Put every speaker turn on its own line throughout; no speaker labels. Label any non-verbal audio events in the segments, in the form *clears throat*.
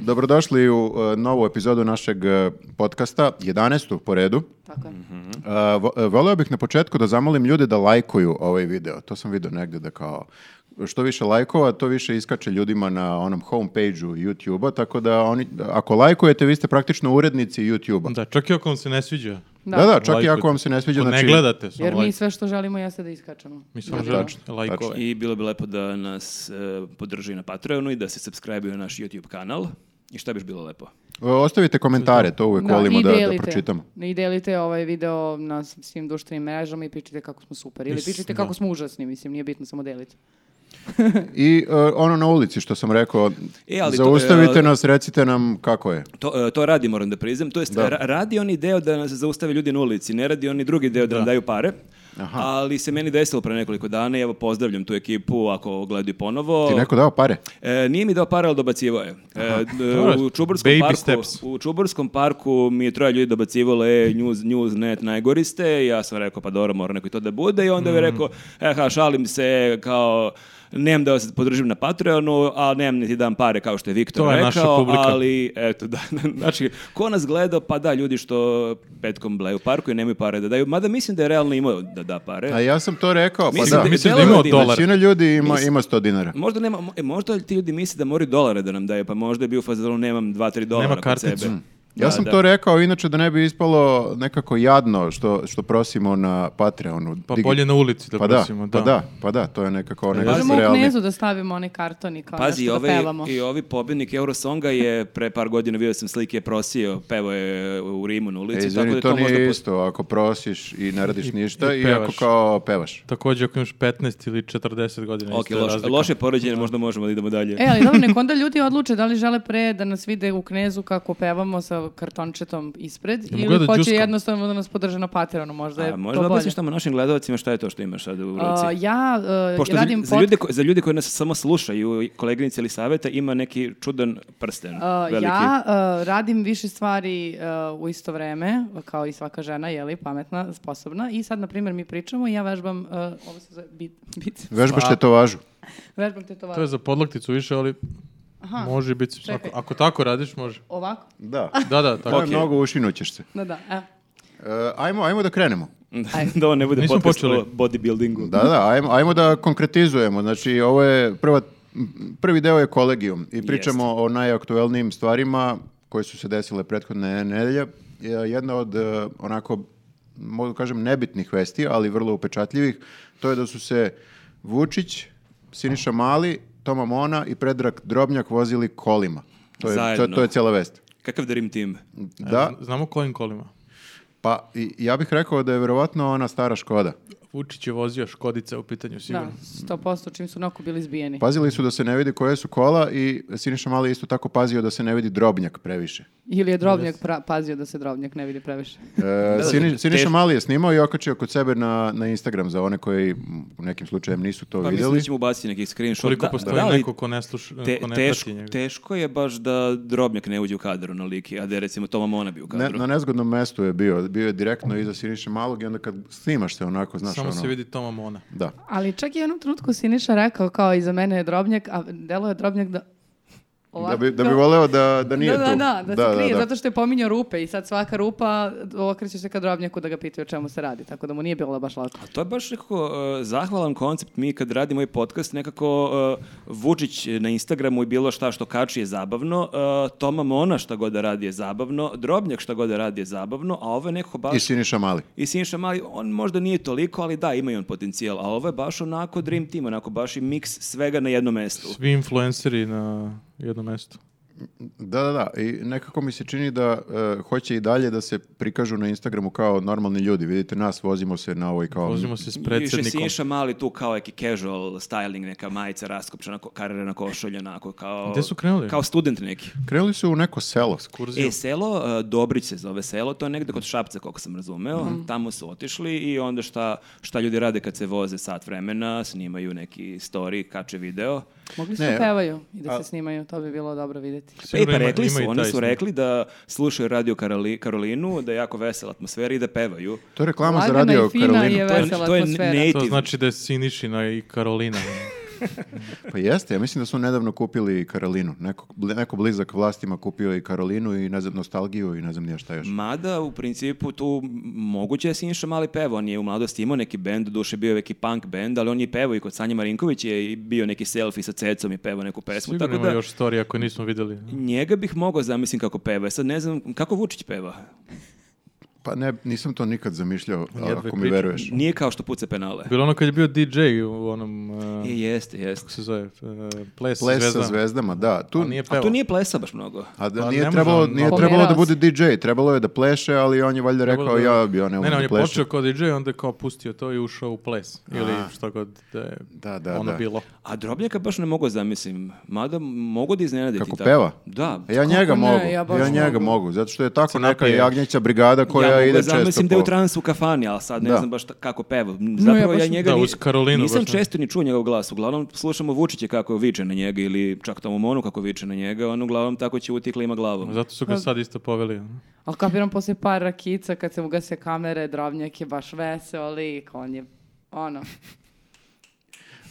Dobrodošli u uh, novu epizodu našeg uh, podcasta, 11. po redu.
Tako je.
Mhm.
Mhm.
Uh, vo- uh, voleo bih na početku da zamolim ljude da lajkuju ovaj video. To sam vidio negde da kao što više lajkova, to više iskače ljudima na onom homepage-u YouTube-a, tako da oni, ako lajkujete, vi ste praktično urednici YouTube-a.
Da, čak i ako vam se ne sviđa.
Da, da, čak i
Lajkujte.
ako vam se ne sviđa,
Ako
znači...
Ne gledate, samo
Jer mi
lajk-
sve što želimo jeste da iskačemo.
mi samo
Da,
želimo
tačno,
lajkove.
I bilo bi lepo da nas e, podrži na Patreonu i da se subscribe na naš YouTube kanal. I šta biš bilo lepo?
Uh, Ostavite komentare, to uvek
Da,
volimo
i
da, da
delite.
pročitamo.
I delite ovaj video na s- svim društvenim mrežama i pičite kako smo super. Ili
Mislim,
pičite kako
da.
smo užasni, mislim, nije bitno samo delite.
I uh, ono na ulici što sam rekao,
E, ali to je,
zaustavite
uh,
nas, recite nam kako je.
To, e, to radi, moram da priznam. To jest,
Da.
ra- radi oni deo da nas zaustave ljudi na ulici, ne radi oni drugi deo da, nam daju pare. Ali se meni desilo pre nekoliko dana i evo pozdravljam tu ekipu ako gledaju ponovo.
Ti neko dao pare?
E, nije mi dao pare, ali dobacivao je. E, d-
Dobro,
u, Čuburskom
baby
parku,
steps.
u Čuburskom parku mi je troje ljudi dobacivalo, e, news, news net najgori ste, ja sam rekao, pa dobro, mora neko i to da bude, i onda
Mm.
je rekao, e, ha, šalim se, kao, nemam da vas podržim na Patreonu, a nemam niti dan pare, kao što je Viktor
To je
rekao,
naša publika.
ali, eto, da, *laughs* znači, ko nas gleda, pa da, ljudi što petkom bleju u parku i nemaju pare da daju, mada mislim da je realno imao da da pare.
E, A ja sam to rekao, pa
Mislim
da.
da-
Mislim da
delo je
imao
divno.
dolar.
Većina ljudi ima, ima 100 dinara.
Možda nema, mo- e, možda ti ljudi misle da moraju dolare da nam daju, pa možda je bio u fazonu nemam 2-3 dolara
Nema Mm.
kod
karticu.
sebe.
Ja
Da,
sam
da.
to rekao, inače da ne bi ispalo nekako jadno što, što prosimo na Patreonu.
Pa
Digi-
bolje na ulici da
pa da,
prosimo,
Pa da, pa da, to je nekako nekako
Možemo
se
u
realni. E,
knezu da stavimo onaj karton i kao
Pazi,
Pa, nešto da
ovaj,
pevamo.
i ovi pobjednik Eurosonga je pre par godina, vidio sam slike, prosio, pevo je u Rimu na
E,
ulici, tako
izvini,
da
to
to možda...
nije
pos-
isto, ako prosiš i ne radiš ništa i,
i
ako
pevaš.
kao pevaš.
Također ako imaš 15 ili 40 godina.
Ok,
isto je
loš,
razlika.
loše poređenje, možda možemo da idemo dalje.
E, ali dobro, nek onda ljudi odluče da li žele pre da nas vide u knezu kako pevamo sa kartončetom ispred
mogu
ili
da
hoće
džuskam?
jednostavno da nas podrže na Patreonu, možda je
A
to
možda
bolje.
objasniš tamo našim gledalcima šta je to što imaš sad u ruci?
A, ja e,
Pošto za,
radim
za ljude, ko- za ljude koji nas samo slušaju, koleginice ili saveta, ima neki čudan prsten
Uh,
veliki.
ja uh, radim više stvari uh, u isto vreme, kao i svaka žena, je li, pametna, sposobna. I sad, na primjer, mi pričamo i ja vežbam, uh, ovo se zove bit, bit, *laughs*
Vežbaš te to važu.
vežbam
To je
tetovažu.
za podlakticu više, ali može biti. Ako,
čekaj.
ako tako radiš, može.
Ovako?
Da.
Da, da, tako.
To je mnogo ušinućeš se.
Da, da, e.
E, ajmo, ajmo da krenemo.
*laughs* da ovo ne bude
Nismo
podcast
počeli.
o bodybuildingu.
Da, da, ajmo, ajmo da konkretizujemo. Znači, ovo je prva, prvi deo je kolegijum i pričamo o najaktuelnijim stvarima koje su se desile prethodne nedelje. Je- Jedna od, e, onako, mogu da kažem, nebitnih vesti, ali vrlo upečatljivih, to je da su se Vučić, Siniša Mali, Toma Mona i Predrag Drobnjak vozili kolima. To je, to,
Zajedno.
to je cijela vest.
Kakav Dream Team?
Da,
Znamo kojim kolima.
pa i- ja bih rekao da je verovatno ona stara Škoda.
Vučić je vozio Škodica u pitanju,
Da,
sigurno.
100% čim su onako bili zbijeni.
Pazili su da se ne vidi koje su kola i Siniša Mali je isto tako pazio da se ne vidi drobnjak previše.
Ili je drobnjak pra- pazio da se drobnjak ne vidi previše.
E, Sini- Siniša Mali je snimao i okačio kod sebe na, na Instagram za one koji m, u nekim slučajem nisu to
Pa mislim
vidjeli.
da ćemo ubaciti neki screenshot.
Koliko
Da,
postoji
da, ali
neko ko ne sluša,
te-
ko ne
teško,
prati njega.
teško je baš da drobnjak ne uđe u kadar onoliki, a da je recimo Toma Mona bio u
Ne,
kadru.
na nezgodnom mestu je bio. Bio je direktno iza Siniše Malog i onda kad snimaš se onako, znaš
Samo
ono.
se vidi Toma Mona.
Da.
*laughs* Ali čak i u jednom trenutku Siniša rekao kao iza mene je drobnjak, a delo je drobnjak da...
Da bi, da bi
Ovako.
voleo da, da nije
da, da,
tu.
da, da, se krije, zato što je pominjao rupe i sad svaka rupa okreće se ka drobnjaku da ga pitaju o čemu se radi, tako da mu nije bilo baš lako.
A to je baš nekako e, zahvalan koncept. Mi kad radimo ovaj podcast, nekako e, Vučić na Instagramu i bilo šta što kači je zabavno, e, Toma Mona šta god da radi je zabavno, Drobnjak šta god da radi je zabavno, a ovo je nekako baš...
I Siniša Mali.
I Siniša Mali, on možda nije toliko, ali da, ima i on potencijal. A ovo je baš onako Dream Team, onako baš i miks svega na jednom mestu.
Svi influenceri na jednom mestu.
Da, da, da. I nekako mi se čini da e, hoće i dalje da se prikažu na Instagramu kao normalni ljudi. Vidite nas, vozimo se na ovoj kao...
Vozimo se s
Više
predsjednikom.
Siniša Mali tu kao neki casual styling, neka majica raskopčana, ko- karirana košulja, onako kao...
Gde su krenuli?
Kao student neki.
Krenuli su u neko selo.
Kurzio.
E, selo, e, Dobrić se zove selo, to je negde kod Šapca, koliko sam razumeo.
Mhm.
Tamo su otišli i onda šta, šta ljudi rade kad se voze sat vremena, snimaju neki story, kače video.
Mogli su
Ne,
da pevaju i da se snimaju, to bi bilo dobro vidjeti.
E,
Sigurno
pa
ima-
rekli
ima
su,
i
oni
taj
su
snimak.
rekli da slušaju Radio Karoli- Karolinu, da je jako vesela atmosfera i da pevaju.
To je reklama za
Lagana i
radio
fina
Karolinu.
je
To je,
Vesela
to je
atmosfera.
native.
*laughs*
To znači da je Sinišina i Karolina.
Pa jeste, ja mislim da su nedavno kupili Karolinu. Neko, bli- neko blizak vlastima kupio i Karolinu i ne znam, nostalgiju i ne znam nije šta
Mm.
još.
Mada, u principu, tu moguće je Siniša Mali pevao. On je u mladosti imao neki bend, duše bio je neki punk bend, ali on je pevao i kod Sanje Marinković je i bio neki selfie sa cecom i pevao neku pesmu.
Sigurno
tako
ima
da,
još storija koje nismo videli.
njega bih mogao zamislim kako peva. Sad ne znam, kako Vučić peva?
Pa ne, nisam to nikad zamišljao,
Jedva
ako mi
pričam.
veruješ.
Nije kao što puca penale.
Bilo ono kad je bio DJ u onom... Uh,
E, jeste, jeste.
kako se zove? Uh, ples,
Ples
zvezda.
sa zvezdama, da. Tu,
Ali nije
A
pevao.
tu nije plesa baš mnogo.
A da
Pa
nije,
ne može
trebalo,
on,
nije
no.
trebalo da
Pomerao
bude DJ, trebalo je da pleše, ali on je valjda rekao,
Trebalo da-
ja bi ja ne
Ne,
umem
ne, on
da
je
plešem.
počeo kao DJ, onda je kao pustio to i ušao u ples. Ili što god da je
Da, da,
ono
da.
bilo.
A Drobnjaka baš ne mogu zamislim. Mada mogu da iznenaditi.
Kako
tako.
peva?
Da.
E, Ja njega
ne,
mogu,
ja
ja,
baš
njega
mogu.
mogu, zato što je tako neka
napije.
jagnjeća brigada koja
ja mogu
ide
da
često po...
zamislim da je u transu u kafani, ali sad ne
Da.
znam baš ta- kako peva. Zapravo
ja
ja,
baš-
njega
Da,
ni-
uz Karolinu
nisam
baš ne.
često ni čuo njegov glas. Uglavnom slušamo Vučića kako viče na njega ili čak tomu Monu kako viče na njega. On uglavnom tako će utikla ima glavom.
Zato
Pa-
su ga sad isto poveli. ono.
Ali kapiram posle par rakica, kad se ugase kamere, drobnjak je baš veseo lik, on je ono,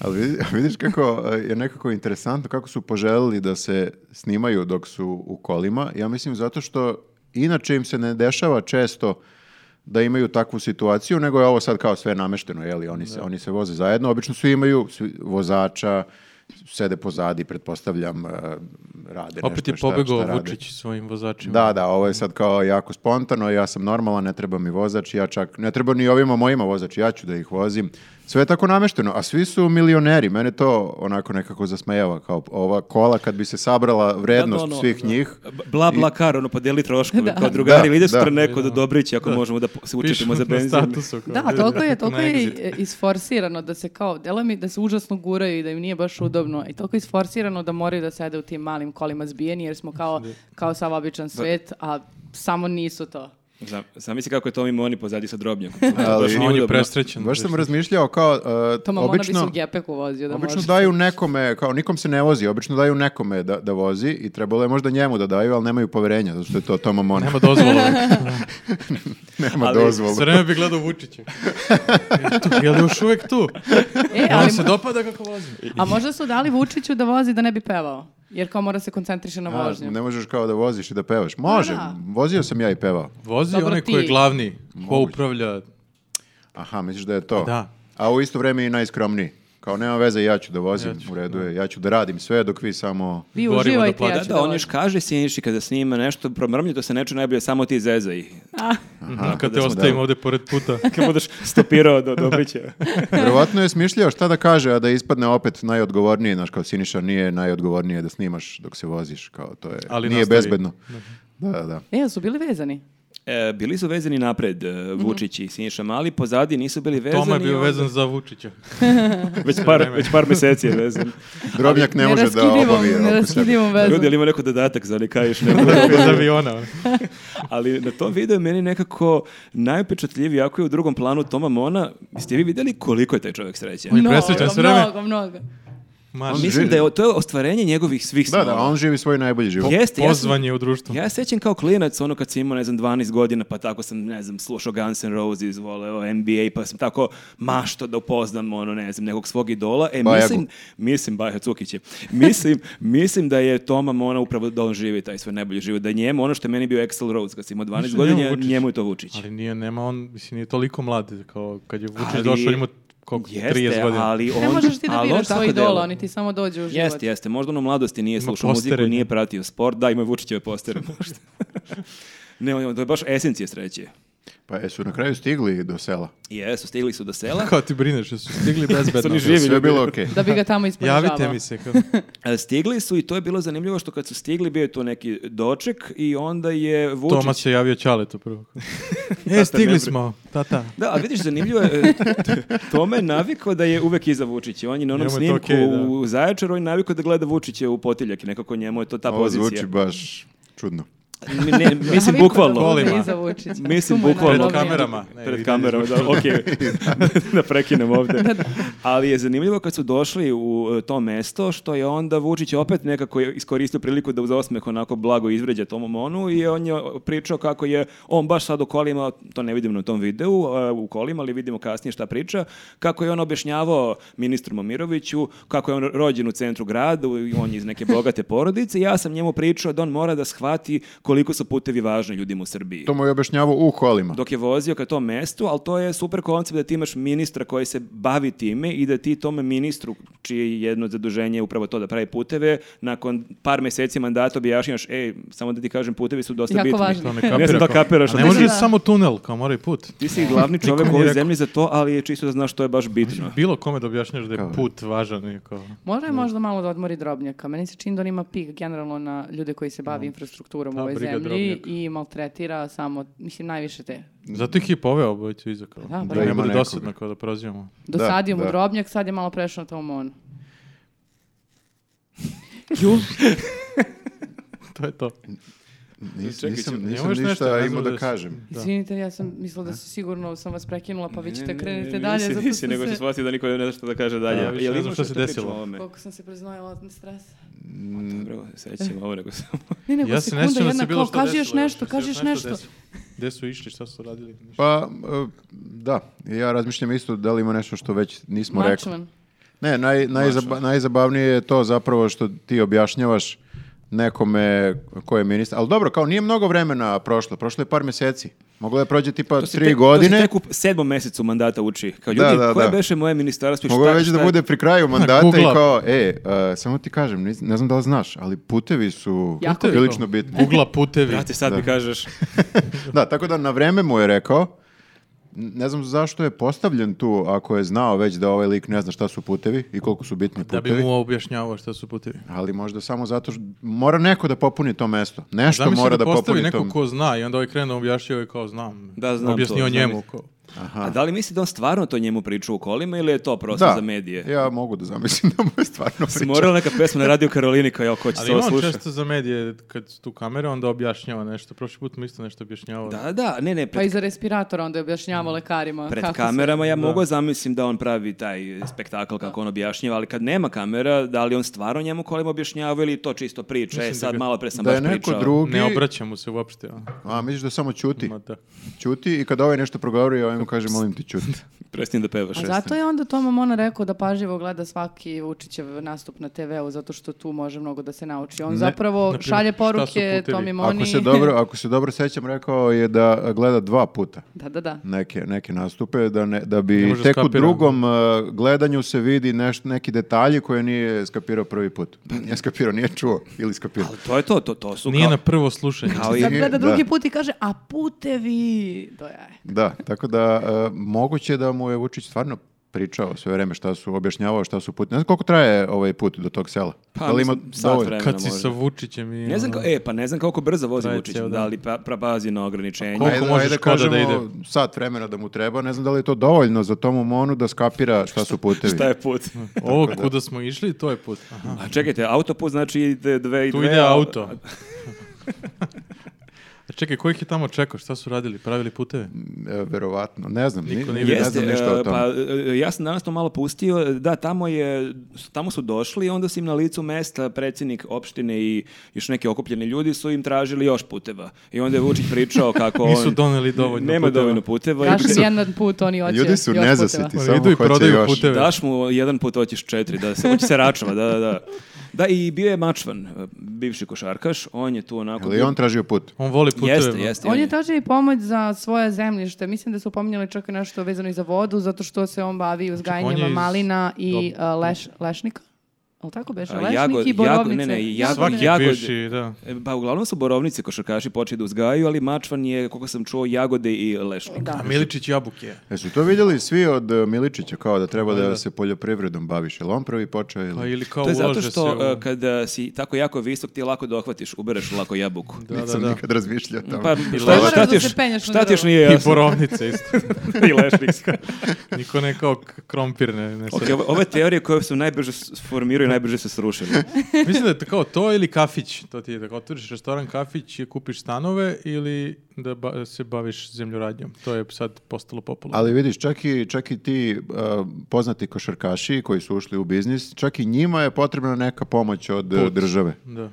Ali vidi- *laughs* vidiš kako e, je nekako interesantno kako su poželili da se snimaju dok su u kolima. Ja mislim zato što inače im se ne dešava često da imaju takvu situaciju, nego je ovo sad kao sve namešteno, jeli, oni se, oni se voze zajedno. Obično svi imaju svi vozača, sede pozadi, pretpostavljam, e, rade
Opet
nešto
je
pa šta- šta
pobegao
rade.
Vučić svojim vozačima.
Da, da, ovo je sad kao jako spontano, ja sam normalan, ne treba mi vozač, ja čak, ne treba ni ovima mojima vozač, ja ću da ih vozim. Sve je tako namešteno, a svi su milioneri, mene to onako nekako zasmejava, kao ova kola kad bi se sabrala vrednost
Da, da, ono,
svih
da.
njih.
Bla bla kar, ono podeli troškove kao drugari,
Da,
ide
da.
sutra neko do
Da.
Dobrića ako možemo da po- se učitimo
Pišu
za
na
benzin.
statusu. kao
Da,
vidi,
toliko je,
na
toliko je
exit. Znači,
i- isforsirano da se kao, delo mi da se užasno guraju i da im nije baš udobno. I toliko je isforsirano da moraju da sede u tim malim kolima zbijeni jer smo kao, kao sav običan svet, a samo nisu to.
Zam- Zamisli kako je Tomi Moni pozadi sa Drobnjakom. To
Ali-
baš nije
On je znači,
udobno.
prestrećen.
Baš sam razmišljao kao, e,
To mamona bi se
obično,
u gepeku vozio da
obično
može.
daju nekome, kao nikom se ne vozi, obično daju nekome da, da vozi i trebalo je možda njemu da daju, ali nemaju poverenja, zato što je to Toma Mona.
Nema dozvolu.
*laughs* Nema
ali-
dozvolu.
Sve vreme bi gledao Vučića. Je *laughs* tu, je li još uvek tu?
*laughs* E,
Ono
ali,
se dopada kako vozi.
a možda su dali Vučiću da vozi da ne bi pevao. Jer kao mora se koncentriše na
A,
vožnju.
ne možeš kao da voziš i da pevaš. Može,
da.
vozio sam ja i pevao.
Vozi
Dobro,
onaj koji je
ti.
glavni, ko upravlja.
Aha, misliš da je to?
Da.
A u isto vrijeme i najskromniji. Kao nema veze, ja ću da vozim, u redu je, ja ću da radim sve dok vi samo...
Vi
Gorimo da
uživajte, ja
plaća.
Da,
ću
da, on
vozim.
još kaže Siniši kada snima nešto, promrmlje, to se neče najbolje, samo ti zezaj.
Mhm. Kad
da
te
smo
ostavim
da.
ovdje pored
*laughs*
puta.
Kad budeš stopirao do Dobrića.
Vjerovatno je smišljao šta da kaže, a da ispadne opet najodgovorniji, znaš, kao Siniša nije najodgovornije da snimaš dok se voziš, kao to je,
Ali
nije
nastavi.
bezbedno. Da, da, da.
E, jel su bili vezani?
E, bili su vezani napred, e, Vučić i Siniša Mali, pozadi nisu bili vezani.
Toma je bio
onda-
vezan za
*laughs*
Vučića.
Već par, već par meseci je vezan.
Drobnjak ne može da
Neraskidivom-
obavi oko sebe.
neraskidivom vezom.
Ljudi, ali ima neko dodatak za onaj kajš. neko-
Iz aviona. ono.
Ali na tom videu je meni nekako najupečatljiviji, jako je u drugom planu Toma Mona. Jeste vi vidjeli koliko je taj čovjek srećan?
je presrećan sve vreme.
mnogo, mnogo.
Maš,
On
Mislim
živi.
da je o- to je ostvarenje njegovih svih
Da,
snova.
da, on živi svoj najbolji život.
Jeste, ja sam-
pozvanje u društvu.
Ja se sjećam kao klinac, ono kad sam imao, ne znam, 12 godina, pa tako sam, ne znam, slušao Guns N' Roses, voleo NBA, pa sam tako mašto da upoznam, ono, ne znam, nekog svog idola. E,
Bajagu.
mislim, mislim, Baja Cukić je. mislim, mislim da je Toma Mona upravo da on živi taj svoj najbolji život, da je njemu, ono što je meni bio Axl Rose kad sam imao 12
Mislim,
godina,
njemu Vučić.
njemu je to Vučić.
Ali nije, nema on, mislim, nije toliko mlad. Kao kad je
Ali-
Vučić došao, on ima koliko,
Jeste,
30 godina. *laughs*
ali on,
Ne možeš ti da
ali on
biraš
tako
svoj idola,
deluje.
oni ti samo dođu u život.
Jeste, jeste. Možda on u mladosti nije
Ima
slušao muziku,
postere.
nije pratio sport. Da, ima Vučićeve
*laughs*
postere *laughs* možda. ne, on- to je baš esencija sreće.
Pa jesu na kraju stigli do sela.
Jesu, stigli su do
*laughs*
sela.
Kao ti brineš, jesu stigli bezbedno.
Jesu *laughs* oni
Sve
Živi
je
ljudi.
bilo okej.
Da bi ga tamo isponižavao.
Javite mi se. Kao.
E, Stigli su i to je bilo zanimljivo što kad su stigli bio je tu neki doček i onda je Vučić...
Toma se javio Čaletu
*laughs*
prvo. e,
ne bri-
stigli smo, tata.
Da, ali vidiš, zanimljivo je, e, Toma je navikao da je uvek iza Vučića. On je na onom
Njemu je to
snimku
okej, da.
u Zaječaru, on je navikao da gleda Vučića u potiljak i nekako njemu je to ta
Ovo
pozicija.
zvuči baš čudno.
Mi-
*laughs*
ne,
*laughs*
mislim bukvalno.
Kolima.
Iza Vučića.
Mislim
Suma je
bukvalno.
Pred
najbolja.
kamerama. Ne,
pred
vidim,
kamerom, da,
izvuču.
ok, *laughs* da prekinem ovdje. Ali je zanimljivo kad su došli u e, to mesto, što je onda Vučić opet nekako je iskoristio priliku da uz osmeh onako blago izvređa tomu Monu i on je pričao kako je on baš sad u kolima, to ne vidimo na tom videu, e, u kolima, ali vidimo kasnije šta priča, kako je on objašnjavao ministru Momiroviću, kako je on rođen u centru grada, i on je iz neke bogate porodice, ja sam njemu pričao da on mora da shvati koliko su putevi važni ljudima u Srbiji
To mu je objašnjavao u kolima.
dok je vozio ka tom mestu, ali to je super koncept da ti imaš ministra koji se bavi time i da ti tome ministru, čije je jedno zaduženje je upravo to da pravi puteve, nakon par meseci mandata objašnjaš, ej, samo da ti kažem, putevi su dosta
Jako
bitni.
važni. *laughs*
To ne
Ne
kapira.
znam da
kao-
kapiraš,
A Ne
ali-
može
Da.
samo tunel, kao mora i put.
Ti si glavni čovjek u
nije
ovoj
rekao.
zemlji za to, ali je čisto da znaš što je baš bitno.
Bilo kome da objašnjaš da je put važan. i Kao...
Možda je možda malo da odmori drobnjaka. Meni se čini da on ima pik generalno na ljude koji se bavi infrastrukturom u
Mm. Ta
ovoj
briga
zemlji
Drobnjaka.
i maltretira samo, mislim, najviše te.
Zato ih je poveo obojicu iza kao.
Da,
Da,
bravo.
ne
Ima
bude
nekoga.
dosadno kao da prozivamo. *laughs*
Dosadio mu
da.
drobnjak, sad je malo prešao na tom on. Ju,
To je to.
Nis-
Čekaj,
nisam
čekaj, ne
nisam
možeš nešto
ništa
razlog
imao da
da se-
kažem.
Da.
izvinite, ja sam mislila da se sigurno sam vas prekinula, pa vi ćete krenete
Nisi,
dalje. zato
nisi,
sam
nego sam
se-
shvatio da niko ne zna što da kaže dalje.
Da, više
Jel
ne znam
imaš
šta se
pričamo
desilo.
o ovome?
Koliko sam se preznojala od stresa.
Dobro, sećam ovo, nego sam-
Ne, nego
Ja se ne
sekunda
sjećam da se
jedna,
bilo
kao,
što
kaži još
desilo,
nešto,
da se
kažeš nešto.
desilo. Gde su išli, šta su radili? ništa.
Pa, e, da, ja razmišljam isto da li ima nešto što već nismo rekli.
Mačman.
Ne, naj, najzaba- najzabavnije je to zapravo što ti objašnjavaš nekome ko je ministar. Ali dobro, kao nije mnogo vremena prošlo, prošlo je par mjeseci. Moglo je prođe tipa
To
Pa
se
tri
tek- To se
godine,
tek u sedmom mesecu mandata uči. Kao
Da,
ljudi,
da,
koje
da.
beše moje ministarstvo i šta,
moglo je već da
šta- *laughs*
bude pri kraju mandata i
Googla.
kao, e, e, samo ti kažem, nis- ne znam da li znaš, ali putevi su
Jako bitni.
prilično bitni.
E,
Googla putevi.
Brate, sad mi kažeš.
Da, tako da na vreme mu je rekao, N- ne znam zašto je postavljen tu ako je znao već da ovaj lik ne zna šta su putevi i koliko su bitni
Da
putevi.
bi mu objašnjavao šta su putevi.
Ali možda samo zato što mora neko da popuni to mesto. Nešto
Zamisli
mora da,
postavi
popuni to
neko ko zna i onda ovaj krenuo objašnjava i kao znam.
Da, znam
Objasnio
to, znam.
njemu. Kao.
A da li misli da on stvarno to njemu priča u kolima ili je to prosto za medije?
Ja mogu da zamislim da mu je stvarno
Si
priča.
morala neka pesma na Radio Karolini kao ja, ko će
Ali
se ovo
on
slušati?
često za medije, kad su tu kamere, onda objašnjava nešto. Prošli put mu isto nešto objašnjavao.
Da, da, ne, ne,
Pa i
pred,
za respiratora onda je
Mm.
objašnjavao lekarima.
pred
kako se-
kamerama ja mogu zamislim da on pravi taj spektakl kako on objašnjava, ali kad nema kamera, da li on stvarno njemu kolima objašnjava ili to čisto priča? E,
Mislim da
sad
ga-
malo pre sam
Da je
baš
neko
pričao.
drugi...
Ne obraća mu se uopšte. ono, a.
A, misliš da samo ćuti?
Ma da.
Ćuti i kad ovaj nešto progovori, ovaj mu kaže, molim ti ćuti.
Prestani da pevaš.
A
jeste.
zato je onda Toma Mona rekao da pažljivo gleda svaki Vučićev nastup na TV-u, zato što tu može mnogo da se nauči. On zapravo
Naprimjer,
šalje
šta su
poruke
putevi?
Tomi Moni.
Ako se, dobro, ako se dobro sećam, rekao je da gleda dva puta
*laughs* Da, da, da.
neke, neke nastupe, da, ne, da
Ne
bi
može
tek u
skapirati.
drugom uh, gledanju se vidi neš, neki detalji koje nije skapirao prvi put. *laughs* Nije skapirao, nije čuo ili skapirao.
Ali to je to, to, to su
Nije
kao...
na prvo slušanje.
kao i-
Sad gleda
Da.
drugi put i kaže, a putevi! To je.
Da, tako da e, moguće da mu je Vučić stvarno pričao sve vreme šta su objašnjavao, šta su put. Ne znam koliko traje ovaj put do tog sela.
Pa,
da li ima
mislim, sat
dovoljno?
vremena.
Kad si
može.
sa Vučićem i...
Ne znam, ka-
ono,
e, pa ne znam koliko brzo vozi
Traje
Vučić,
cijel
da
dan.
li pa, prapazi na ograničenje.
Pa
koliko može Škoda da
sat vremena da mu treba, ne znam da li je to dovoljno za Tomu Monu da skapira šta su putevi.
Šta
*laughs*
je put?
Ovo kuda smo išli, to je put. Aha.
A čekajte, autoput znači ide dve i
Tu
dve,
ide
a-
auto.
*laughs*
A čekaj, ko ih je tamo čekao? Šta su radili? Pravili puteve?
E, verovatno, ne znam, ni,
Niko
ni-
nije
ne
Jeste,
znam ništa o tome.
e, pa e, ja sam danas to malo pustio, da tamo je, tamo su došli i onda su im na licu mesta predsjednik opštine i još neki okupljeni ljudi su im tražili još puteva. I onda je Vučić
*laughs*
pričao kako
Nisu
on-
doneli dovoljno
nema
puteva.
dovoljno puteva. i
Daš
gde-
mi jedan put, oni hoće
Ljudi su
još
nezasiti,
puteva.
samo
Idu i
hoće
prodaju
još.
puteve.
Daš mu jedan put hoćeš četiri, da se hoće se račava, da, da, da. Da, i bio je Mačvan, e, bivši košarkaš, on je tu onako...
Ali je on tražio put.
On voli puteve. ono.
Jeste,
bro.
jeste.
On je
on je-
tražio i pomoć za svoje zemljište. Mislim da su pominjali čak i nešto vezano i za vodu, zato što se on bavi uzgajanjem
je iz-
malina i a, leš, lešnika. Ali tako beše?
A,
Lešnik
jago-
i
jago-
borovnice.
ne, ne, jago-
Svaki-
Svaki
Jagode.
bivši, da.
E, Pa uglavnom su borovnice košarkaši počeli da uzgajaju, ali mačvan je, koliko sam čuo, jagode i lešnik.
Da.
A Miličić jabuke.
Jesu to vidjeli svi od e, Miličića kao da treba da se poljoprivredom baviš? Jel on prvi počeo
Pa
ili...
ili kao
To je zato
ulože
što
se u-
e, kada si tako jako visok ti lako dohvatiš, ubereš lako jabuku.
Da, da,
Nisam
da.
nikad razmišljao o tome.
Pa
moraš
šta, šta
da
ti još,
se penješ na
šta ti još
drvo.
nije
I
jasno?
borovnice isto.
I lešnik.
Niko ne kao k- krompir ne, ne
*laughs* Ok,
se-
ove, ove teorije koje su najbrže s- formiraju najbrže se srušili.
Mislim da je to kao to ili kafić. To ti je da otvoriš restoran kafić i kupiš stanove ili da ba- se baviš zemljoradnjom. To je sad postalo popularno.
Ali vidiš, čak i, čak i ti uh, poznati košarkaši koji su ušli u biznis, čak i njima je potrebna neka pomoć od uh, države.
Da.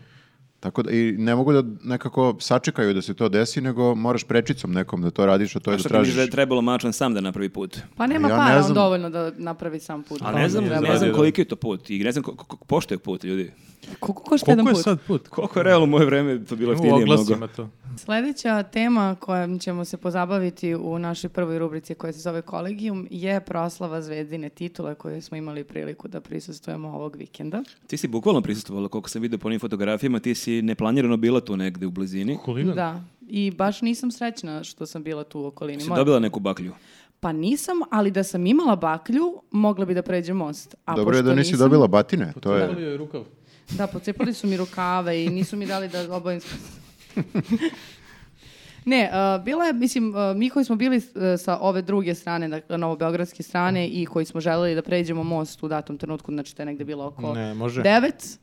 Tako da, i ne mogu da nekako sačekaju da se to desi, nego moraš prečicom nekom da to radiš, a to je da
Što ti
tražiš.
misliš da je trebalo mačan sam da napravi put?
Pa nema
Ja ne
para, on
znam.
dovoljno da napravi sam put.
A
Pa
ne
onda
znam,
treba-
ne znam
zaradio.
koliki je to put i ne znam ko- ko- ko- pošto je put, ljudi.
Koliko košta jedan
Koliko je
put?
sad put?
Koliko je realno u moje vreme to bilo
U
jeftinije mnogo.
oglasima to.
Sljedeća tema kojom ćemo se pozabaviti u našoj prvoj rubrici koja se zove Kolegijum je proslava zvezdine titule koju smo imali priliku da prisustujemo ovog vikenda.
Ti si bukvalno prisustvovala, koliko sam vidio po onim fotografijama, ti si neplanirano bila tu negde u blizini.
Huligan?
Da. I baš nisam srećna što sam bila tu u okolini.
Si
Moram-
dobila neku baklju.
Pa nisam, ali da sam imala baklju, mogla bi da pređem most. A
Dobro je
pošto
da nisi
nisam-
dobila batine. To je...
Polio je rukav.
Da, pocepali su mi rukave i nisu mi dali da obavim... Ne, uh, bila je, mislim, uh, mi koji smo bili uh, sa ove druge strane, dakle, novobeogradske strane i koji smo želeli da pređemo most u datom trenutku, znači to je negde bilo oko
Ne, može.
devet,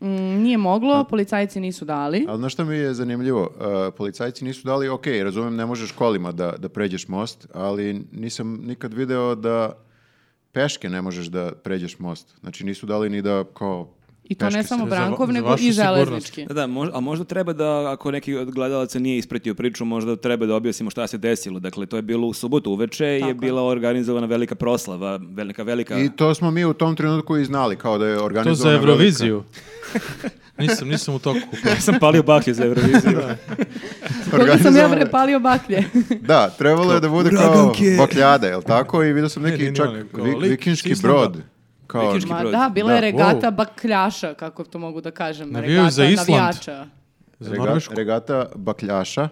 Mm, nije moglo, policajci nisu dali.
Ali znaš šta mi je zanimljivo? Uh, policajci nisu dali, ok, razumijem, ne možeš kolima da, da pređeš most, ali nisam nikad video da peške ne možeš da pređeš most. Znači nisu dali ni da kao
I to ne
peške se-
samo
za-
Brankov,
za
nego
vašu
i
sigurnost.
železnički.
*laughs*
Da, da, mož- a možda treba da, ako neki od gledalaca nije ispratio priču, možda treba da objasnimo šta se desilo. Dakle, to je bilo u subotu uveče,
Tako je.
je bila organizovana velika proslava, velika, velika...
I to smo mi u tom trenutku i znali, kao da je
To
organizovana
za Euroviziju. *laughs* nisam, nisam u toku.
*laughs* Ja sam palio baklje za Euroviziju.
velika-
Koliko sam ja
organizovana-
prepalio baklje.
*laughs* Da, trebalo je da bude kao
Uraganke.
bakljada, jel tako? I vidio sam
Ne,
neki
nije
čak
ono, kao
vi-
lik
vikinški
s Islanda.
brod. Kao,
Vikinški
Ma
brod.
da, bila
Da,
je regata
wow.
bakljaša, kako to mogu da kažem.
Navijaju
regata
za Island.
navijača.
Za
Rega-
Norvešku.
regata bakljaša.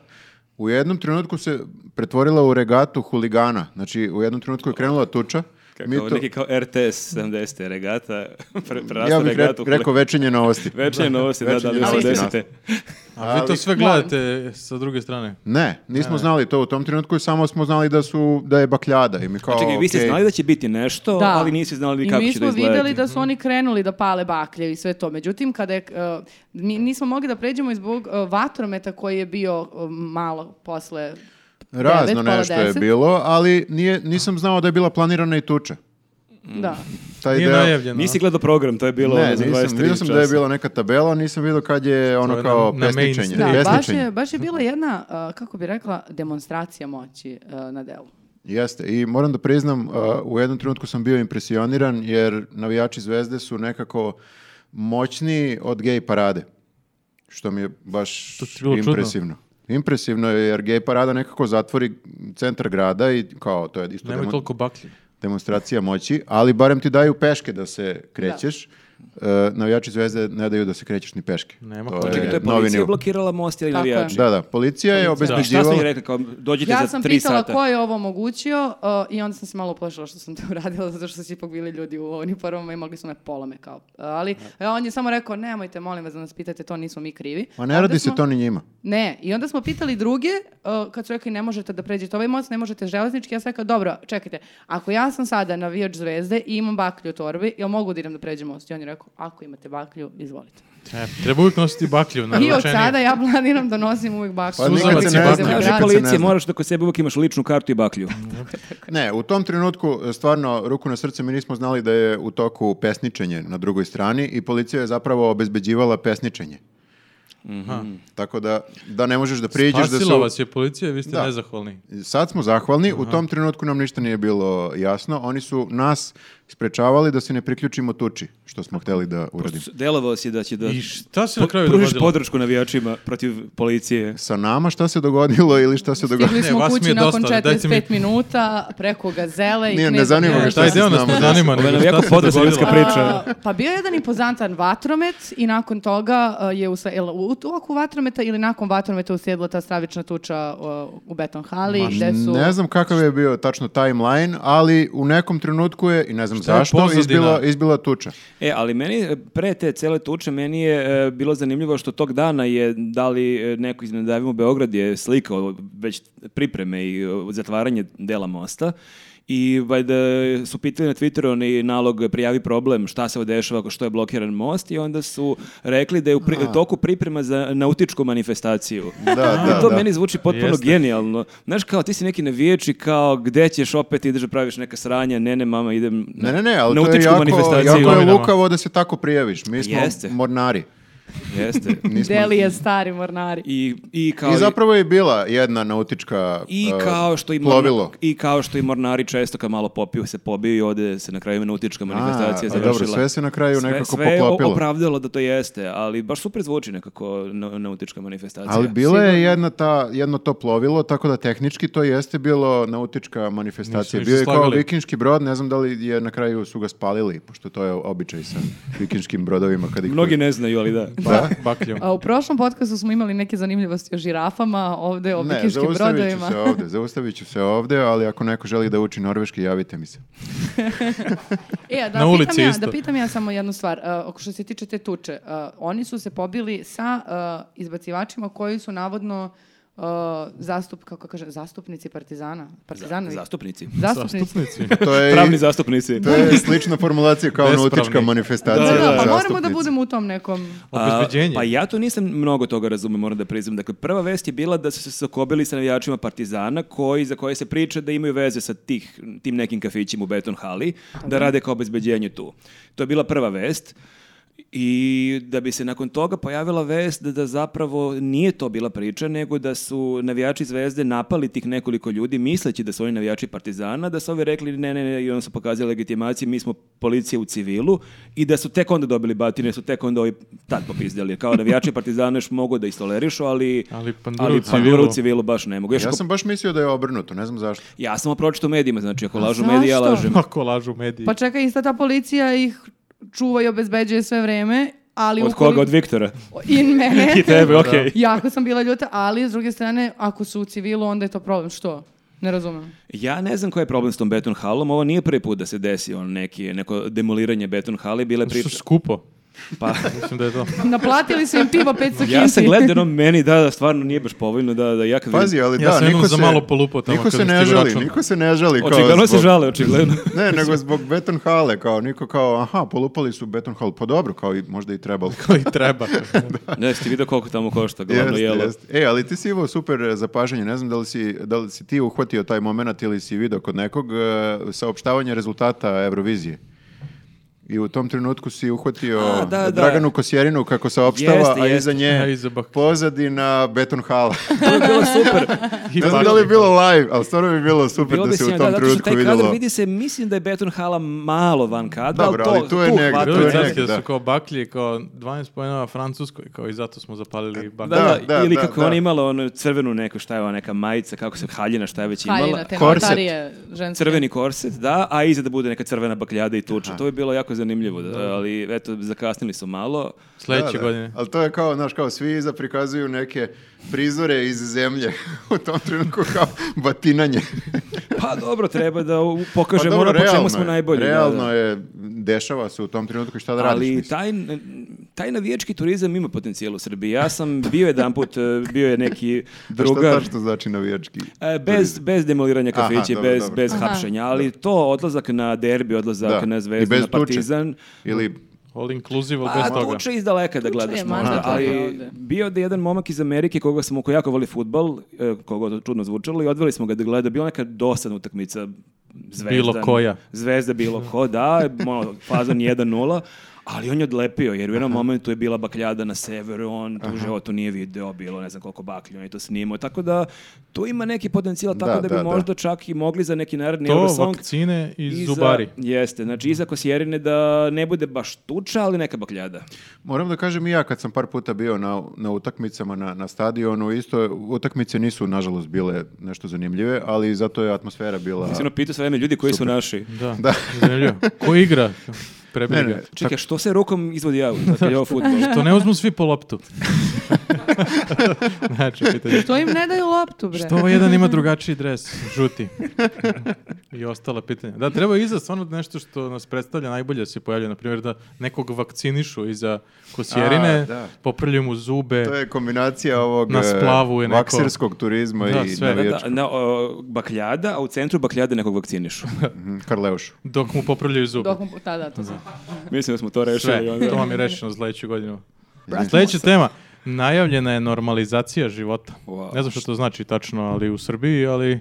U jednom trenutku se pretvorila u regatu huligana. Znači, u jednom trenutku je krenula tuča.
Kako,
Mi to-
Neki kao RTS 70. regata, *laughs* pre, prerasta
ja bih re-
regatu. u
rekao večernje novosti.
*laughs* Večernje novosti, da, da,
Večernje
da,
novosti.
80.
A vi to
Ali-
sve gledate sa druge strane.
Ne, nismo znali to u tom trenutku, samo smo znali da su da je bakljada i mi kao
Čekaj, vi ste
okej.
znali da će biti nešto,
Da.
ali niste znali kako će da
I mi smo
izgledati. Mhm.
videli da su oni krenuli da pale baklje i sve to. Međutim, kada je, e, mi nismo mogli da pređemo i zbog e, vatrometa koji je bio e, malo posle
Razno
devet, pola
nešto je
deset.
bilo, ali nije, nisam znao da je bila planirana i tuča. Mm.
Da.
Taj
Nije
deo-
najavljeno.
Nisi gledao program, to je bilo
Ne,
ono za
nisam,
23
vidio sam da je
časa.
bila neka tabela, nisam vidio kad je ono
je na-
kao
na main
pesničenje.
street.
Da, baš
pesničenje.
je, baš je bila jedna, e, kako bi rekla, demonstracija moći e, na delu.
Jeste, i moram da priznam, uh, u jednom trenutku sam bio impresioniran, jer navijači Zvezde su nekako moćniji od gej parade, što mi je baš
To ti je bilo čudno.
impresivno. Impresivno je, jer gej parada nekako zatvori centar grada i kao, to je isto
Nemoj
demo-
toliko baklje.
demonstracija moći, ali barem ti daju peške da se krećeš. E, navijači Zvezde ne daju da se krećeš ni peške.
Nema
to
kao-
je,
Čekaj, to je
novi
policija
nivo.
blokirala most ili
Tako je.
navijači.
e, Da, da, policija je
Da, šta ste
obezbeđivala...
im rekli, kao dođite
Ja
za
sam
3
pitala
sata.
ko je ovo omogućio e, i onda sam se malo uplašila što sam to *laughs* uradila zato što su ipak bili ljudi u uniformama i mogli su me polome kao. ali e, on je samo rekao nemojte molim vas da nas pitate to nismo mi krivi.
Ma ne
Onda
radi se
smo-
to ni njima.
Ne, i onda smo pitali druge, uh, kad su rekli ne možete da pređete ovaj most, ne možete železnički, ja sam rekao, dobro, čekajte, ako ja sam sada navijač zvezde i imam baklju u torbi, jel mogu da idem da pređem most? I on je rekao, ako imate baklju, izvolite.
E, treba uvijek nositi baklju na
I od sada
ručenje.
ja planiram da nosim uvijek baklju.
Pa nikad
Suzavac se i ne zna.
Kaže
Demokracija, ne
policija,
znam.
moraš da kod sebe uvijek imaš ličnu kartu i baklju.
Ne, u tom trenutku, e, stvarno, ruku na srce, mi nismo znali da je u toku pesničenje na drugoj strani i policija je zapravo obezbeđivala pesničenje. Tako da, da ne možeš da priđeš da
Mhm. Spasila
su...
vas je policija, vi ste
Da.
nezahvalni.
Sad smo zahvalni, u tom trenutku nam ništa nije bilo jasno. Oni su nas sprečavali da se ne priključimo tuči, što smo hteli da
Pa
uradimo.
Delovao si da će da...
I šta se
po-
na kraju
pružiš
dogodilo?
podršku navijačima protiv policije.
Sa nama šta se dogodilo ili šta se dogodilo?
Stigli
Ne,
smo
vas mi
kući
je dosta,
nakon
ali dajte
45
mi-
minuta, preko gazele i
Nije, ne
kneza
zanima
Miloša.
me šta
Taj
se
deo
s
nas
nama
ne
desilo?
ono zanima,
Ovo je
nego
jako
šta se
podrazna ljudska
dogodilo?
priča.
A, pa bio je jedan impoznantan vatromet i nakon toga a, je u, u toku vatrometa ili nakon vatrometa uslijedila ta stravična tuča a, u beton hali gde su...
Ne znam kakav je bio tačno timeline, ali u nekom trenutku je, i ne znam
Šta je
zašto,
pozadina?
izbila, izbila tuča.
E, ali meni, e, pre te cele tuče, meni je e, bilo zanimljivo što tog dana je, da li e, neko iz Nedavimo Beograd je slikao već pripreme i e, zatvaranje dela mosta I valjda su pitali na Twitteru oni nalog e, prijavi problem, šta se dešava, što je blokiran most i onda su rekli da je u pri- toku priprema za nautičku manifestaciju.
Da, da,
I to
da.
meni zvuči potpuno
Jeste.
genijalno. Znaš kao ti si neki naviječi kao gde ćeš opet ideš da praviš neka sranja, ne ne mama idem
Ne, ne, ne, ali to je
nautičku
jako,
manifestaciju.
jako je
Novinama.
lukavo da se tako prijaviš. Mi smo
Jeste.
mornari.
Jeste.
Nismo...
Deli je stari mornari.
I, i kao
I zapravo je bila jedna nautička
I
e,
kao što i morna-
plovilo.
i kao što i mornari često kad malo popiju se pobiju i ode se na kraju nautička manifestacija
a,
završila.
dobro, sve se na kraju
Sve-
nekako
sve je o-
poklopilo.
opravdalo da to jeste, ali baš super zvuči nekako na- nautička manifestacija.
Ali bila je jedna ta, jedno to plovilo, tako da tehnički to jeste bilo nautička
Nisu
manifestacija.
ništa
Bio je kao
slagali.
vikinški brod, ne znam da li je na kraju su ga spalili, pošto to je običaj sa vikinškim brodovima. Kad ih
Mnogi ne znaju, ali da.
Da?
Bakljom.
A u prošlom podcastu smo imali neke zanimljivosti o žirafama, ovde o
Ne,
pekinškim
zaustavit ću
brodovima.
se ovde, zaustavit ću se ovde, ali ako neko želi da uči norveški, javite mi se.
*laughs* E, a da,
Na
pitam
ulici
ja,
isto.
Da pitam ja samo jednu stvar. e, oko što se tiče te tuče, e, oni su se pobili sa e, izbacivačima koji su navodno e, zastup, kako kaže, zastupnici partizana. Partizanovi.
Zastupnici.
Zastupnici.
Zastupnici.
To je,
Pravni zastupnici.
to je slična formulacija kao
Bespravni.
nautička manifestacija.
Da, da,
za
pa moramo da
zastupnice.
budemo u tom nekom...
A,
Obezbeđenje.
pa ja tu nisam mnogo toga razumio, moram da priznam. Dakle, prva vest je bila da su se sukobili sa navijačima Partizana, koji, za koje se priča da imaju veze sa tih, tim nekim kafićima u Beton Hali, da rade kao obezbeđenje tu. To je bila prva vest. I da bi se nakon toga pojavila vest da, da zapravo nije to bila priča, nego da su navijači Zvezde napali tih nekoliko ljudi misleći da su oni navijači Partizana, da su ovi rekli ne, ne, ne, i onda su pokazali legitimacije, mi smo policija u civilu i da su tek onda dobili batine, su tek onda ovi tad popizdali. Kao navijači Partizana još mogu da istolerišu, ali,
Ali pandura u
pandura
civilu.
u civilu baš ne mogu. Još
Ja
ako-
sam baš mislio da je obrnuto, ne znam zašto.
ja sam opročito u medijima, znači ako lažu medije, ja
zašto?
lažem.
*laughs* Ako lažu mediji.
Pa čekaj, ista ta policija ih čuva i obezbeđuje sve vreme, ali...
Od
ukoliko-
koga? Od Viktora?
I mene.
I tebe, okej.
jako sam bila ljuta, ali s druge strane, ako su u civilu, onda je to problem. Što? Ne razumem.
Ja ne znam koji je problem s tom beton halom, ovo nije prvi put da se desi on neki, neko demoliranje beton
*laughs*
hali, bile
Što
priče.
skupo.
Pa,
Mislim da je to. *laughs*
Naplatili su im pivo 500 kinti.
ja sam
*laughs*
gledao, ono, meni da, da, stvarno nije baš povoljno, da, da, ja kad
Pazi,
vidim-
ali
Pa, Ja
da,
sam jednom
niko se,
za malo polupao tamo
niko
kad
se
mi
ne
stigao
žali,
račun.
niko se ne žali. kao
Očigledno se
zbog- *laughs*
žale, očigledno.
Ne, nego zbog Beton Hale, kao niko kao, aha, polupali su Beton Hall, pa dobro, kao i možda i trebalo.
Koji treba.
ne, jeste vidio koliko tamo košta, glavno
Jeste,
jelo.
jeste. E, ali ti si imao super e, zapažanje, ne znam da li si, da li si ti uhvatio taj moment ili si video kod nekog e, saopštavanje rezultata Eurovizije. I u tom trenutku si uhvatio
A, da, da.
Draganu Kosjerinu kako saopštava,
Jeste,
a
jeste.
iza nje
*laughs* A iza bak-
pozadina Beton
*laughs*
Hala.
To je bilo super.
ne znam da li je bilo live, ali stvarno bi bilo super
Bilo
da
bi
se u
sjajno,
tom
da, zato što
trenutku
taj kadar
vidjelo.
vidi se, mislim da je Beton Hala malo van kadra,
Dobro,
ali to,
ali tu je negdje,
hvata.
tu
Bilo
je
je
negdje,
carski da
da.
su kao baklje, kao 12 pojena Francuskoj, kao i zato smo zapalili
Da,
baklje.
Da,
da,
da,
ili
da,
kako
da.
ona imala onu crvenu neku, šta je ona, neka majica, kako se haljina, šta je već imala.
Haljina, te
Korset.
notarije ženske.
Crveni korset, da, a iza da bude neka crvena bakljada i tuča. To bi bilo jako zanimljivo, da, ali eto, zakasnili su malo.
Sljedeće
Da, da.
godine.
Ali to je kao, znaš, kao svi iza prikazuju neke prizore iz zemlje *laughs* u tom trenutku kao batinanje.
Pa dobro, treba da u-
Pa
pokažemo ono po čemu smo
je.
najbolji. da, da.
Realno je, dešava se u tom trenutku i šta da radiš.
Ali
mislim.
taj, taj navijački turizam ima potencijal u Srbiji. Ja sam bio jedanput, eh, bio je
*laughs*
neki
Da, šta
drugar.
tačno znači navijački?
E, bez, bez demoliranja
Aha,
kafića,
dobro,
bez,
dobro.
bez
Aha.
hapšenja, ali to odlazak na derbi, odlazak
Da.
na
I
zvezdu,
bez
na
tuče.
partizan,
Ili
All inclusive, ali bez
A
toga.
tuče Pa iz daleka da gledaš
je
možda,
manje toga
ali
ovde.
bio da jedan momak iz Amerike koga smo, ko jako voli futbal, koga to čudno zvučalo i odveli smo ga da gleda, bila neka dosadna utakmica zvezda.
Bilo koja.
Zvezda bilo ko, da, ono, fazan 1-0, ali on je odlepio, jer u jednom momentu je bila bakljada na severu, on tu u životu nije video, bilo ne znam koliko baklji, on je to snimao, tako da tu ima neki potencijal, tako
Da,
da,
da,
bi
da.
možda čak i mogli za neki naredni
To,
Eurosong
vakcine i
iza-
zubari.
Jeste, znači iza kosjerine da ne bude baš tuča, ali neka bakljada.
Moram da kažem i ja kad sam par puta bio na, na utakmicama na, na stadionu, isto utakmice nisu nažalost bile nešto zanimljive, ali zato je atmosfera bila...
Sigurno pitao sve vreme ljudi koji su naši.
Da,
Da.
zanimljivo. Ko igra? prebili
Ne, ne.
ga.
Čekaj, što se rukom
*laughs*
izvodi ja kad je ovo fudbal?
To ne uzmu svi po loptu. znači, pitanje.
To im ne daju loptu, bre.
Što ovaj
*laughs*
jedan ima drugačiji dres, žuti. I ostala pitanja. Da, treba iza stvarno nešto što nas predstavlja najbolje se pojavlja. Na primjer, da nekog vakcinišu iza kosjerine,
A, da.
poprlju mu zube.
To je kombinacija ovog
Na
e,
splavu je neko-
vakserskog turizma
Da,
i
sve, da,
Da,
navijača.
da, na, o, bakljada, a u centru bakljade nekog
*laughs*
vakcinišu.
Mhm, Karleušu.
Dok mu poprljaju zube.
Dok mu, da, da, to znam.
Mislim da smo to rešili. ono.
Sve,
onda.
to vam je rečeno za sledeću godinu. Sledeća tema. Najavljena je normalizacija života.
Wow.
Ne znam što to znači tačno, ali u Srbiji, ali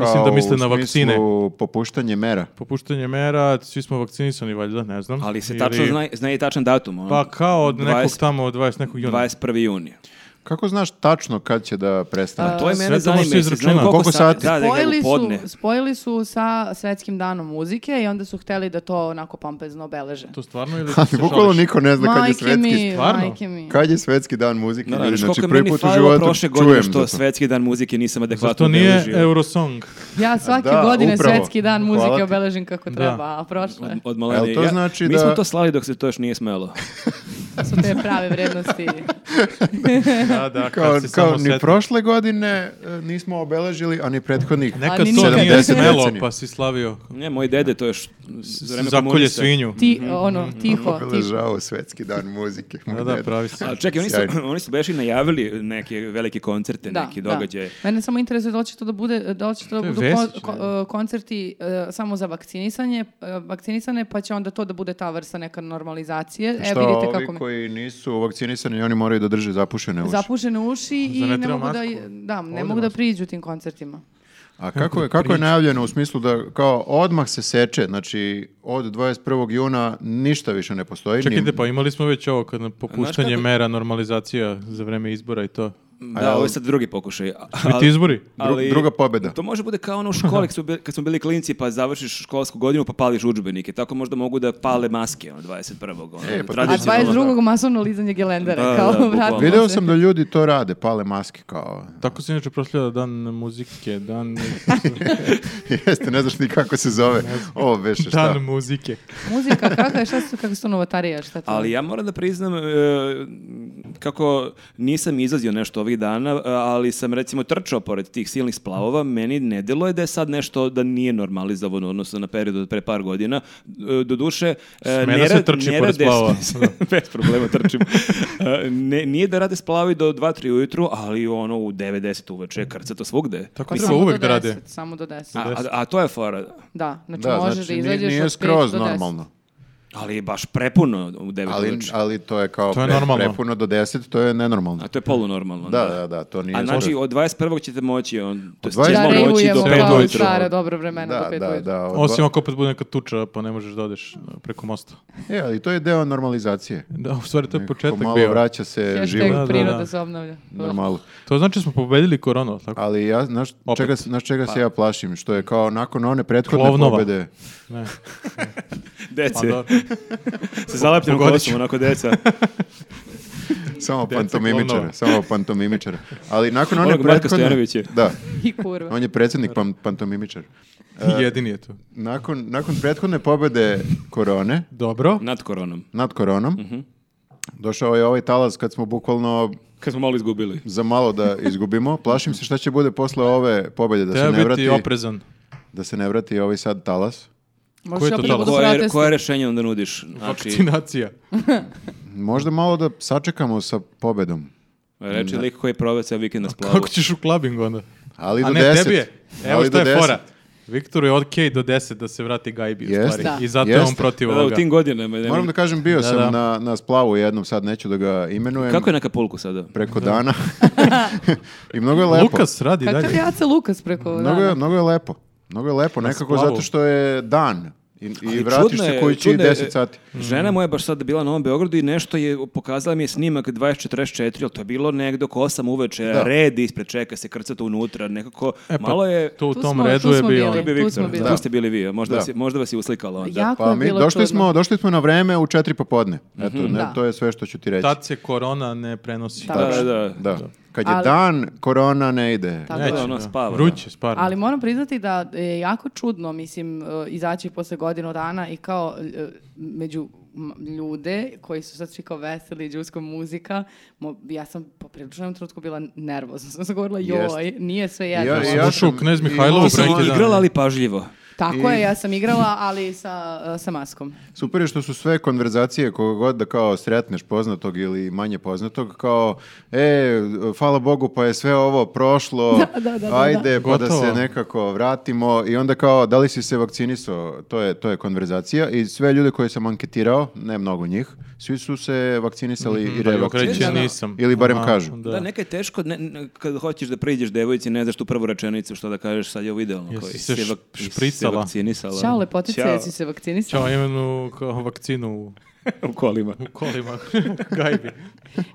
mislim da misle na vakcine.
u popuštanje mera.
Popuštanje mera, svi smo vakcinisani valjda, ne znam.
Ali se
Ili-
tačno zna, zna i tačan datum. ono.
Pa kao od nekog
20
tamo, ono. od 20 nekog juna.
21. junija.
Kako znaš tačno kad će da prestane?
To je
Sve
mene
to
zanima.
možete
jer se znaju
izračunati.
Koliko sati?
Pa Da, da je
Spojili
u podne.
su, spojili su sa svetskim danom muzike i onda su hteli da to onako pompezno obeleže.
To
*laughs*
stvarno ili
Ali bukvalno niko ne zna kad je
Majke mi,
svetski,
stvarno?
majke mi.
kad je svetski dan muzike.
Da, da,
ljudi,
znaš koliko
znači
je
prvi
meni
put u
falilo
životu
prošle godine
čujem
što
za to.
svetski dan muzike nisam adekvatno
To nije
obeležio.
Eurosong.
Ja svake
Da,
godine
upravo.
svetski dan
Hvala ti.
muzike obeležim kako
Da.
treba, a prošlo je.
*laughs* Od malene.
Jel to
Ja-
znači
mi
da-
smo to slali dok se to još nije
*laughs*
smelo.
To su te prave vrednosti.
Da,
*laughs*
da,
Kao,
kad se
kao
samo
ni
seti.
prošle godine e, nismo obeležili, a ni prethodnih.
Nekad
Ali
to
nikad.
nije
70
smelo,
decenija.
pa si slavio.
Ne, moj dede to još za vreme
Zakolje
komunista.
svinju.
Ti,
Mhm.
ono, tiho, tiho.
Obeležao svetski dan muzike.
Da, da, pravi se.
A čekaj, oni su,
Sjajno.
oni su beši najavili neke velike koncerte, neki događaje.
Mene samo interesuje da li će to da bude, da li će to
To
da
je
budu
Vesić,
kon- ko- e, koncerti e, samo za vakcinisanje, e, vakcinisane, pa će onda to da bude ta vrsta neka normalizacije. e,
Što
vidite
ovi
kako mi...
koji nisu vakcinisani, oni moraju da drže zapušene uši.
Zapušene uši
Zar ne
i ne
treba
mogu da,
masku?
da, ne
Ovdje
mogu da
masku.
priđu tim koncertima.
A kako je, kako je najavljeno u smislu da kao odmah se seče, znači od 21. juna ništa više ne postoji.
Čekajte,
ni-
pa imali smo već ovo kad na popuštanje
kako-
mera, normalizacija za vreme izbora i to.
Da, ovo je sad drugi pokušaj. a-
Biti izbori.
Dru- druga pobeda.
To može bude kao ono u školi kad smo bili, kad smo bili klinci pa završiš školsku godinu pa pališ udžbenike. Tako možda mogu da pale maske ono 21. Ono,
E, pa to-
A
Tradicionalno, da.
22. masovno lizanje gelendera.
Da,
kao
da, bukvalno.
vratimo
Video
se.
sam da ljudi to rade, pale maske kao.
Tako se inače prosljava dan muzike, dan,
*laughs* Jeste, ne znaš ni kako se zove. Ovo veše *laughs* šta.
dan muzike.
Muzika, kakva je, šta su, kako su to novotarija, šta to?
Ali ja moram da priznam e, kako nisam izlazio nešto ovih dana, e, ali sam recimo trčao pored tih silnih splavova, meni ne delo je da je sad nešto da nije normalizovano odnosno na period od pre par godina. E, Doduše, e,
Sme da se trči pored splavova.
*laughs* bez problema trčim. E, ne, nije da rade splavi do 2-3 ujutru, ali ono u 90 uveče, karca to svugde.
Tako
Pa
treba
samo do
uvek da rade.
10, Samo do 10.
A, a, a to je fora.
Da, znači
Da,
možeš
znači
da
nije,
izađeš od 5 do 10.
nije skroz normalno.
Ali je baš prepuno u 9
Ali,
uveče.
ali to je kao
To je
pre-
normalno.
prepuno do 10, to je nenormalno.
A to je polunormalno.
Da, da, da, to nije.
Znači, ono- A znači
skroz.
od 21. ćete moći, on, to
Od
ćemo
20.
Da,
Možemo
moći do
rejujemo
pet
pet
kao u
Pa
ujutru.
stara dobra vremena do
da,
5
da, da, od
Osim
dva-
ako opet bude neka tuča, pa ne možeš da odeš e, preko mosta.
E, ali to je deo normalizacije.
Da, u stvari to je početak
Ko malo
bio.
vraća se
Hashtag
život
da, da.
priroda se obnavlja.
normalu.
To znači smo pobedili koronu, jel tako?
Ali ja, znaš
Opet.
čega, znaš čega se
Pa.
ja plašim? Što je kao nakon one prethodne
Klovnova.
pobede.
*laughs*
*laughs*
Ne. Pa
Dece,
dobro.
sa zalepljenom
Pogodit ću.
kosom,
*laughs*
onako deca.
Samo
Deca
pantomimičara.
klovnova.
Samo pantomimičara. Ali nakon one
Onog Marka
prethodne...
Stojanovića.
Da,
*laughs* I kurva.
on je predsjednik pan,
*laughs*
pantomimičar. E,
Jedini je tu.
Nakon, nakon prethodne pobede korone,
Dobro.
Nad koronom.
nad koronom, došao je ovaj talas kad smo bukvalno
Kad smo malo izgubili.
za malo da izgubimo. Plašim se šta će bude posle ove pobede, da se
Treba
ne
biti
vrati,
oprezan.
da se ne vrati ovaj sad talas.
Koji
Možeš
je to
opet
talas?
da
Koje,
protesti.
koje rešenje onda nudiš? Znači,
*laughs* Vakcinacija.
Možda malo da sačekamo sa pobedom.
reči lik koji je proveo ceo vikend na splavu.
Kako ćeš u klabing onda?
Ali do
A ne,
10.
tebi je. Evo
Ali
što
do
je
10.
fora. Viktoru je okej do 10 da se vrati gajbi u
Jeste.
stvari.
Da.
I zato je
Jeste.
on protiv
Da, da, u
ovoga.
tim godinama. da,
Moram da kažem, bio sam
da.
Na, na splavu jednom, sad neću da ga imenujem.
Kako je na Kapulku sada?
Preko
*laughs*
dana. I mnogo je lepo.
Lukas radi
Kakav
dalje.
jaca Lukas preko
Mnogo
dana?
je, mnogo je lepo. Mnogo je lepo, nekako
splavu.
zato što je dan. I, i
Ali
vratiš
čudno
se
je-
kući
čudno je,
10 sati.
Mm.
Žena moja je baš sad bila na Novom Beogradu i nešto je, pokazala mi je snimak 2044, ali to je bilo negdje oko 8 uveče, red ispred čeka se krcata unutra, nekako
E, pa
malo je...
To u
Tu
tom
smo-
redu
tu
je
smo
bio.
bili.
on.
Bio
E, tu
Viktor,
smo bili.
tu ste bili vi, a možda,
Da.
vas je- možda vas je uslikala onda.
Jako
Pa
je
mi
bilo
došli
čudno.
smo, došli smo na vreme u
Mhm.
četiri popodne. Eto, ne,
Da.
to je sve što ću ti reći.
Tad se korona ne prenosi.
Da.
Da, da, da.
Da. Kad je
Ali-
dan, korona ne ide.
Tako.
Neće,
Da, ono,
da.
spava, da.
Vruće, sparno.
Ali moram priznati da je jako čudno, mislim, e, izaći posle godinu dana i kao e, među m- ljude koji su sad svi kao veseli, džusko muzika, mo- ja sam po priličnom trenutku bila nervozna. *laughs* Sam se govorila,
Jest.
joj, nije sve jedno.
Ja-
Ja sam
sam-
ušao Knez
i-
Mihajlov
Ovo
Ovo
pre
sam
sam
neki dan.
igrala, ali pažljivo.
Tako je, ja sam igrala, ali sa, e, sa maskom.
Super je što su sve konverzacije koga god da kao sretneš poznatog ili manje poznatog kao e, hvala Bogu pa je sve ovo prošlo,
*laughs* Da, da, da, da, da.
ajde pa da se
Gotovo.
nekako vratimo i onda kao da li si se vakcinisao, to je, to je konverzacija i sve ljude koje sam anketirao, ne mnogo njih, svi su se vakcinisali i
Da, Jok reći ja
revakcinisali.
nisam.
Ili barem kažu.
Da, neka je teško, ne, ne- kad hoćeš da priđeš devojci, ne znaš tu prvu rečenicu što da kažeš, sad je ovo idealno.
Jesi
koji
se
si
š-
vak- jesi se
špricala?
vakcinisala.
Ćao, lepotice,
Ćao.
jesi se vakcinisala?
Ćao, imenu kao vakcinu u-
*laughs* u kolima.
u
*laughs*
kolima. Gajbi.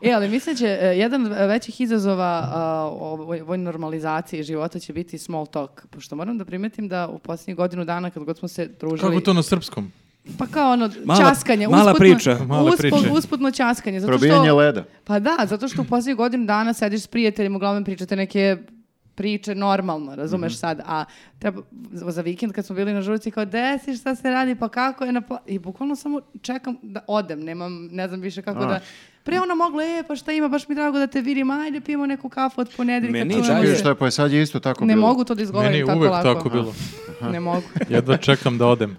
E, ali mislim da će e, jedan od većih izazova a, o ovoj- ovoj normalizaciji života će biti small talk, pošto moram da primetim da u posljednjih godinu dana kad god smo se družili...
Kako to na srpskom?
Pa kao ono,
Mala-
časkanje.
mala
usputno-
priča.
Male
usput-
priče.
Usputno časkanje. Zato
Probijanje
što,
leda.
Pa da, zato što u posljednjih godinu dana sediš s prijateljima, uglavnom pričate neke priče normalno,
Mhm.
razumeš sad, a treba, za za vikend kad smo bili na žurci kao desi šta se radi, pa kako je na pla-" i bukvalno samo čekam da odem, nemam, ne znam više kako
A.
Ah.
da pre ono moglo, e pa šta ima, baš mi drago da te vidim, ajde pijemo neku kafu od ponedeljka.
Meni
čujemo
čak-
se."
Vidiš šta je, pa je sad je isto tako
Ne
bilo.
mogu to da izgovorim
Meni je
tako
uvek
lako.
tako bilo.
Ne
*laughs*
mogu.
Jedva čekam da odem.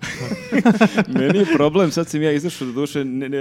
Meni je problem, sad sam ja izašao do duše, ne- ne,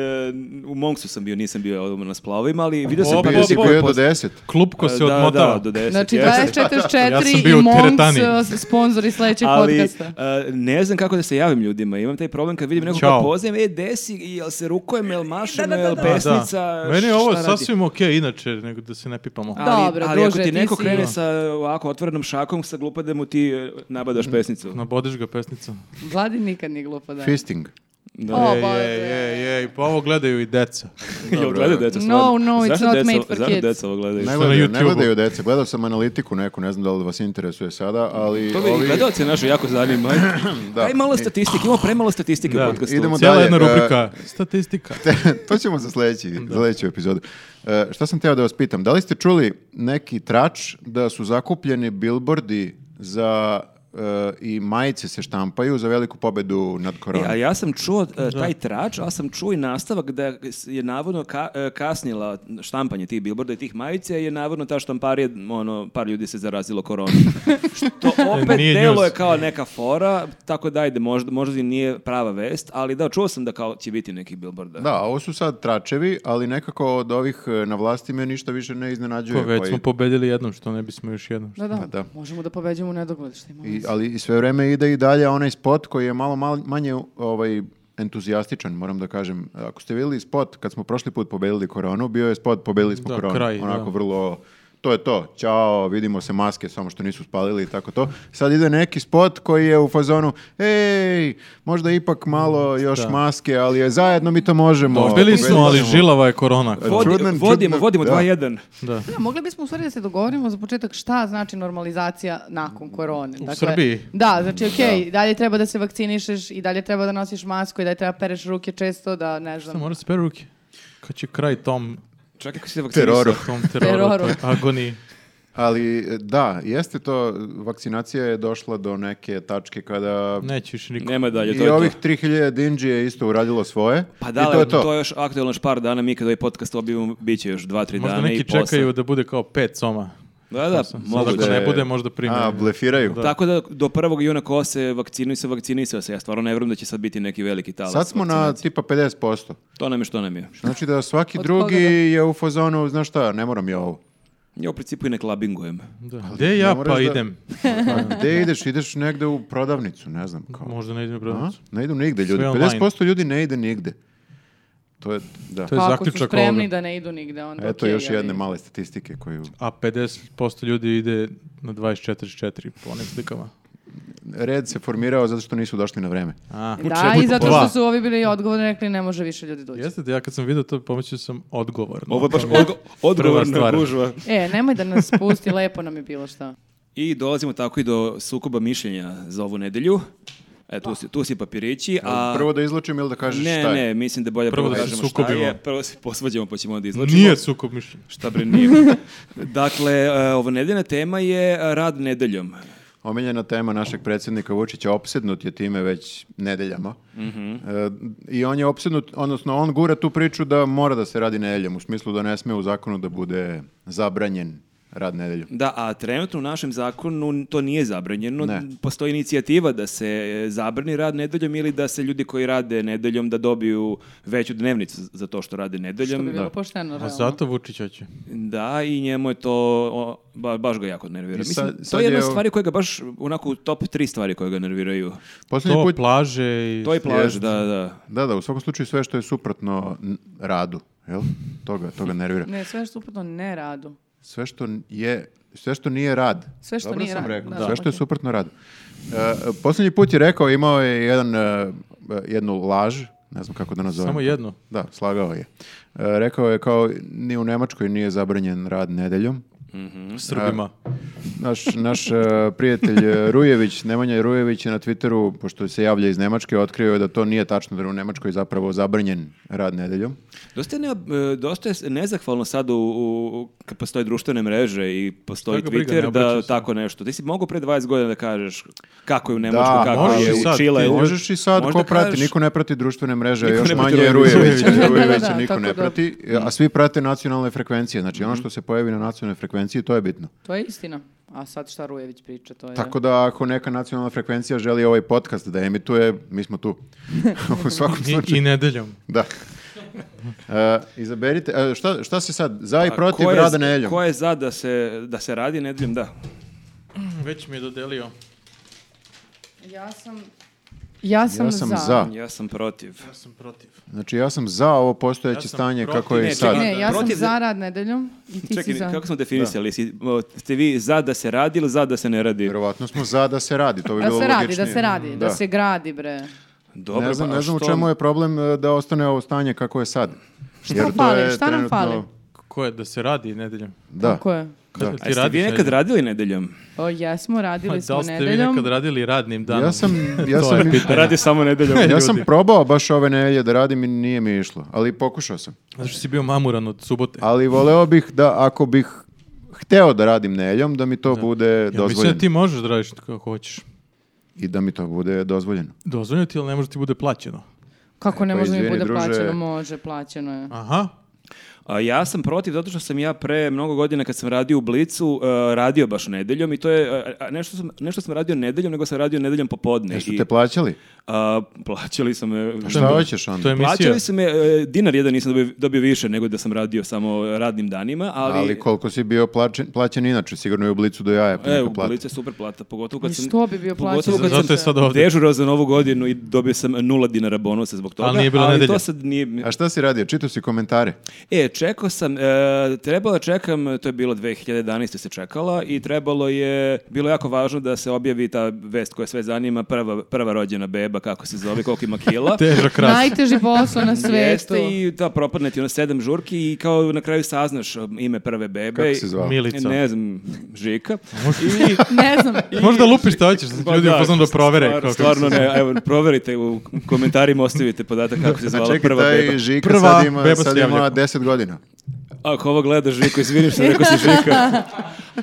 u Monksu sam bio, nisam bio odmah na splavovima, ali vidio sam
Opa,
Pa
par ljudi
jesi
opa,
koji
koji je do
post-
10.
Klupko se
E, Da,
odmotava.
da, do 10.
Znači
jeste.
24
Ja sam bio
i
u
Monks
teretani.
uh, sponzori *laughs* sledećeg
ali
podcasta.
e, ne znam kako da se javim ljudima. Imam taj problem kad vidim nekog
Ćao.
ko pozivim, e, desi, jel se rukujem, jel mašem,
Da,
jel
da.
pesnica,
Meni je ovo
šta radi?
sasvim okej, inače, nego da se ne pipamo.
Ali,
Dobro,
ali
druže,
ako ti
ti
neko
si-
krene sa ovako otvorenom šakom, sa glupa da mu ti e,
Mm.
nabadaš pesnicu.
Nabodeš ga pesnicom.
Vladi nikad nije glupo da.
Fisting.
Da.
O,
Ej,
Bože.
ej, ej, ej, pa ovo gledaju i deca.
*laughs* Jel gledaju deca
No,
stvarno?
no, it's
Zašto
not
deca-
made for
zašto
kids.
deca ovo gledaju?
Ne
na
gledaju, ne
YouTubeu.
gledaju deca. Gledao sam analitiku neku, ne znam da li vas interesuje sada, ali...
To bi i
ovi-
gledalce naše jako
*clears throat*
zanima.
Da.
Daj malo statistike, imamo premalo statistike
Da.
u podcastu.
Idemo
Cijela
dalje,
jedna
e,
rubrika. Statistika.
*laughs* to ćemo za sledeći, za sledeću epizodu. E, šta sam teo da vas pitam? Da li ste čuli neki trač da su zakupljeni bilbordi za e, i majice se štampaju za veliku pobedu nad
E, a
koronom?
ja sam čuo e, taj trač, ali sam čuo i nastavak da je navodno ka- e, kasnila štampanje tih bilborda i tih majica je navodno ta štamparija, ono, par ljudi se zarazilo
*laughs*
koronom. Što opet
Nije
delo je
news.
kao neka fora, tako da ajde, možda, možda i nije prava vest, ali da, čuo sam da kao će biti neki bilborda.
Da, ovo su sad tračevi, ali nekako od ovih e, na vlasti me ništa više ne
Pa
iznenađuje.
već
i-
smo pobedili jednom, što ne bismo još jednom.
Da, da.
Pa da.
Možemo da pobeđujemo u nedogled, šta ima
I,
veze.
ali i sve vreme ide i dalje onaj spot koji je malo, mal- manje ovaj, entuzijastičan, moram da kažem. Ako ste vidjeli spot, kad smo prošli put pobedili koronu, bio je spot pobedili smo
Da,
koronu.
kraj, da.
Onako vrlo, to je to, ćao, vidimo se maske, samo što nisu spalili i tako to. Sad ide neki spot koji je u fazonu, ej, možda ipak malo još
Mm, da.
maske, ali je zajedno mi to možemo.
Dobili smo, ali
pa Pobedili smo. E.
žilava je korona.
Vodi-
Čudan-
vodimo,
čudan-
vodimo
da.
2-1.
Da.
Da, mogli bismo u stvari da se dogovorimo za početak šta znači normalizacija nakon korone. U
Srbiji?
Da, znači okej, dalje treba da se vakcinišeš i dalje treba da nosiš masku i dalje treba pereš ruke često da ne znam.
Šta, mora se peru ruke. Kad će kraj tom,
Čak ako si se vakcinisao.
Teroru.
*laughs*
tom teroru,
Teroru.
toj agoniji.
Ali da, jeste to, vakcinacija je došla do neke tačke kada
Neće više niko.
Nema dalje, to
I
je to.
ovih 3000 dinđi je isto uradilo svoje.
Pa
I
da,
to je
ali
to.
to. je još aktualno još par dana, mi kad ovaj podcast objavimo, bit će još 2-3 dana
Možda
i
neki
posle.
čekaju da bude kao pet soma.
Da, da,
Sad
moguće.
ako ne bude, možda primjer.
A, blefiraju.
Tako da do 1. juna ko se vakcinisao, vakcinisao se. Ja stvarno ne vjerujem da će sad biti neki veliki talas.
Sad smo na tipa 50%.
To nam je što nam je.
Znači da svaki
Od
drugi
koga da?
je u fazonu, znaš šta, ne moram ja ovo.
Ja u principu i ne klabingujem.
Da. Gde ja
moraš
pa
da-
idem?
A gde ideš? Ideš negde u prodavnicu, ne znam kao.
Možda ne idem u
A?
prodavnicu.
Ne idu nigde ljudi.
Sve online.
50% ljudi ne ide nigde. To je, da.
To je
Pa ako su
zaključak
spremni
ovoga.
da ne idu nigde, onda
Eto
okej,
još
ali-
jedne male statistike koju...
A 50% ljudi ide na 24-4 po onim slikama.
Red se formirao zato što nisu došli na vreme.
A. pa.
Da, i zato što
Dva.
su ovi bili odgovorni rekli ne može više ljudi doći.
Jeste da ja kad sam vidio to pomoćio sam odgovorno.
Ovo je baš odgo- odgovorna
stvar.
gužva.
E, nemoj da nas pusti,
*laughs*
lepo nam je bilo šta.
I dolazimo tako i do sukoba mišljenja za ovu nedelju. E, tu, si, tu si papirići, a...
Prvo da izlučim ili da kažeš
Ne,
šta je?
ne, mislim da je bolje prvo,
Prvo da
da
se
kažemo šta
sukobimo.
je. Prvo se posvađamo pa ćemo onda izlačiti.
Nije sukob mišljenja.
Šta
*laughs*
bre nije. dakle, e, ovo nedeljna tema je e, rad nedeljom.
Omiljena tema našeg predsjednika Vučića, opsednut je time već nedeljama. E, I on je opsednut, odnosno on gura tu priču da mora da se radi nedeljom, u smislu da ne sme u zakonu da bude zabranjen rad nedeljom.
Da, a trenutno u našem zakonu to nije zabranjeno.
Ne.
Postoji inicijativa da se e, zabrani rad nedeljom ili da se ljudi koji rade nedeljom da dobiju veću dnevnicu za to što rade
Što
nedeljom.
bi bilo pošteno,
A
realno.
Pa zato Vučić hoće.
Da, i njemu je to, o, ba- baš ga jako nervira.
I
Mislim,
sad-
to
sad
je jedna
je
stvar
ovo-
koja ga baš onako u top tri stvari koje ga nerviraju.
Posljednji
To
put...
plaže i...
To je plaž,
Jest.
da, da.
Da, da, u svakom slučaju sve što je suprotno n- radu, jel? Toga, toga nervira.
Ne, sve što upravo ne radu.
Sve što je sve što nije rad.
Sve što
Dobro
nije
sam
rad,
rekao.
da,
sve što je
okej.
suprotno radu. E, e, posljednji put je rekao, imao je jedan, e, jednu laž, ne znam kako da nazovem.
Samo jedno.
Da, slagao je. E, rekao je kao ni u Nemačkoj nije zabranjen rad nedeljom.
Srbima.
Naš, naš e, prijatelj e, Rujević, Nemanja Rujević je na Twitteru, pošto se javlja iz Nemačke, otkrio je da to nije tačno, da je u Nemačkoj zapravo zabranjen rad nedeljom.
Dosta je, ne- e, dosta je nezahvalno sad u, u- kad postoje društvene mreže i postoji
Šta ga briga, ne
Twitter da
obraća se.
tako nešto. Ti si mogao pre 20 godina da kažeš kako je u Nemačkoj, kako
možeš
je
i
u
sad, ti
Čileu.
Možeš i sad,
Možda
ko prati,
kažeš-
niko ne prati društvene mreže,
Niko
još
ne prati
manje
Rujevića.
Rujevića.
Da, da, da,
Rujevića
da,
niko
tako
ne
da-
prati, a svi prate nacionalne frekvencije. Znači, ono što se pojavi na nacionalnoj frekvenciji, to je bitno.
To je istina. A sad šta Rujević priča, to je...
Tako da, ako neka nacionalna frekvencija želi ovaj podcast da emituje, mi smo
*laughs*
tu. U svakom
I, I
slučaju.
nedeljom.
Da. E, izaberite, e, šta, šta si sad, za i
Pa,
A
protiv
ko je-
rada nedeljom?
Ko je za da se, da se radi nedeljom, da.
Već mi je dodelio.
Ja sam... Ja sam,
Ja sam
za.
za.
Ja sam protiv.
Ja sam protiv.
Znači, ja sam za ovo
Ja
postojeće
sam
stanje
protiv.
kako je
Ne,
sad.
čekaj,
Ne, ja
Protiv-
sam za rad nedeljom i ti si za.
Čekaj, kako smo definisali? Si- o, Ste vi za da se radi ili za da se ne radi?
Vjerovatno smo za da se radi, to bi
Da
bilo
se radi, da
logičnije.
se radi, da.
Da.
se gradi, bre.
Dobro,
ne znam,
pa
ne znam u
što-
čemu je problem e, da ostane ovo stanje kako je sad. Jer to
fali?
je
Šta nam
trenutno-
fali?
Ko je da se radi nedeljom?
Da.
Tako je.
Kada
Da.
A jeste vi nekad radili nedeljom?
O, jesmo, radili
Pa Da
smo
li ste vi nekad
nedeljom.
radili radnim danom?
Ja sam, ja
To
sam,
je pitanje.
Radio samo nedeljom.
*laughs* ja sam
ljudi.
probao baš ove nedelje da radim i nije mi išlo, ali pokušao sam.
Zato što si bio mamuran od subote.
Ali voleo bih da ako bih hteo da radim nedeljom, da mi to bude
ja mislim
dozvoljeno.
da ti možeš da radiš kako hoćeš.
I da mi to bude dozvoljeno.
Dozvoljeno ti, ali ne može ti bude plaćeno.
Kako ne
Pa
može da mi
izvini,
bude
druže.
plaćeno? Može, plaćeno je.
Aha.
A ja sam protiv zato što sam ja pre mnogo godina kad sam radio u Blicu e, radio baš nedeljom i to je e, a, nešto sam nešto sam radio nedeljom nego sam radio nedeljom popodne
Jesu
i
te plaćali?
a, plaćali sam me
Šta hoćeš
To je
onda?
emisija.
Plaćali su me, e, dinar jedan nisam dobio, dobio više nego da sam radio samo radnim danima, ali,
Ali koliko si bio plaćen, plaćen inače, sigurno je u blicu do jaja. pa
e,
neka
u
plata.
Blicu je super plata, pogotovo kad
I
sam...
što bi bio plaćeno?
pogotovo kad
Zato je
sam
sad ovdje.
dežurao za novu godinu i dobio sam nula dinara bonusa zbog toga.
Ali nije bilo nedelje.
to sad nije...
A šta si radio? Čitao si komentare?
E, čekao sam, e, trebalo je čekam, to je bilo 2011. se čekala i trebalo je, bilo je jako važno da se objavi ta vest koja sve zanima, prva, prva rođena beba, kako se zove, koliko ima
*laughs*
kila.
Težak rad.
Najteži posao na svetu.
Jeste i ta propadne ti ono sedam žurki i kao na kraju saznaš um, ime prve bebe.
Kako se zvao?
Milica.
Ne znam, Žika.
Ne znam.
Možda lupiš šta hoćeš, da
Pa
ti *laughs* ljudi
da,
upoznam da provere.
stvarno-
kako
Stvarno
se-
ne, evo, proverite u komentarima, ostavite podatak kako se
A
zvala
Znači, čekaj,
prva
taj
beba.
Žika
Prva
sad ima,
beba se
sad
javlja.
ima 10 godina.
Ako ovo gledaš, Žiko, izvinim što rekao si
*laughs*
Žika.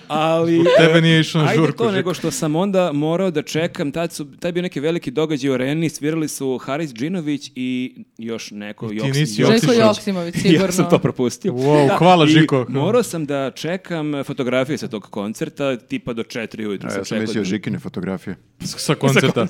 Ali...
Tebe nije *laughs* išao na
Ajde
žurku.
to,
Žika.
nego što sam onda morao da čekam, tad su, taj je bio neki veliki događaj u Areni, svirali su Haris Džinović i još neko,
ti
Joks-
nisi
Joks-
Željko
Joksimović.
Joksimović, sigurno.
*laughs* ja sam to propustio.
Wow, hvala,
i
Žiko.
Morao sam da čekam fotografije sa tog koncerta, tipa do četiri ujutru.
A ja sam
čekao
mislio
da- *laughs*
Žikine fotografije.
S- Sa koncerta.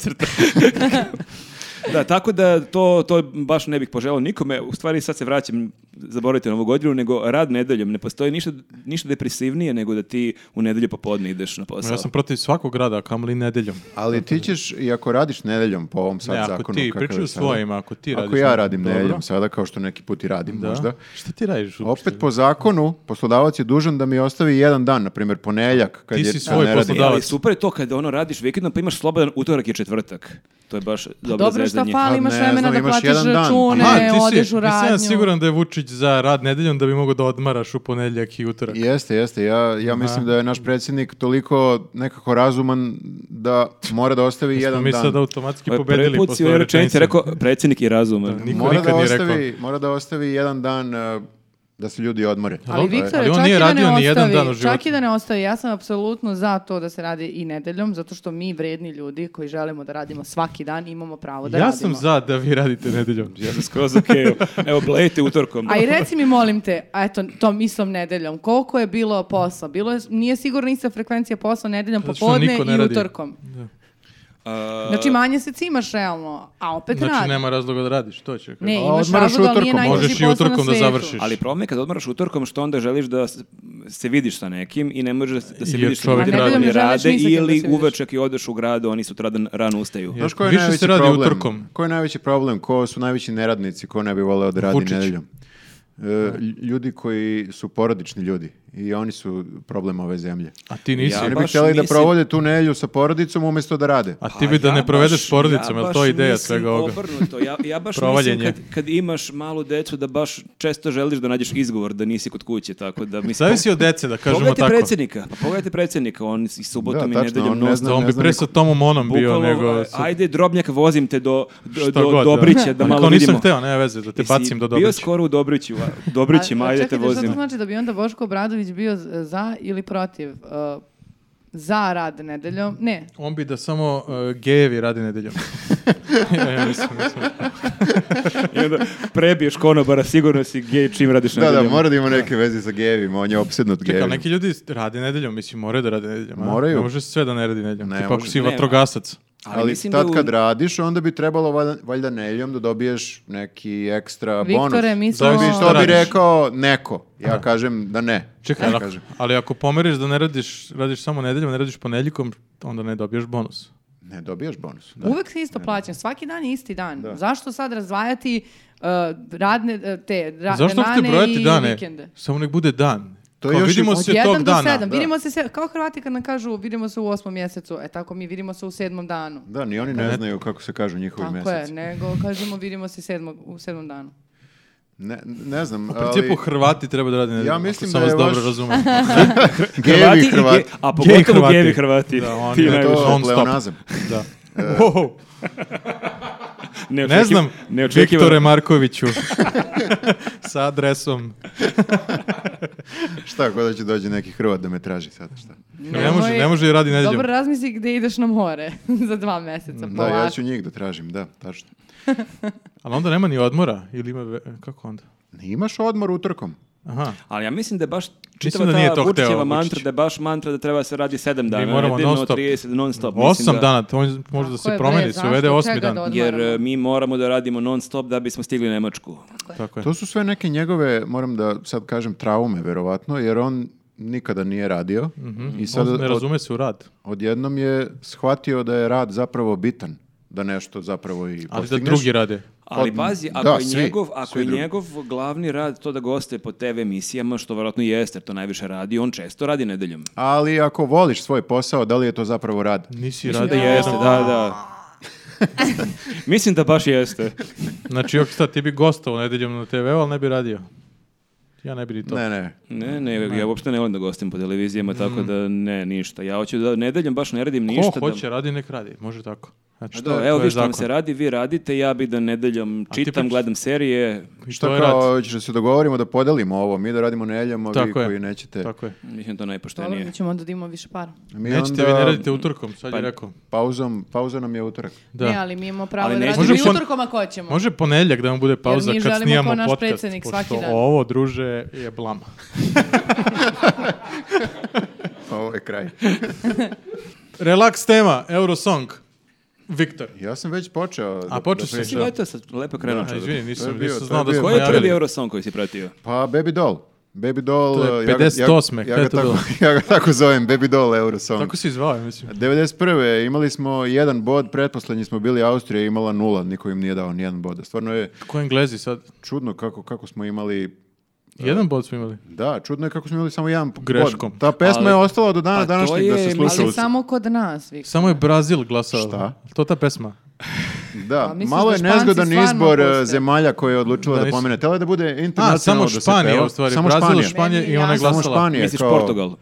Da, tako da to, to baš ne bih poželao nikome. U stvari sad se vraćam, zaboravite na ovu godinu, nego rad nedeljom. Ne postoji ništa, ništa depresivnije nego da ti u nedelju popodne ideš na posao.
Ja sam protiv svakog rada, a kamoli nedeljom.
Ali ti ćeš, i ako radiš nedeljom po ovom sad
Ne, ako
zakonu...
ti
kakav je
pričaju
sada,
svojima, ako ti radiš
Ako ja
nedeljom,
radim
dobro.
nedeljom sada, kao što neki put i radim možda,
Šta ti radiš? uopšte?
opet po zakonu poslodavac je dužan da mi ostavi jedan dan, na primjer ponedjeljak, kad
Ti
je
si
kad
svoj
ne radi.
E, ali
poslodavac.
super je to kada ono radiš vikendom pa imaš slobodan utorak i četvrtak. To je baš dobro,
Dobro šta
zezanje.
Pa
fali, imaš
ne
vremena
znam,
da
imaš
platiš
jedan dan.
račune,
Aha,
odeš u
Nisam
radnju.
ja siguran da je Vučić za rad nedeljom da bi mogao da odmaraš u ponedjeljak i utorak.
Jeste, jeste. Ja, ja mislim da je naš predsjednik toliko nekako razuman da mora da ostavi jedan
Mi sad
dan.
automatski
Ovo je
pobedili
Ovaj Prvi put si
posle
u
ove
ovoj
rečenice.
rečenici rekao predsjednik je razuman.
Da, niko
Mora da,
nikad nije rekao.
ostavi, mora da ostavi jedan dan e, da se ljudi odmore.
Ali
Pa Dobro,
Viktore,
ali on
čak,
nije
i da ne
radio ni
ostavi,
jedan dan u
čak i
životu.
da ne ostavi, ja sam apsolutno za to da se radi i nedeljom, zato što mi vredni ljudi koji želimo da radimo svaki dan imamo pravo da
ja
radimo.
sam za da vi radite nedeljom.
Ja sam *laughs* skroz okej. Evo, blejte utorkom.
A i reci mi, molim te, a eto, tom istom nedeljom, koliko je bilo posla? Bilo je, nije sigurno ista frekvencija posla nedeljom
Zato što
popodne
niko ne
i
radi.
utorkom.
A,
Znači manje se cimaš realno, a opet
Znači,
radi.
nema razloga da radiš, to će.
Ne,
A
imaš
odmaraš
razloga, ali nije
utorkom,
najteži
možeš i
posao na
utorkom da
svetu.
završiš.
Ali problem je kad odmaraš utorkom što onda želiš da s- se vidiš sa nekim i ne možeš da se
Jer
vidiš sa
čovjek
ljudima
radi.
koji
A
nedeljom ne želiš
rade
ni sa kim da se
ili
vidiš.
uvečak i odeš u grad, oni sutradan rano ustaju.
Je.
Znaš ko je
Više se
najveći
radi
problem?
utorkom.
Ko je najveći problem? Ko su najveći neradnici? Ko ne bi voleo da radi
Vučić.
nedeljom? E, ljudi koji su porodični ljudi i oni su problem ove zemlje.
A ti nisi.
Ja
Oni bi
baš
htjeli da
mislim-
provode tu nedelju sa porodicom umjesto da rade.
Pa
A ti bi da ne provedeš s porodicom, jel to je ideja svega ovoga?
Obrnuto. Ja, ja baš mislim
Provaljenje.
kad, kad imaš malu decu da baš često želiš da nađeš izgovor da nisi kod kuće, tako da mislim...
Zavisi od dece, da kažemo
Pogledajte
tako.
predsjednika, pa pogledajte predsjednika, on i subotom
Da, tačno,
i nedeljom
on ne
non
zna
Da on
Ne
bi
znam
pre
niko- e,
sa Tomom Onom bio
Bukvalno,
nego...
a-
sa-
ajde drobnjak, vozim te do, do,
šta
do
god,
Dobrića, da
Ali
malo
kao
vidimo.
nisam teo, ne veze, da te
Jesi
bacim do
Bio
Dobrića.
skoro u Dobriću, a,
A-
Dobrićima,
a
ajde te
čekajte, šta
vozim.
to znači da bi onda Boško Obradović bio z- za ili protiv? uh, za rad nedeljom? Ne.
On bi da samo uh, gejevi radi
*laughs*
nedeljom. E, ja, ja nisam, nisam.
I onda prebiješ konobara, sigurno si gej čim radiš na
Da, da, mora da ima neke veze sa gejevima, on je opsednut
Čekaj, ali
gejevima.
neki ljudi rade nedeljom, mislim, moraju da rade nedeljom. a?
Moraju.
Ne može se sve da ne radi nedeljom.
Ne
Tipa ako
može.
si
Ne,
vatrogasac.
Ali, tad kad radiš, onda bi trebalo valjda, valjda nedeljom da dobiješ neki ekstra
Viktore,
bonus.
mi smo...
Zavisi
Bi-
šta
Što bi
radiš.
rekao neko, ja kažem da ne.
Čekaj,
ja
ali, ako-
kažem.
ali ako pomeriš da ne radiš, radiš samo nedeljom, ne radiš ponedjeljkom, onda ne dobiješ bonus.
Ne, dobijaš bonus. Da.
Uvek se isto plaćam, svaki dan je isti dan. Zašto sad razvajati uh, radne, uh, te ra-
Zašto
dane
ste brojati
i
dane?
vikende?
Samo nek bude dan.
To
To
je
kao,
još i-
vidimo se
Od
tog
jednog do
dana.
sedam. Vidimo se, se, kao Hrvati kad nam kažu vidimo se u osmom mjesecu, e tako mi vidimo se u sedmom danu.
Da, ni oni ne znaju kako se kažu njihovi
Tako je,
mjeseci.
nego kažemo vidimo se sedmog, u sedmom danu.
Ne, ne znam,
U principu
ali
Hrvati treba da rade nedeljom.
Ja
ako
mislim
sam
da je
vas dobro
vaš- *laughs*
razumem.
gejevi
i
Hrvati.
gej- a pogotovo
Hrvati.
gejevi Hrvati.
Da, oni
Ti
to-
To je
najviše.
Non stop.
pleonazam. *laughs*
da. Wow. Ne
Neočekivano-
znam,
neočekivano.
Viktore Markoviću. *laughs* Sa adresom.
Šta, ko da će dođe neki Hrvat da me traži sad, šta?
Ne može, ne može i radi nedeljom.
ovaj- Dobro razmisli gde ideš na more *laughs* za dva mjeseca.
Da,
polako.
ja ću njih da tražim, da, tačno.
Ali onda nema ni odmora, ili ima, ve- kako onda?
Ne imaš odmor utorkom.
Aha,
Ali ja mislim da je baš
Mislim
čitava
da
ta
nije to hteo
Vučićeva
Vučić.
mantra, da je baš mantra da treba se radi sedam dana.
moramo
nedeljno,
non stop.
30 non stop. mislim
osam
da-
dana, to on može
Tako
da
je,
se
bre,
promeni, se
zašto?
uvede
Od
osmi
čega
dan.
da od-
Jer
Odmaramo.
e, mi moramo da radimo non stop da bismo stigli u Nemačku.
Tako je.
To su sve neke njegove, moram da sad kažem, traume, verovatno, jer on nikada nije radio i sad
Mhm. On ne
od,
razume se u rad.
odjednom je shvatio da je rad zapravo bitan, da nešto zapravo i
Ali da
postigneš.
drugi rade.
Ali
Od-
pazi, ako
da,
je,
svi,
njegov, ako
svi
je
drugi.
njegov glavni rad to da gostuje po TV emisijama, što vjerojatno jeste, jer to najviše radi, on često radi nedeljom.
Ali ako voliš svoj posao, da li je to zapravo rad?
Nisi
Mislim da
radio.
jeste, da, da. Mislim da baš jeste.
Znači, ok, šta, ti bi gostao nedeljom na TV-u, ali ne bi radio. Ja ne bi ni to.
Ne, ne.
Ne, ne, ja uopšte ne volim da gostim po televizijama, tako da ne, ništa. Ja hoću da nedeljom baš ne radim ništa.
Ko hoće, radi, nek radi. Može tako. Znači,
Da,
to je-
evo
to je
vi što vam
zakon.
se radi, vi radite, ja bi da nedeljom
ti
čitam,
pričaš.
gledam serije.
I to
Šta
je
kao,
rad.
hoćeš da se dogovorimo da podelimo ovo, mi da radimo nedeljom, a vi
Tako je.
koji nećete.
Tako je.
Mislim to
Dobro,
najpoštenije.
mi ćemo onda da imamo više para.
Mi
Nećete, vi ne radite utorkom, sad
Pa-
je rekao.
Pauzom, pauza nam je utorak.
Da.
Ne, ali mi imamo pravo
Ali
da
nećemo-
radimo i
Može pon-
utorkom ako hoćemo.
Može ponedjeljak da vam bude pauza
mi
kad
želimo
snijamo
ko naš
podcast,
predsjednik
pošto
svaki dan.
ovo, druže, je blama.
Pa Ovo je kraj.
Relax tema, Eurosong. Viktor.
Ja sam već počeo.
A počeo si
Si
šta?
leto sad, lepo krenuo
A,
čovjek.
izvini,
To
nisam,
je bio-
nisam
to je
znao da
bio-
smo
Koji je prvi
najavili.
Eurosong koji si pratio?
Pa Baby Doll. Baby Doll...
To je
ja ga- ja-
58.,
Ja,
kada
ga
je to
tako,
bilo?
*laughs* ja ga tako zovem, Baby Doll Eurosong.
Tako si zvao, ja mislim.
91. imali smo jedan bod, pretposlednji smo bili, Austrija je imala nula, niko im nije dao nijedan bod. Stvarno je
Ko Englezi sad?
čudno kako, kako smo imali...
Jedan bod smo imali.
Da, čudno je kako smo imali samo jedan
Greškom.
bod. Ta pesma
Ali-
je ostala do dana
Pa to
današnjeg da se
je, mislim-
sluša.
Ali
u-
samo kod nas, Viktor.
Samo je Brazil glasao.
Šta?
To ta pesma.
Da,
Pa, mislim
malo
da
je
Španci
nezgodan
stvarno
izbor e,
postoje.
zemalja koja je odlučila
Da,
da,
nisu-
pomene. Tela je da bude internacionalno.
A, samo
da se
Španija,
peva.
u stvari.
Samo
Brazil,
Španija.
Španija
Meni
i ona je
jasno.
Samo
glasala.
Španija.
Misliš
kao-
Portugal?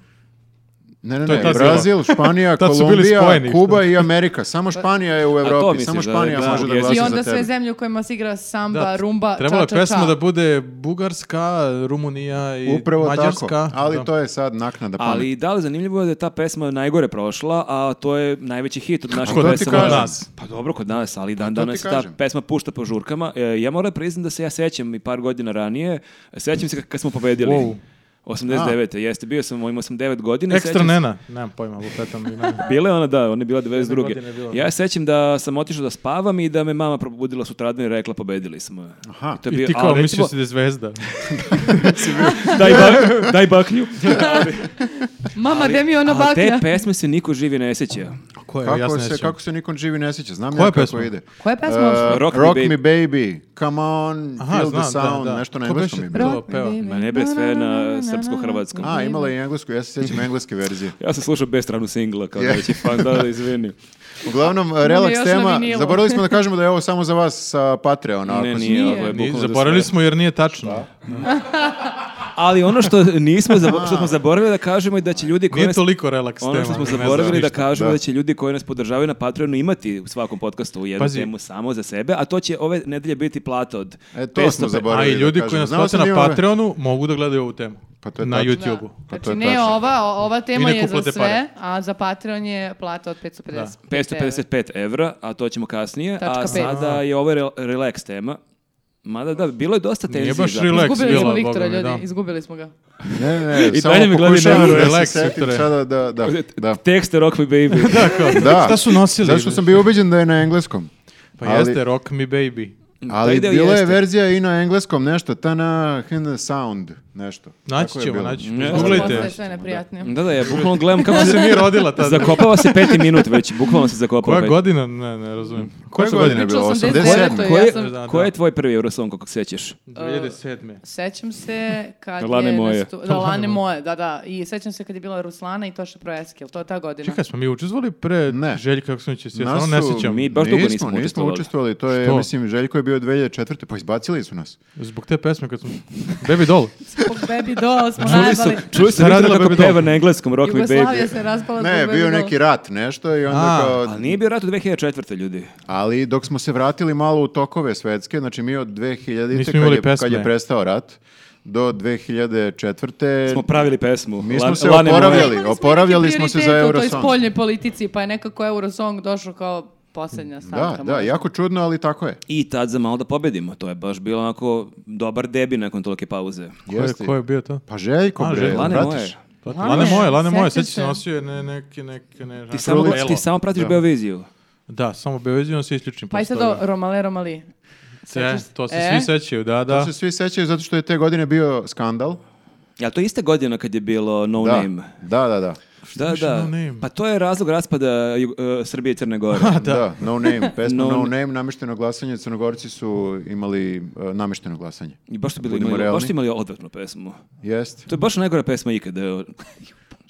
Ne, ne,
To je
ne.
*laughs* ta sila.
Brazil, Španija,
Tad su bili
Kolumbija,
spojeni,
Kuba i Amerika. Samo
Pa-
Španija je u Evropi.
misliš,
samo
da,
Španija
da,
može da
jesu.
glasa
I
za
onda sve
tebe.
zemlje u kojima se igra samba,
Da,
rumba, ča,
Trebalo je
ča,
pesma
ča.
da bude Bugarska, Rumunija i
Upravo
Mađarska.
tako. Ali
Da.
to je sad naknada
Ali
pameti.
da li zanimljivo je da je ta pesma najgore prošla, a to je najveći hit od naših
to ti
pesama.
kažem.
nas.
Pa dobro, kod nas, ali dan
to ti
danas se ta
kažem.
pesma pušta po žurkama. E, ja moram priznati da se ja sećam i par godina ranije. Sećam se kad- kad smo pobedili.
Wow.
89. Jeste, bio sam, imao sam 9 godina. i
Ekstra
sećam se-
nena. Nemam pojma, lupetam imena.
Bila je ona, da, ona je bila
godine je
92.
bila, da.
ja sećam da sam otišao da spavam i da me mama probudila sutradan i rekla pobedili smo.
Aha.
I to je bio-
I ti
ali
kao mislio
recimo-
si da je
*laughs*
zvezda. *laughs*
daj, bak, daj baklju.
Mama, gde mi je ona
Ali te
baklja?
pesme se niko živi ne sjeća.
Ko je, ja
Kako
se
se,
nećem.
kako se nikom živi ne sjeća. Znam
Koja
ja kako
pesma?
ide.
Koja je pesma uopšte?
Uh,
Rock
rock,
me baby.
me baby, come on,
Aha,
feel
znam,
the
da,
sound,
da.
nešto na
Ko
engleskom
beše
ima.
to?
Rock me,
peva.
baby.
Ma ne bre, sve na srpsko-hrvatskom.
A, imala je i englesku, ja se
*laughs*
sjećam engleske verzije.
Ja sam slušao bestranu singla kao
Je.
najveći fan, da, da, izvini.
Uglavnom, relax
još na
tema,
vinilu.
zaboravili smo da kažemo da je ovo samo za vas sa Patreona. ako
Ne,
se-
nije,
Nije.
ovo je
Ni-
bukvalno za
Zaboravili
sve.
smo jer nije tačno.
Ali ono što nismo,
*laughs*
zabo- što smo zaboravili da kažemo je da će ljudi koji
Nije
nas...
toliko relaks tema.
Ono što smo
ne znam
zaboravili da
ništa.
kažemo da.
Da.
će ljudi koji nas podržavaju na Patreonu imati u svakom podcastu jednu
Pazi.
temu samo za sebe, a to će ove nedelje biti plata od
E, to smo
500
A
zaboravili
i ljudi
da kažemo.
koji nas
Znao
plate
sam da
na
imamo-
Patreonu mogu da gledaju ovu temu.
Pa to je
na
tačno.
YouTubeu.
Pa to
Znači,
je
ne
tačno.
ova, o- ova tema
ne
je za
kupujete pare.
sve, a za Patreon je plata od 550.
555 evra, a to ćemo kasnije, a
Tačka pet.
sada je ovo re- relax tema. Mada da, bilo je dosta
Nije
tenzije.
baš
zapravo.
relax.
Izgubili
bila,
smo
boga
Viktora,
mi,
ljudi,
da.
izgubili smo ga.
Ne, ne,
I
samo
dalje mi gledaju
pokušavam
nervno,
da
relax,
se setim
Viktore.
sada da, da, da.
Tekst je Rock Me Baby.
Da.
Šta su nosili?
Zašto sam bio ubeđen da je na engleskom.
Pa
Ali-
jeste, Rock Me Baby.
Ali
deo
bila je
jeste.
verzija i na engleskom nešto, ta na hn- sound nešto. Tako
Naći
je
ćemo,
bilo.
naći ćemo.
Ne.
Postaje
Izgooglajte.
sve neprijatnije.
Da, da, ja bukvalno gledam kako
Kako se
se... *laughs*
nije rodila tada?
Zakopava se peti minut već, bukvalno se zakopava
Koja
peti.
godina? Ne, ne razumijem.
Koje
su
godine je
Pričala
bilo?
sam
87.
89.
Koje,
Ja sam-
Da,
koji je
da.
tvoj prvi Eurosong, kako se sjećaš?
2007.
Sećam se kad
Lane
je...
moje.
nastu- Da, Lane moje, da, da. I sećam se kad je bila Ruslana i Toša Projeski, jel to je ta godina?
Čekaj, smo mi učestvovali pre
Ne.
Željka Aksunića, ja
Nas
stvarno ne
su-
sjećam.
mi- baš dugo nismo
nismo
učestvovali.
učestvovali. To je,
Što?
mislim, Željko je bio 2004. Pa izbacili su nas.
Zbog te pesme kad smo... Baby Doll.
Zbog Baby Doll smo
Čuli su,
najbali.
čuli su
Šta radila
Viktora kako
Baby Doll?
peva na engleskom Rock Me
Jugoslavija
Baby.
se raspala
Ne,
Pa zbog Baby
bio
Doll.
neki rat, nešto i onda
A,
kao...
Ali nije bio rat u 2004. ljudi.
Ali dok smo se vratili malo u tokove svetske, znači mi od 2000.
Nismo
kad
imali
je, kad
pesme.
je prestao rat, do 2004.
Smo pravili pesmu.
E, Mi
La-
smo se
Lane moje.
oporavljali.
Imali smo
Oporavljali
neki
smo se za
prioritet u toj
Eurosong.
spoljnoj politici, pa je nekako Eurosong došao kao posljednja stavka.
Da, da,
možda.
jako čudno, ali tako je.
I tad za malo da pobedimo. To je baš bilo onako dobar debi nakon tolike pauze.
Ko je,
Jeste.
ko je bio to?
Pa Željko,
A,
bre,
Željko.
Lane moje.
pratiš?
Lane,
Lane,
moje, Lane moje,
sjećam
sećam se
se.
nosio je ne, neke, neke, ne,
Ti samo,
Elo.
ti samo pratiš
Da.
Beoviziju.
Da, samo Beoviziju, on se isključim.
Pa i
posle
sad
toga.
o Romale Romali.
E,
sećaš-
to se
E?
svi sećaju, da, da.
To se svi sećaju zato što je te godine bio skandal.
Ja, to je iste godina kad je bilo No
Da,
Name.
da, da, da.
Da,
piše
da.
No Name?
Pa to je razlog raspada Jug- eh, Srbije i Crne Gore.
*laughs* Da. no name, pesma
No
no, name, namešteno glasanje, Crnogorci su imali uh, namešteno glasanje.
I baš su bili
Budimo
imali, baš
realni.
su imali odvratnu pesmu.
Jest.
To je baš najgora pesma ikada.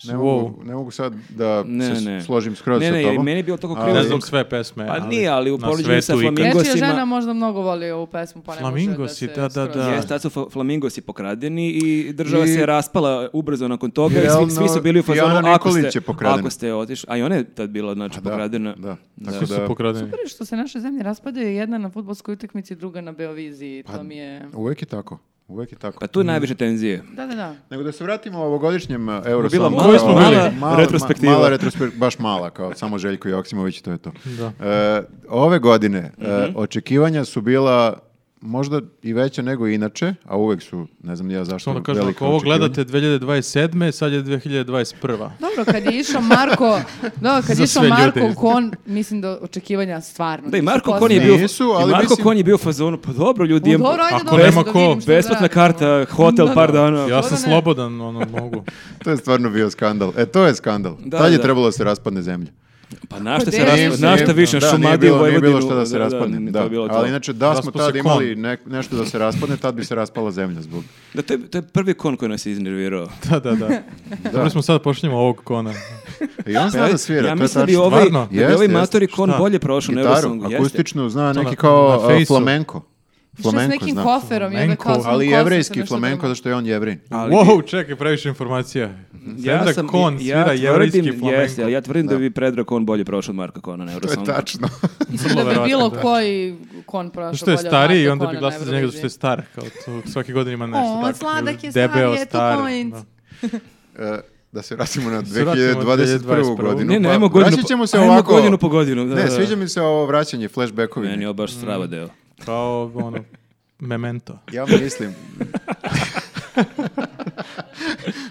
Ne,
Wow.
mogu, ne mogu sad da
Ne,
se
ne.
složim skroz
ne,
sa
ne,
tobom.
i meni je bilo toliko
Ali-
krivo.
Ne znam sve pesme.
Pa nije, ali u
na
poređenju sa
svetu ikad.
Flamingo-
Nečija
Flamingosima-
žena možda mnogo voli ovu pesmu, pa ne može
Flamingosi,
da se
da, da, da.
skroz-
Jes, tad su fa- flamingosi pokradeni i država
I-
se je raspala ubrzo nakon toga i,
Realno,
svi, svi su bili u fazonu
Ivana
ako
Nikolić
ste,
je pokradena.
ako ste otišli. A i ona je tad bila znači,
Pa da,
pokradena.
Da,
Svi
tako
su
da,
pokradeni.
Super je što se naše zemlje raspadaju jedna na futbolskoj utakmici, druga na Beoviziji.
Pa-
To mi je...
uvek je tako. Uvek je tako.
Pa tu je najviše tenzije.
Da, da, da.
Nego da se vratimo ovogodišnjem uh, Eurosongu.
Bila
kao-
Koji smo bili?
mala- mala-
retrospektiva.
Mala retrospek- baš mala, kao samo Željko Joksimović i to je to.
Da.
E, ove godine e,
Mhm.
očekivanja su bila možda i veća nego inače, a uvek su, ne znam ni ja zašto,
Što onda kažem,
velika
ako ovo
očekivanja.
gledate 2027. sad je 2021.
Dobro, kad je išao Marko, da, kad
Za
je išao
sve ljude
Marko
isto.
Kon, mislim da očekivanja stvarno.
Da, i
nisu
Marko Kon je
postojala.
bio,
Nisu,
i
ali
Marko
mislim-
Kon je bio u fazonu, pa dobro ljudi,
Pa Dobro, ajde
Ako
dobro,
nema
da
ko,
vidim šta
besplatna
da radimo.
karta, hotel
Da, da.
par dana.
Ja sam
Slobodane.
slobodan, ono, mogu. *laughs*
To je stvarno bio skandal. E, to je skandal.
Da,
Tad je
da.
trebalo da se raspadne zemlje.
Pa na šta
Pa
se
de-
raspadne,
Nije-
na šta više,
da, nije
Šumadiju,
bilo, nije
Vojvodinu.
bilo šta da se raspadne.
nije
da.
to bilo to.
Ali inače, da smo
Raspao se
tad
kon.
imali ne- nešto da se raspadne, tad bi se raspala zemlja zbog...
Da, to je, to je prvi kon koji nas je iznervirao.
Da, da, da. Dobro smo sad počinjemo ovog kona.
Pa I on zna
Evo,
da svira,
ja
to je
mislim da bi
tačno.
ovaj,
Stvarno?
da bi
Jeste,
ovaj
jeste.
matori kon
Šta?
bolje prošao na
Gitaru,
Eurosongu. jeste.
akustičnu, zna
To na-
neki kao
na
a,
fejsu.
flamenko.
Što s
Flamenko
nekim
zna.
koferom, je
Flamenko.
kao s
Ali
onom kosom,
jevrejski
nešto
flamenko,
drugo.
zato što je on jevrin.
Ali
Wow, čekaj, previše informacija. Ja da kon svira jevrejski
jeste, ali
flamenko.
ja tvrdim da, bi Predrag Kon bolje prošao od Marka
*laughs*
Kona na
To je
Eurosongu.
tačno. *laughs*
Mislim da bi
verovatno,
bilo
da.
koji kon prošao
Što je
bolje od
stariji
Marka
i onda
Kona
bi
na
glasao za njega zato
Euroviziji.
što je star. Kao to, svake godine ima nešto
O,
tako.
sladak je,
Debeo,
star je, two
star,
points.
da.
E, Da se vratimo
*laughs*
na
se vratimo na
2021.
2021.
godinu.
Ne, ne,
Pa,
ajmo godinu,
vraćat ćemo
po,
se
ajmo
ovako.
godinu po godinu. Da,
Ne,
da.
sviđa mi se ovo vraćanje, flashbackovi.
Meni je ovo baš strava deo.
Kao ono, memento.
Ja mislim... *laughs*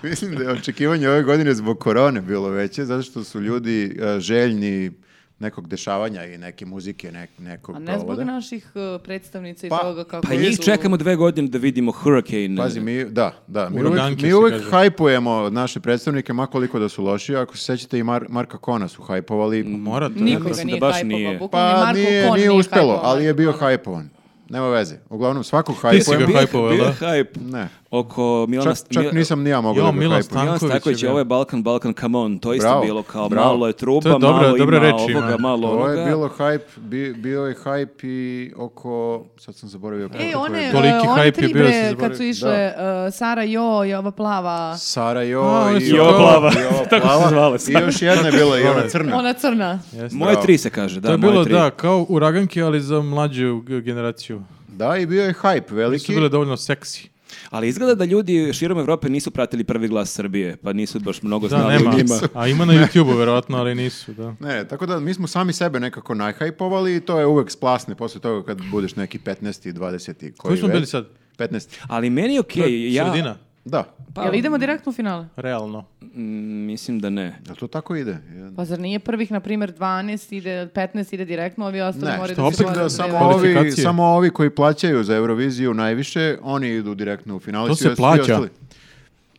mislim da je očekivanje ove godine zbog korone bilo veće, zato što su ljudi e, željni nekog dešavanja i neke muzike, nek, nekog
A ne zbog
provoda.
naših uh, predstavnica i
Pa-
toga kako
Pa njih
su-
čekamo dve godine da vidimo Hurricane.
Pazi, mi, da, da, mi uvijek,
Uraganke
mi
se
uvek
kaže.
hajpujemo naše predstavnike, makoliko da su loši, ako se sećate i Mar- Marka Kona su hajpovali,
Mora to.
Niko.
Nikoga
mislim da
nije
baš
hajpovao,
nije.
bukvalno ni
pa
Marko
nije,
Kon
nije uspelo,
hajpovao
ali je bio
Marka Kona.
hajpovan. Nema veze, uglavnom svakog
Ti si
hajpujemo.
ga hajpovao,
Bio
da?
je hype
Ne,
oko Milana...
čak, čak nisam ni ja mogao
Jo,
da ga
Milan
hajpujem.
Stan-
Milan
Stanković je
Stanković je
bio.
ovo je Balkan, Balkan, come on. To isto
Bravo,
bilo kao
bravo.
malo je trupa,
To je dobra-
malo
dobra
ima
reč ima.
ovoga, malo
Ovo
onoga.
je bilo hype, bi- bio je hype i oko, sad sam zaboravio. kako
E,
to
one,
je.
Toliki
uh, one
hype
tri
je bio, sam
bre,
zaboravio.
kad su išle, uh, Sara Jo i ova plava,
Sara Jo
A, one su-
i
I ova
plava.
i
*laughs*
ova
Tako se
plava.
zvala,
I još jedna je bila i ona
Zove.
crna.
ona crna.
Jeste.
Moje
Bravo.
tri se kaže, da,
to je
moje
bilo,
tri.
da, kao uraganke, ali za mlađu g- generaciju.
Da, i bio je hype
Nisu
veliki.
bile dovoljno seksi.
Ali izgleda da ljudi širom Evrope nisu pratili prvi glas Srbije, pa nisu baš mnogo
Da,
znali
nema.
o
*laughs*
njima.
A ima na YouTube-u, verovatno, ali nisu, da.
Ne, tako da mi smo sami sebe nekako najhajpovali i to je uvek splasne posle toga kad budeš neki 15. i 20.
Koji smo
već.
bili sad?
15.
Ali meni je okej,
To je
ja...
Sredina,
Da,
Pa,
Jel idemo direktno u finale?
realno.
mm, mislim da ne.
jel to tako ide? Ja-
Pa zar nije prvih, na primjer, 12 ide, 15 ide direktno, ovi ostali
Ne,
moraju
što
da se
opet
bore
Da,
za
samo
prevagu.
ovi,
Kvalifikacije.
samo ovi koji plaćaju za Euroviziju najviše, oni idu direktno u finale.
To
svi
se
os- svi
plaća.
ostali-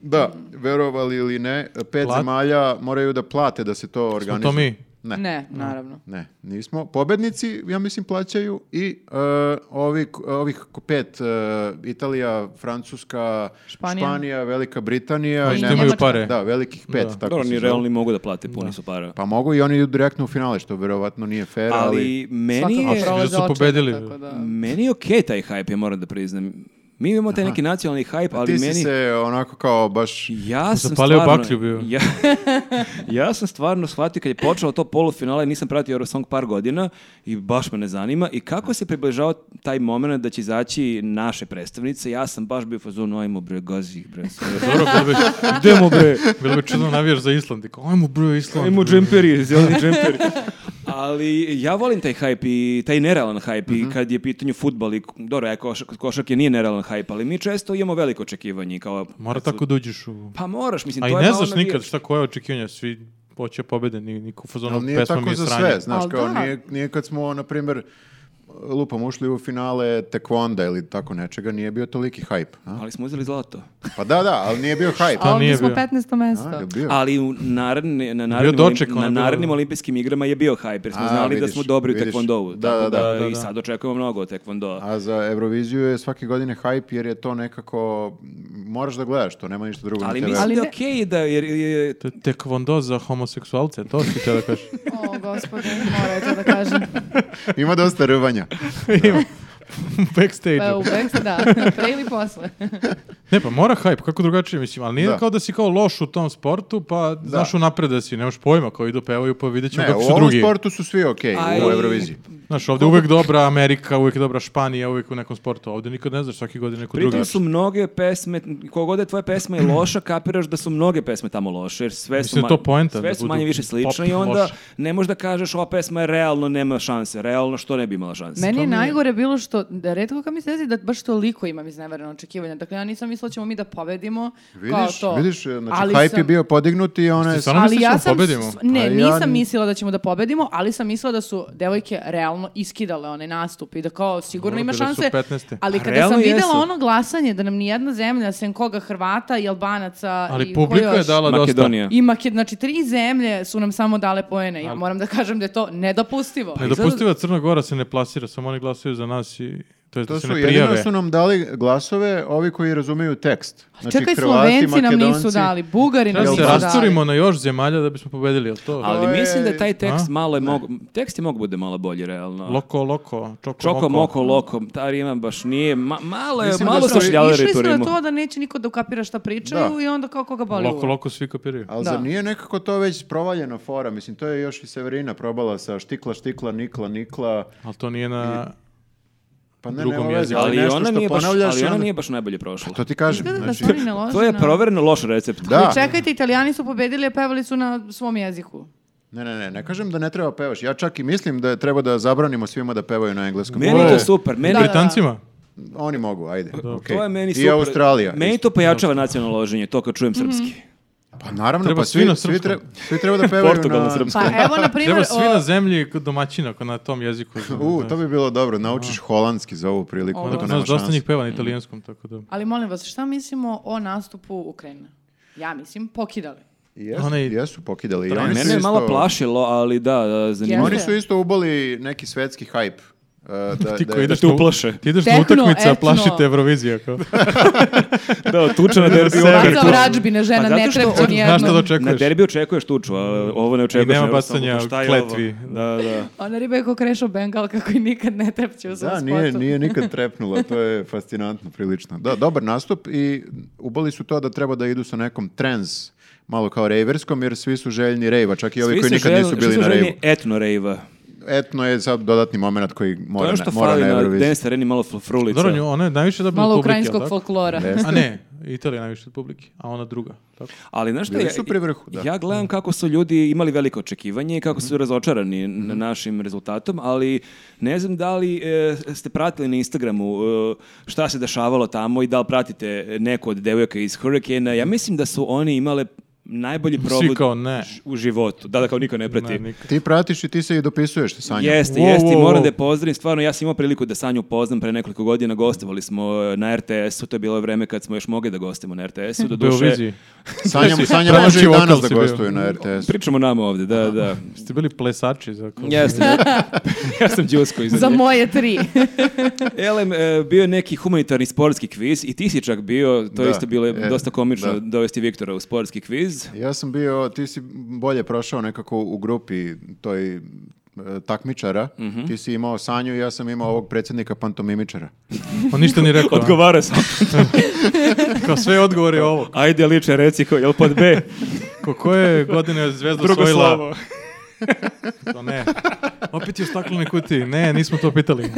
Da, verovali ili ne, pet
Plat-
zemalja moraju da plate da se to organizuje.
mi?
Ne.
Ne, naravno.
Ne, nismo. Pobednici, ja mislim, plaćaju i e, ovi, ovih pet, e, Italija, Francuska,
Španija.
Španija, Velika Britanija.
I
i
Što
Nemačka.
imaju
Njemačka.
pare.
Da, velikih pet.
Da.
Tako
Dobro,
se
ni
zove.
realni mogu da plate, puni su para.
Pa mogu i oni idu direktno u finale, što verovatno nije fair, ali...
Ali meni
Svakako
je...
pro-
prolaze
su
očajno,
pobedili.
tako da-
Meni je okej taj hype, ja moram da priznam. Mi imamo taj neki nacionalni hype,
Pa
ali
Ti si
meni...
se onako kao baš...
Ja sam
Zapalio
stvarno...
baklju bio.
Ja, *laughs* ja sam stvarno shvatio kad je počelo to polufinale, nisam pratio Eurosong par godina i baš me ne zanima. I kako se približao taj moment da će izaći naše predstavnice, ja sam baš bio u fazonu, ajmo bre, gazi ih bre.
Dobro, bilo bi,
Idemo bre,
bilo bi čudno navijaš za Island. i kao, Ajmo, bro, Island.
ajmo džemperi, zeleni džemperi. *laughs* Ali ja volim taj hype i taj nerealan hype i kad je pitanju futbal i dobro, ja košak, košak je nije nerealan hype, ali mi često imamo veliko očekivanje i kao
Mora tako da uđeš u...
Pa moraš, mislim,
A i
to je
ne
malo
znaš nikad
navijač-
šta koje očekivanja, svi hoće pobede, ni, ni kufazonu
Ali nije
pesma mi
tako
Ono, je
za
sranje.
sve, znaš,
Ali
kao
da.
nije, nije kad smo, na primjer, lupom ušli u finale tekvonda ili tako nečega, nije bio toliki hype. a?
Ali smo uzeli zlato.
Pa da, da, ali nije bio hype.
A ovdje
nije
smo
bio.
15. mesto.
A, je bio?
Ali u naredne, na narednim, olim-
doček, ono
na
je bilo-
narednim olimpijskim igrama je bio hype, jer smo
A,
znali da
vidiš,
smo dobri u
vidiš.
tekvondovu.
Da,
Tako
da,
da,
I
da.
sad očekujemo mnogo od tekvondoa.
A za Euroviziju je svake godine hype jer je to nekako, moraš da gledaš to, nema ništa drugo
Ali
na TV.
mislim
Ali
da je
ne-
okej da, jer je...
To je tekvondo za homoseksualce, to si htio da kažeš.
O, gospode, moraju to da kažem.
Ima dosta rvanja.
*laughs* Backstage.
Pa u Brexit, da, pre ili posle.
Ne, pa mora hype, kako drugačije, mislim, ali nije
Da.
kao da si kao loš u tom sportu, pa znaš unapred da si, nemaš pojma, kao idu pevaju, pa vidjet ćemo
Ne, u
kako su
ovom
drugi.
sportu su svi okej,
Aj.
u Euroviziji.
Znaš, ovdje uvek dobra Amerika, uvek dobra Španija, uvek u nekom sportu, ovdje nikad ne znaš, svaki godin neko drugi.
Pritom su mnoge pesme, kogod je tvoja pesma je loša, kapiraš da su mnoge pesme tamo loše, jer sve su,
Mislim da je to poenta,
sve
da
su
budu
manje više slične
pop
i onda
loše.
ne možeš da kažeš ova pesma je realno nema šanse, realno što ne bi imala šanse.
Meni je najgore bilo što, da redko kad mi se desi da baš toliko imam iznevereno očekivanja. Dakle, ja nisam mislila da ćemo mi da pobedimo. kao
Vidiš,
to.
vidiš, znači
Ali
hype je
sam-
bio podignut i ona je...
Stvarno
ali
misliš
ja
da
sam,
pobedimo?
s- ne,
Pa ja
nisam
n-
mislila da ćemo da pobedimo, ali sam mislila da su devojke realno iskidale one nastup i da kao sigurno
Dobro,
ima
bile su
šanse.
15.
Ali
Pa
kada
realno
sam videla
jesu.
ono glasanje da nam nijedna zemlja, sem koga Hrvata i Albanaca
Ali
i ko
publika je
još?
dala
Makedonija.
I Maked- znači tri zemlje su nam samo dale poene. Ja moram da kažem da je to nedopustivo.
Pa dosta. Nedopustiva Crna Gora se ne plasira, samo oni glasuju za nas i To je da
To
se
su,
ne
jedino
prijave.
su nam dali glasove ovi koji razumeju tekst. Znači,
Čekaj,
Hrvati,
Slovenci nam nisu
Makedonci.
dali, Bugari nam
Treba
Jel
nisu
se
da?
dali.
rasturimo na još zemalja da bismo pobedili, jel to?
Ali
To je-
mislim da taj tekst
A?
malo je mogu, tekst je mogu bude malo bolji, realno.
Loko, loko, čoko,
Čoko,
moko.
moko, loko, ta rima baš nije, ma- malo je,
Mislim da
malo
su-
su šljaleri
Išli
tu
su na
rimu.
to da neće niko da ukapira šta pričaju
Da.
i onda kao koga boli
Loko,
uvo.
loko svi kopiraju.
Ali
Da.
zar nije nekako to već provaljena fora? Mislim, to je još i Severina probala sa štikla, štikla, nikla, nikla.
Ali to nije na...
Pa ne,
Drugom
nema veze,
jeziku.
ali,
Ali
nešto
ona
što
nije baš,
ponavljaš...
ali
i
ona
onda-
nije baš najbolje prošla.
To ti kažem.
Izgleda da
znači,
su oni ne lože
To je
na-
provereno loš recept.
Da.
Ali čekajte, italijani su pobedili, a pevali su na svom jeziku.
Ne, ne, ne, ne kažem da ne treba pevaš. Ja čak i mislim da treba da zabranimo svima da pevaju na engleskom.
Meni je
O.
to super, meni
Da, da,
Britancima?
Oni mogu, ajde. okej.
To je meni super.
I Australija.
Meni to pojačava nacionalno loženje, to kad čujem srpski.
Pa naravno,
Treba
pa
svi
svi,
na
svi,
srpskom.
tre- svi
*laughs*
treba da pevaju
Portugalno
na...
srpskom.
Pa evo, na primjer...
Treba svi na
o,
zemlji kod domaćina kod na tom jeziku.
U,
Da.
to bi bilo dobro. Naučiš holandski za ovu priliku.
Ovo.
Onda
Onda
to nema
znaš dosta njih
šanse.
peva na italijanskom, tako da...
Ali molim vas, šta mislimo o nastupu Ukrajine? Ja mislim, pokidali.
Jesu,
Onaj-
jesu pokidali. I
Da,
oni su
mene je malo
isto-
plašilo, ali da, da, zanimljivo.
Jeste.
Oni su isto uboli neki svetski hype. Uh, da,
Ti
da
koji
je-
ideš
te
na-
uplaše.
Ti ideš na
Tehno,
utakmicu, a
etno.
plašite Eurovizija. Kao.
da,
*laughs*
tuča na derbiju.
Baca vrađbina, žena,
Pa zato
ne
što-
trepće
Znaš šta da
nijednom.
Na
očekuješ?
derbi očekuješ tuču, a ovo ne očekuješ.
nema
nego
bacanja
samo, šta je ovo?
kletvi.
Da, da.
Ona riba je ko krešo bengal, kako i nikad ne trepće u svom
Da,
spotu.
nije, nije nikad trepnula, to je fascinantno prilično. Da, dobar nastup i ubali su to da treba da idu sa nekom trans, malo kao rejverskom, jer svi su željni rejva, čak i ovi
Svi
koji
su
nikad
žel-
nisu
svi
bili
su
na
željni
rejvu.
Etno rejva.
Etno je sad dodatni moment koji
To je
mora,
ono
na,
što
mora
fali
na
na
Euroviziji.
Dance Areni malo fl- frulica.
Dobro, nju- ona je najviše dobila
Malo
publike, jel
ukrajinskog
tako?
folklora.
A ne, Italija najviše od publike, a ona druga. Tako.
Ali znaš što,
Bili
ja,
su pri vrhu, da.
ja
Mm.
gledam kako su ljudi imali veliko očekivanje i kako
Mm-hmm.
su razočarani n- našim rezultatom, ali ne znam da li e, ste pratili na Instagramu e, šta se dešavalo tamo i da li pratite neku od devojaka iz Hurricane. Ja mislim da su oni imale najbolji provod
Mm-hmm. kao ne.
ž- u životu. Da, da kao niko ne prati.
Ne, nikad.
Ti pratiš i ti se i dopisuješ sa Sanjom.
Jeste,
Wow,
jeste, i
wow,
moram
wow.
da je pozdravim, stvarno, ja sam imao priliku da Sanju poznam pre nekoliko godina, gostovali smo e, na RTS-u, to je bilo vreme kad smo još mogli da gostimo
*laughs*
na RTS-u, do duše,
Beoviziji.
Sanja,
Jesi,
Sanja
pravi
može i
vokal
danas da
si bio.
gostuje na RTS.
pričamo nama ovde, da, da.
Ste bili plesači za koga?
Jeste, *laughs* ja sam Đusko iza
Za
nje.
moje tri.
Elem, e, bio je neki humanitarni sportski kviz i ti si čak bio,
Da,
to je isto bilo
e,
dosta komično
da.
dovesti Viktora u sportski kviz.
Ja sam bio, ti si bolje prošao nekako u grupi toj e, takmičara.
Mhm.
Ti si imao Sanju i ja sam imao ovog predsjednika
*laughs*
pantomimičara.
On ništa ni rekao. a?
Odgovara sam.
Kao sve odgovor je ovo.
Ajde, liče, reci ko, jel pod B?
Ko koje godine je zvezda
Drugo
osvojila?
slovo.
*laughs* To ne. Opet je u staklenoj kutiji. Ne, nismo to pitali.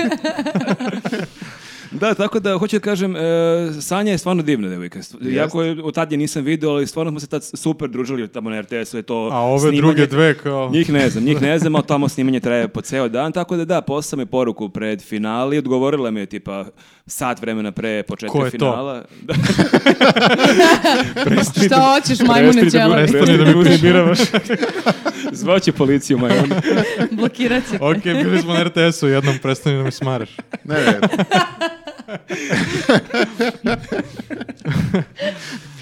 *laughs* Da, tako da, hoću da kažem, e, Sanja je stvarno divna devojka. St- Jako je, od tad je nisam vidio, ali stvarno smo se tad super družili, jer tamo na RTS-u je to
A ove
snimanje.
druge dve kao...
Njih ne znam, njih ne znam, ali tamo snimanje traje po ceo dan, tako da da, poslao mi poruku pred finali, odgovorila mi je tipa sat vremena pre početka
Ko je to?
finala. *laughs* Da.
šta hoćeš, majmune ćelavi?
Prestani da mi uznemiravaš.
Zvaće policiju, majmun.
*laughs* Blokirat će.
*laughs* ok, bili smo na RTS-u, jednom prestani da me smaraš.
Ne, ne,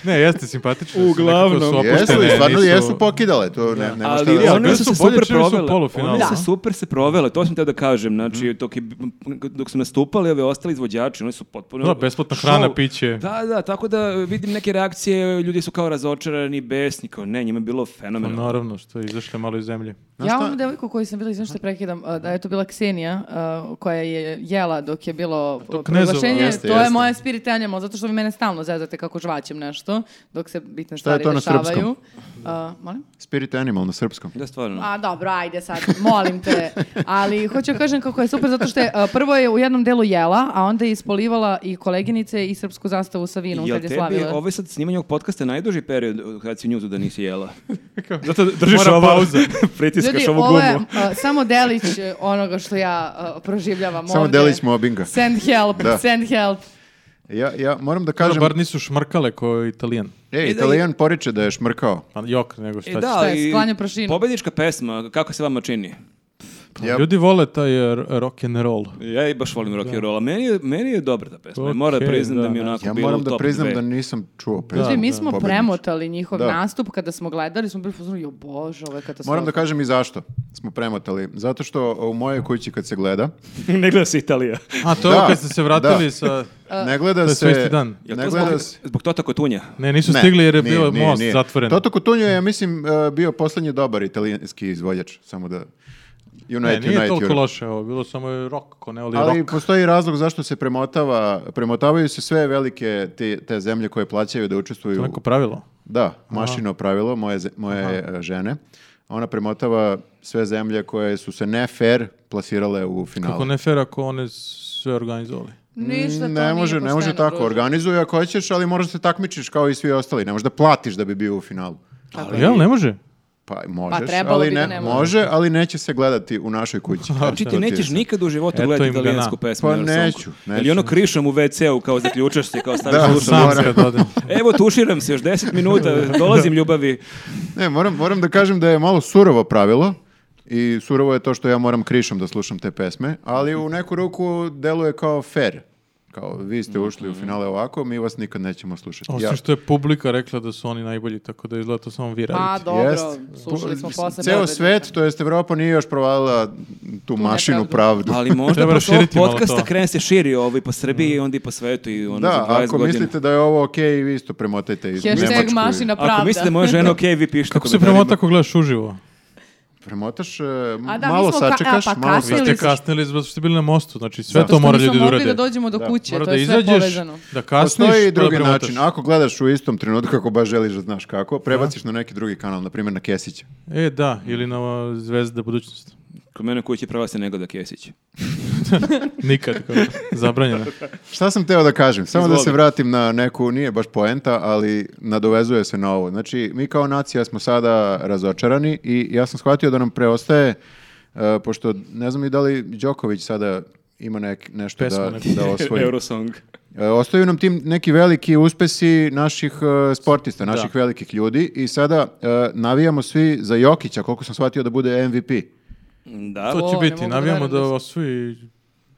Ne, jeste simpatični. su,
Uglavnom.
nekako su
jesu,
opuštene,
i stvarno
nisu-
jesu pokidale, to ne, nema šta
Ali
da...
bile
one
su
su se
bolje
super
čim su u
provele.
polufinalu,
One
a?
su super se provele, to sam teo da kažem. Znači, dok,
Mm.
je, dok su nastupali ove ostali izvođači, oni su potpuno...
Da, besplatna hrana,
Show.
piće.
Da, da, tako da vidim neke reakcije, ljudi su kao razočarani, besni, kao ne, njima je bilo
Pa
fenomenalno.
naravno, što je izašle malo iz zemlje.
Znaš
Ja
šta?
ovu devojku koju sam bila, izvim što prekidam, a, da je to bila Ksenija, a, koja je jela dok je bilo
to Knezovo,
proglašenje,
Pa jeste,
to je
jeste.
moja spirit animal, zato što vi mene stalno zezate kako žvaćem nešto, dok se bitne
Šta je
stvari
to na
dešavaju.
srpskom?
A, molim?
Spirit Animal na srpskom.
Da, stvarno.
A dobro, ajde *laughs* sad, molim te. Ali hoću da kažem kako je super, zato što je a, prvo je u jednom delu jela, a onda je ispolivala i koleginice i srpsku zastavu sa vinom
Jel
kad je
tebi
slavila.
ovaj sad snimanje ovog podcasta je najduži period kad si u njuzu da nisi jela?
Zato
Mora pauza.
Ljudi,
*laughs* Pritiskaš ovu
ovo je
Ono,
gumu.
a, samo delić e, onoga što ja a, proživljavam
Samo
ovde.
delić mobinga.
Send help,
Da.
send help.
Ja, ja moram da kažem,
Bar nisu šmrkale kao italijan.
ej,
I da-
Italijan poriče da je šmrkao.
Pa jok, nego šta
E,
će.
da,
Šta je,
ali
sklanja prašinu?
pobednička pesma, kako se vama čini?
Ja-
Ljudi vole taj e, r- rock and roll.
Ja i baš volim rock and roll, a meni, je- meni je dobra ta pesma.
Ok,
Moram da priznam da,
da.
mi je onako
Ja
bila
moram
u
da
top
priznam
dve. *laughs*
da nisam čuo pesmu.
Znači, mi
da,
smo
pobedničku.
premotali njihov
Da.
nastup kada smo gledali, smo bili pozorni, jo bože, ovo je katastrofa.
Moram da kažem i zašto smo premotali. Zato što u mojoj kući kad se gleda,
ne gleda se Italija.
A to je ovo
Da,
kad ste se vratili
da.
sa...
E.
ne gleda
To je sve
se...
isti dan.
Jel
Ne
to zbog,
gleda se...
zbog Tota Kotunja?
Ne, nisu
Ne,
stigli jer je
nije,
bio
nije,
most
nije.
zatvoren.
Toto Coutinho je, ja mislim, eh, bio poslednji dobar italijanski izvođač, samo da...
Ne,
United,
nije
United
toliko
Europe.
loše ovo, bilo samo je rock, ko ne voli
Ali
rock.
postoji razlog zašto se premotava, premotavaju se sve velike te, te zemlje koje plaćaju da učestvuju.
Neko pravilo.
Da, mašino pravilo moje, ze- moje eh, žene. Ona premotava sve zemlje koje su se ne fair plasirale u finalu.
Kako ne fer ako one sve organizovali.
Ništa to
ne
nije
može, ne može
pošteno,
tako.
druže.
Organizuj ako hoćeš, ali moraš da se takmičiš kao i svi ostali. Ne možeš da platiš da bi bio u finalu.
Tako
Ali
je.
jel, ne može?
Pa možeš,
trebalo
ali
bi da
ne,
ne može.
može, ali neće se gledati u našoj
*laughs*
kući.
Znači ti nećeš nikad u životu
Eto
gledati
im ga
italijansku
na.
pesmu.
Pa
na Eurosongu.
neću, neću.
Ili ono krišom u WC-u kao zaključaš se, kao staviš
Da,
ušom.
Sam
Moram.
kad
*laughs*
odem.
Evo tuširam se još 10 minuta, dolazim ljubavi.
Ne, moram, moram da kažem da je malo surovo pravilo i surovo je to što ja moram krišom da slušam te pesme, ali u neku ruku deluje kao fair. Kao, vi ste
Mhm.
ušli u finale ovako, mi vas nikad nećemo slušati.
Osim što je publika rekla da su oni najbolji, tako da izgleda to samo vi
Pa
radite.
dobro,
Jest.
slušali smo
Po-
posle.
Ceo
Beograd.
svet, to jest Evropa, nije još provalila tu mašinu
nepravdu.
pravdu.
*laughs*
Ali možda
Treba
posle ovog
raširiti malo
podcasta
to.
krene se širi ovo i po Srbiji i onda i po svetu i ono
Da,
za 20
ako
godina.
mislite da je ovo okej, vi isto premotajte iz
Hashtag
Nemačku i-
mašina pravda.
Ako mislite da moja žena okej, vi pišite.
Kako se
komentare.
premota ako gledaš uživo?
Premotaš, e,
A da, mi
malo
smo ka-
sačekaš,
a, pa
malo
Vi
kasnili
sačekaš.
ste
Ili-
kasnili zato što ste bili na mostu, znači sve
Zato
to
što
mora
nismo
ljudi da
mogli
urade.
da dođemo do
Da.
kuće,
Mora
to
da
je sve
izađeš,
povezano.
da kasniš,
Postoji i
pa da
drugi
premotaš.
način. Ako gledaš u istom trenutku, ako baš želiš da znaš kako, prebaciš na neki drugi kanal, na primjer na Kesića.
E, da, ili na uh, zvezde budućnosti.
Kod mene kući prava se Negoda Kesić.
Nikad,
*laughs*
kao, zabranjeno.
Šta sam teo da kažem? Samo da se
Izvoli.
vratim na neku, nije baš poenta, ali nadovezuje se na ovo. Znači, mi kao nacija smo sada razočarani i ja sam shvatio da nam preostaje, e, pošto ne znam i da li Đoković sada ima nek, nešto
Pesmu
da,
neku.
da
*laughs*
osvoji.
Eurosong.
E, Ostaju nam tim neki veliki uspesi naših e, sportista, naših velikih ljudi i sada e, navijamo svi za Jokića, koliko sam shvatio da bude MVP.
Da.
To
O, ne
će
mogu
biti,
da
navijamo
verujem da
da
se-
osvoji...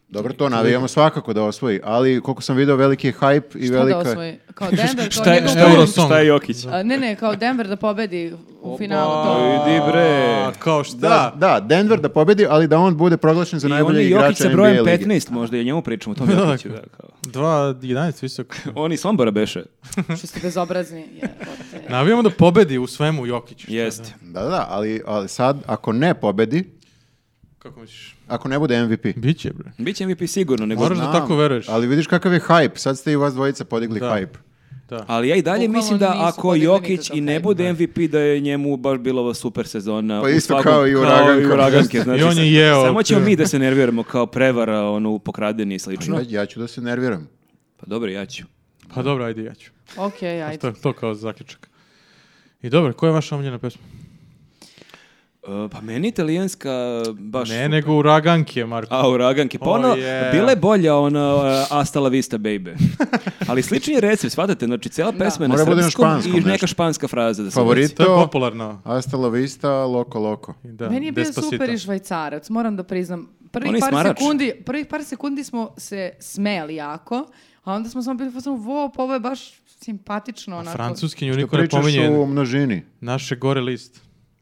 Dobro, to navijamo svakako da osvoji, ali koliko sam video veliki je hype i
Šta
velika...
da osvoji?
*laughs*
Kao Denver, kao
Šta je,
njegov
šta je,
klub.
Eurosong.
šta je Jokić?
A, Ne, ne, kao Denver da pobedi u finalu. To.
Pa, idi bre.
A, kao šta?
Da, da, Denver da pobedi, ali da on bude proglašen za
I on je
najboljeg
Jokić sa
igrača NBA
brojem
lige.
15 možda, i njemu pričamo, o
*laughs*
tom Jokiću. Da, kao.
2.11 visoko.
On iz Sombora beše.
Što ste bezobrazni. jebote.
Navijamo da pobedi u svemu Jokić. šta
Jeste.
Da, da, ali, ali sad, ako ne pobedi,
da- Kako misliš?
ako ne bude MVP...
Biće, bre.
Biće MVP sigurno, nego...
Moraš da
Znam,
tako veruješ.
Ali vidiš kakav je hype, sad ste i vas dvojica podigli
Da.
hype.
Ali ja i dalje
Bukvalno
mislim da
nisu
ako
podigli
Jokić
nikakav
i ne
hype.
bude MVP, da je njemu baš bila ova super sezona.
Pa
u
isto
svakom-
kao i u Raganku.
Raganke,
I
znači,
on je jeo,
Samo ćemo
te-
mi da se nerviramo kao prevara, ono, pokradeni i slično.
Ja, ja ću da se nerviram.
Pa dobro, ja ću.
Pa dobro, ajde, ja ću.
Ok, ajde.
To, to kao zaključak. I dobro, koja je vaša omiljena pesma?
E, pa meni italijanska baš...
Ne, nego u Raganki je, Marko.
A, u Raganke. Pa
Oh,
ono,
yeah.
bila je bolja ona e, Hasta la vista, baby. Ali slični je recept, shvatate, znači cijela pesma je na
Mora bude na
srpskom
španskom
i neka
nešto.
španska fraza. Da se ubaci.
To je
Favorito,
popularno.
hasta la vista, loko loko.
Da,
Meni je bio
Despacito.
super i švajcarac, moram da priznam.
On
Prvi
je
par,
smarač.
sekundi, prvi par sekundi smo se smeli jako, a onda smo samo bili fazonu, wow, pa ovo je baš simpatično.
A
Onako.
Francuskinju
Što
niko ne
pričaš
pominje.
u množini?
Naše gore list.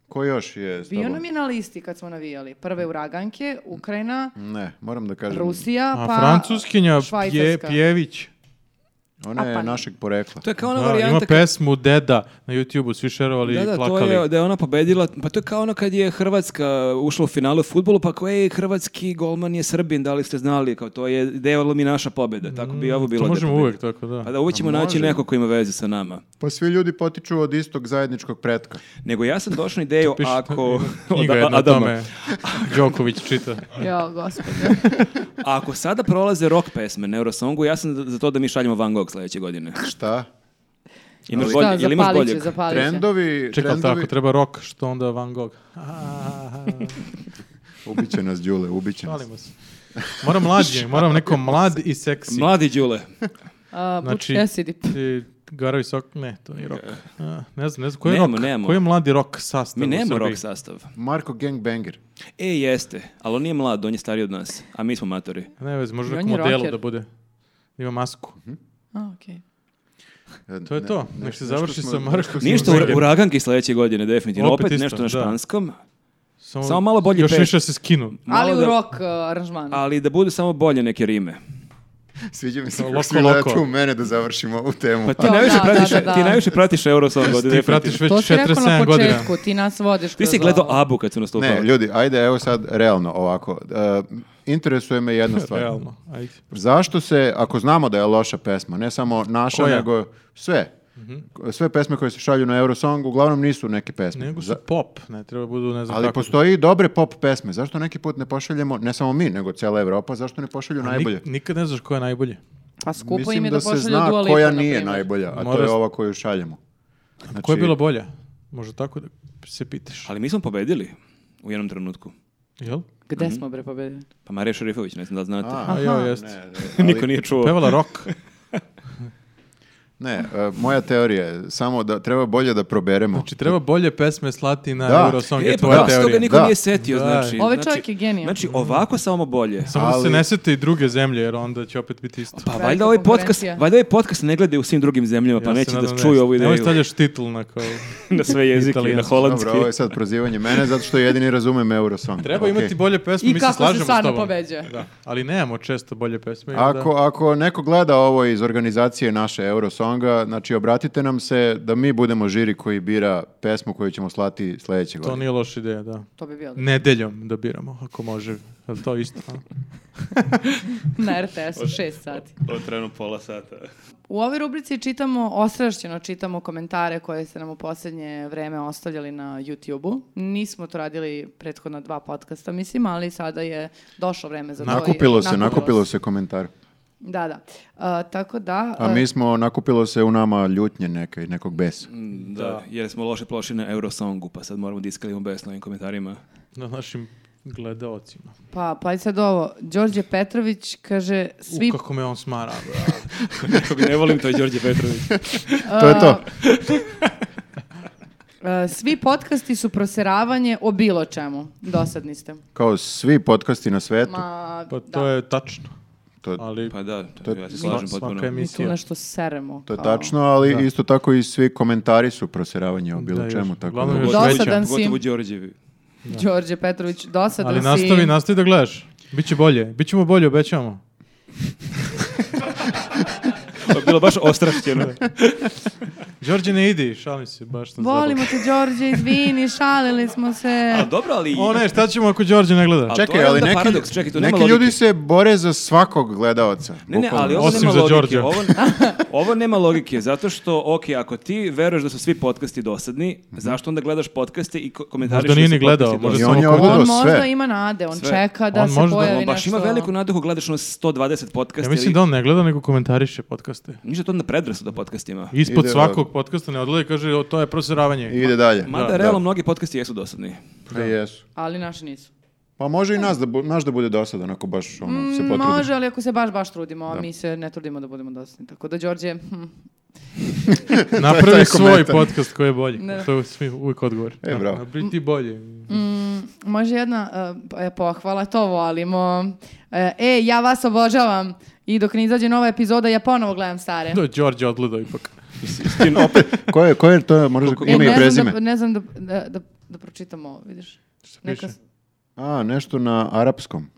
Ko još je s
Bio
tobom?
nam ono je na listi kad smo navijali. Prve uraganke, Ukrajina,
Ne, moram da kažem.
Rusija,
A
pa
francuskinja Pje,
Švajcarska.
Pjević.
Ona je
A, pa ne.
našeg porekla.
To je kao ona
Da, ima
varijanta... kad-
pesmu Deda na YouTube-u, svi šerovali
Da,
i
da, to
plakali.
je, da je ona pobedila, pa to je kao ono kad je Hrvatska ušla u finalu u futbolu, pa koji je hrvatski golman je Srbin, da li ste znali, kao to je delo mi naša pobeda, tako bi ovo bilo.
Mm, To
da je
možemo
pobeda.
uvek, tako da.
Pa da, uvijek ćemo naći neko ko ima veze sa nama.
Pa svi ljudi potiču od istog zajedničkog pretka.
Nego ja sam došao na
*laughs*
ideju
Piše
*laughs* ako...
knjiga
od
jedna o
Adama. *laughs*
tome. Đoković čita.
Jo, gospod.
Ako sada prolaze rock pesme na Eurosongu, ja sam za- za to da mi šaljemo Van Gogh sledeće godine.
Šta?
Imaš
Šta,
bolje, jel imaš
zapalit će,
boljeg?
zapalit će.
Trendovi,
Čekaj, ali
trendovi...
tako, treba rock, što onda Van Gogh. Ah,
Ubiće nas, Đule, ubiće nas.
Šalimo se.
*laughs*
Moram mlađi, moram neko mlad i seksi.
Mladi Đule.
A,
Znači,
Butch Cassidy.
I Garovi sok, ne, to nije
*laughs*
rok. A, ne znam, ne znam, koji je
Nemamo,
rok?
nemamo.
Koji je mladi rok sastav
Mi
u
nemamo
Srbiji?
rock sastav.
Marko Gangbanger.
E, jeste, ali on nije mlad, on je stariji od nas, a mi smo matori.
Ne, vezi,
I
može
on
nekom
je
modelu
rocker.
da bude. Da Ima masku.
Mhm.
A, okej.
E,
To je
ne-
to.
ne-
Nek se
nešto
završi
smo-
sa Markom.
Ništa u, u Raganki sledeće godine, definitivno.
Opet
Opet,
isto,
nešto na
da.
španskom, samo malo bolji
Još
pes.
više se
*laughs*
skinu.
Ali
Malo
u
da-
rock uh, aranžmanu.
ali da budu samo bolje neke rime.
*laughs* Sviđa mi se
Loko,
kako svi gledate
loko.
u mene da završimo ovu temu.
Pa ti,
To,
najviše,
da,
pratiš,
da, da, da.
ti najviše pratiš Eurosong godine,
Ti
definitivno.
pratiš već
To si rekao
47
na
godina.
početku, ti nas vodiš.
Ti
kroz
si gledao
ovo.
Abu kad su nastupali.
Ne, ljudi, ajde, evo sad, realno ovako. E, interesuje me jedna stvar.
Realno, ajde.
Zašto se, ako znamo da je loša pesma, ne samo naša,
Koja? Mhm.
nego sve, sve pesme koje se šalju na Eurosong, uglavnom nisu neke pesme.
Nego su
Za-
pop, ne treba budu, ne znam
ali
kako.
postoji i dobre pop pesme. Zašto neki put ne pošaljemo, ne samo mi, nego cijela Evropa, zašto ne pošalju
Nik-
najbolje?
nikad ne znaš koja je najbolje.
Pa skupo
Mislim
im je da,
da se
pošalju
zna
Dua Lipu,
koja
na
nije
primer.
najbolja, a to
Mora
je
s-
ova koju šaljemo. Znači,
Koja je bila bolja? Možda tako da se pitaš.
Ali mi smo pobedili u jednom trenutku.
Jel?
Gde
Mhm.
smo bre pobedili?
Pa Marija Šerifović, ne znam da li znate.
*laughs*
A,
A ja,
Aha.
jest.
Ne,
*laughs* Niko nije čuo.
Pevala rock.
ne, e, moja teorija je samo da treba bolje da proberemo.
Znači, treba bolje pesme slati na
Da.
Eurosong,
E,
je
pa
tvoja
kako se toga
teorija.
niko
Da.
nije setio,
Da.
znači.
Ovaj
znači-
čovjek je genijan.
Znači, ovako samo bolje.
Samo da se
Ali-
ne sete i druge zemlje, jer onda će opet biti isto.
Pa
Velika
valjda ovaj podcast,
konkurencija.
valjda ovaj podcast ne gleda u svim drugim zemljama, pa
Ja se
neće
nadam
da čuju
neće.
ovu
Nemoj
ideju
stavljaš titl na kao...
*laughs* na sve jezike, na
Italijanski.
holandski.
Dobro, ovo je sad prozivanje mene, zato što jedini razumem Eurosong.
Treba
Okej.
imati bolje pesme,
I
mi se
kako se
slažemo s tobom.
stvarno pobeđuje.
Da. Ali nemamo često bolje pesme. i onda-
Ako, ako neko gleda ovo iz organizacije naše Eurosonga, znači obratite nam se da mi budemo žiri koji bira pesmu koju ćemo slati sledeće
To
godine.
nije loša ideja, da.
To bi
*laughs*
bilo
Nedeljom da biramo, ako može. Je li to isto? a?
na RTS-u 6 sati.
Od trenu pola sata.
U ovoj rubrici čitamo, ostrašćeno čitamo komentare koje ste nam u posljednje vreme ostavljali na YouTube-u. Nismo to radili prethodna dva podcasta, mislim, ali sada je došlo vreme za to. i-
Nakupilo se, nakupilo se komentar.
Da, da. A, tako da... e,
A mi smo, nakupilo se u nama ljutnje neke i nekog besa.
Da, jer smo loše ploši na Eurosongu, pa sad moramo da iskalimo bez novim komentarima. *laughs*
Na našim gledaocima.
Pa, pa i sad ovo. Đorđe Petrović kaže, svi...
U, kako me on
*laughs*
smara. bro.
Nekog ne volim, to je Đorđe Petrović.
To je to.
a, e, svi podcasti su proseravanje o bilo čemu. Dosadni ste.
Kao svi podcasti na svetu.
Ma,
Pa
da.
to je tačno.
To,
Ali
Pa da, to,
je
ja se
sva-
slažem
svaka
potpuno.
Mi tu
emisija.
nešto seremo.
to je
kao-
tačno, ali
Da.
isto tako i svi komentari su proseravanje o bilo
Da, još.
čemu. Tako
Uglavnom
da-
još
Dosadan
veća.
si.
Pogotovo Đorđevi.
Đorđe Petrović, dosadan
Ali
si.
nastavi, nastavi da gledaš. Biće bolje. Bićemo bolje, obećamo.
Pa bilo baš
*laughs*
ostrašćeno.
Đorđe ne idi, šalim se, baš sam
Volimo te, Đorđe, izvini, šalili smo se.
A dobro, ali...
zabavio. O ne, šta ćemo ako Đorđe ne gleda?
A
Čekaj,
to je
ali
onda
neki,
paradoks, čekaj, to nema
neki
logike.
ljudi se bore za svakog gledaoca.
Ne, ne,
bukvalno.
ali ovo
Osim
nema
za
logike.
Đorđa.
*laughs* Ovo, ovo nema logike, zato što, ok, ako ti veruješ da su svi podcasti dosadni, zašto onda gledaš podcaste i ko- komentariš
Možda nije
da su
ni gledao,
podcasti
možda
I
dosadni?
samo
on je ovdje
ko-
On
do
možda
sve.
ima nade, on
Sve.
čeka da
On
se
možda-
pojavi
On baš
nešto.
ima veliku nadehu, gledaš ono 120 podcasta.
Ja mislim
ili-
da on ne gleda, nego komentariše podcaste.
Ništa to na predrasuda podcastima.
Ispod
Ide,
svakog podcasta ne odgleda i kaže o, to je proseravanje. *laughs*
I ide dalje.
Mada,
Da,
realno, mnogi podcasti jesu dosadni.
da, jesu.
Ali naši nisu.
Pa može i nas da, bu- naš da bude dosadan ako baš ono, se potrudi. *laughs*
Mm, Može, ali ako se baš, baš trudimo, a mi se ne trudimo da budemo dosadni. Tako da, Đorđe, hm,
To je taj
Napravi svoj
komentar.
podcast koji je bolji.
Ne.
To je svi uvijek odgovor.
E, bravo.
Napravi ti bolje.
Mm. može jedna uh, p- e, pohvala, to volimo. E, e, ja vas obožavam i dok ne izađe nova epizoda, ja ponovo gledam stare.
To je Đorđe odgledao ipak.
Ko je, ko je to? Možeš
Ko- ko-
ime i
E, ne,
prezime.
znam da, ne znam da, da, da, da pročitam ovo, vidiš. Neka
piše?
s-
A, nešto na arapskom.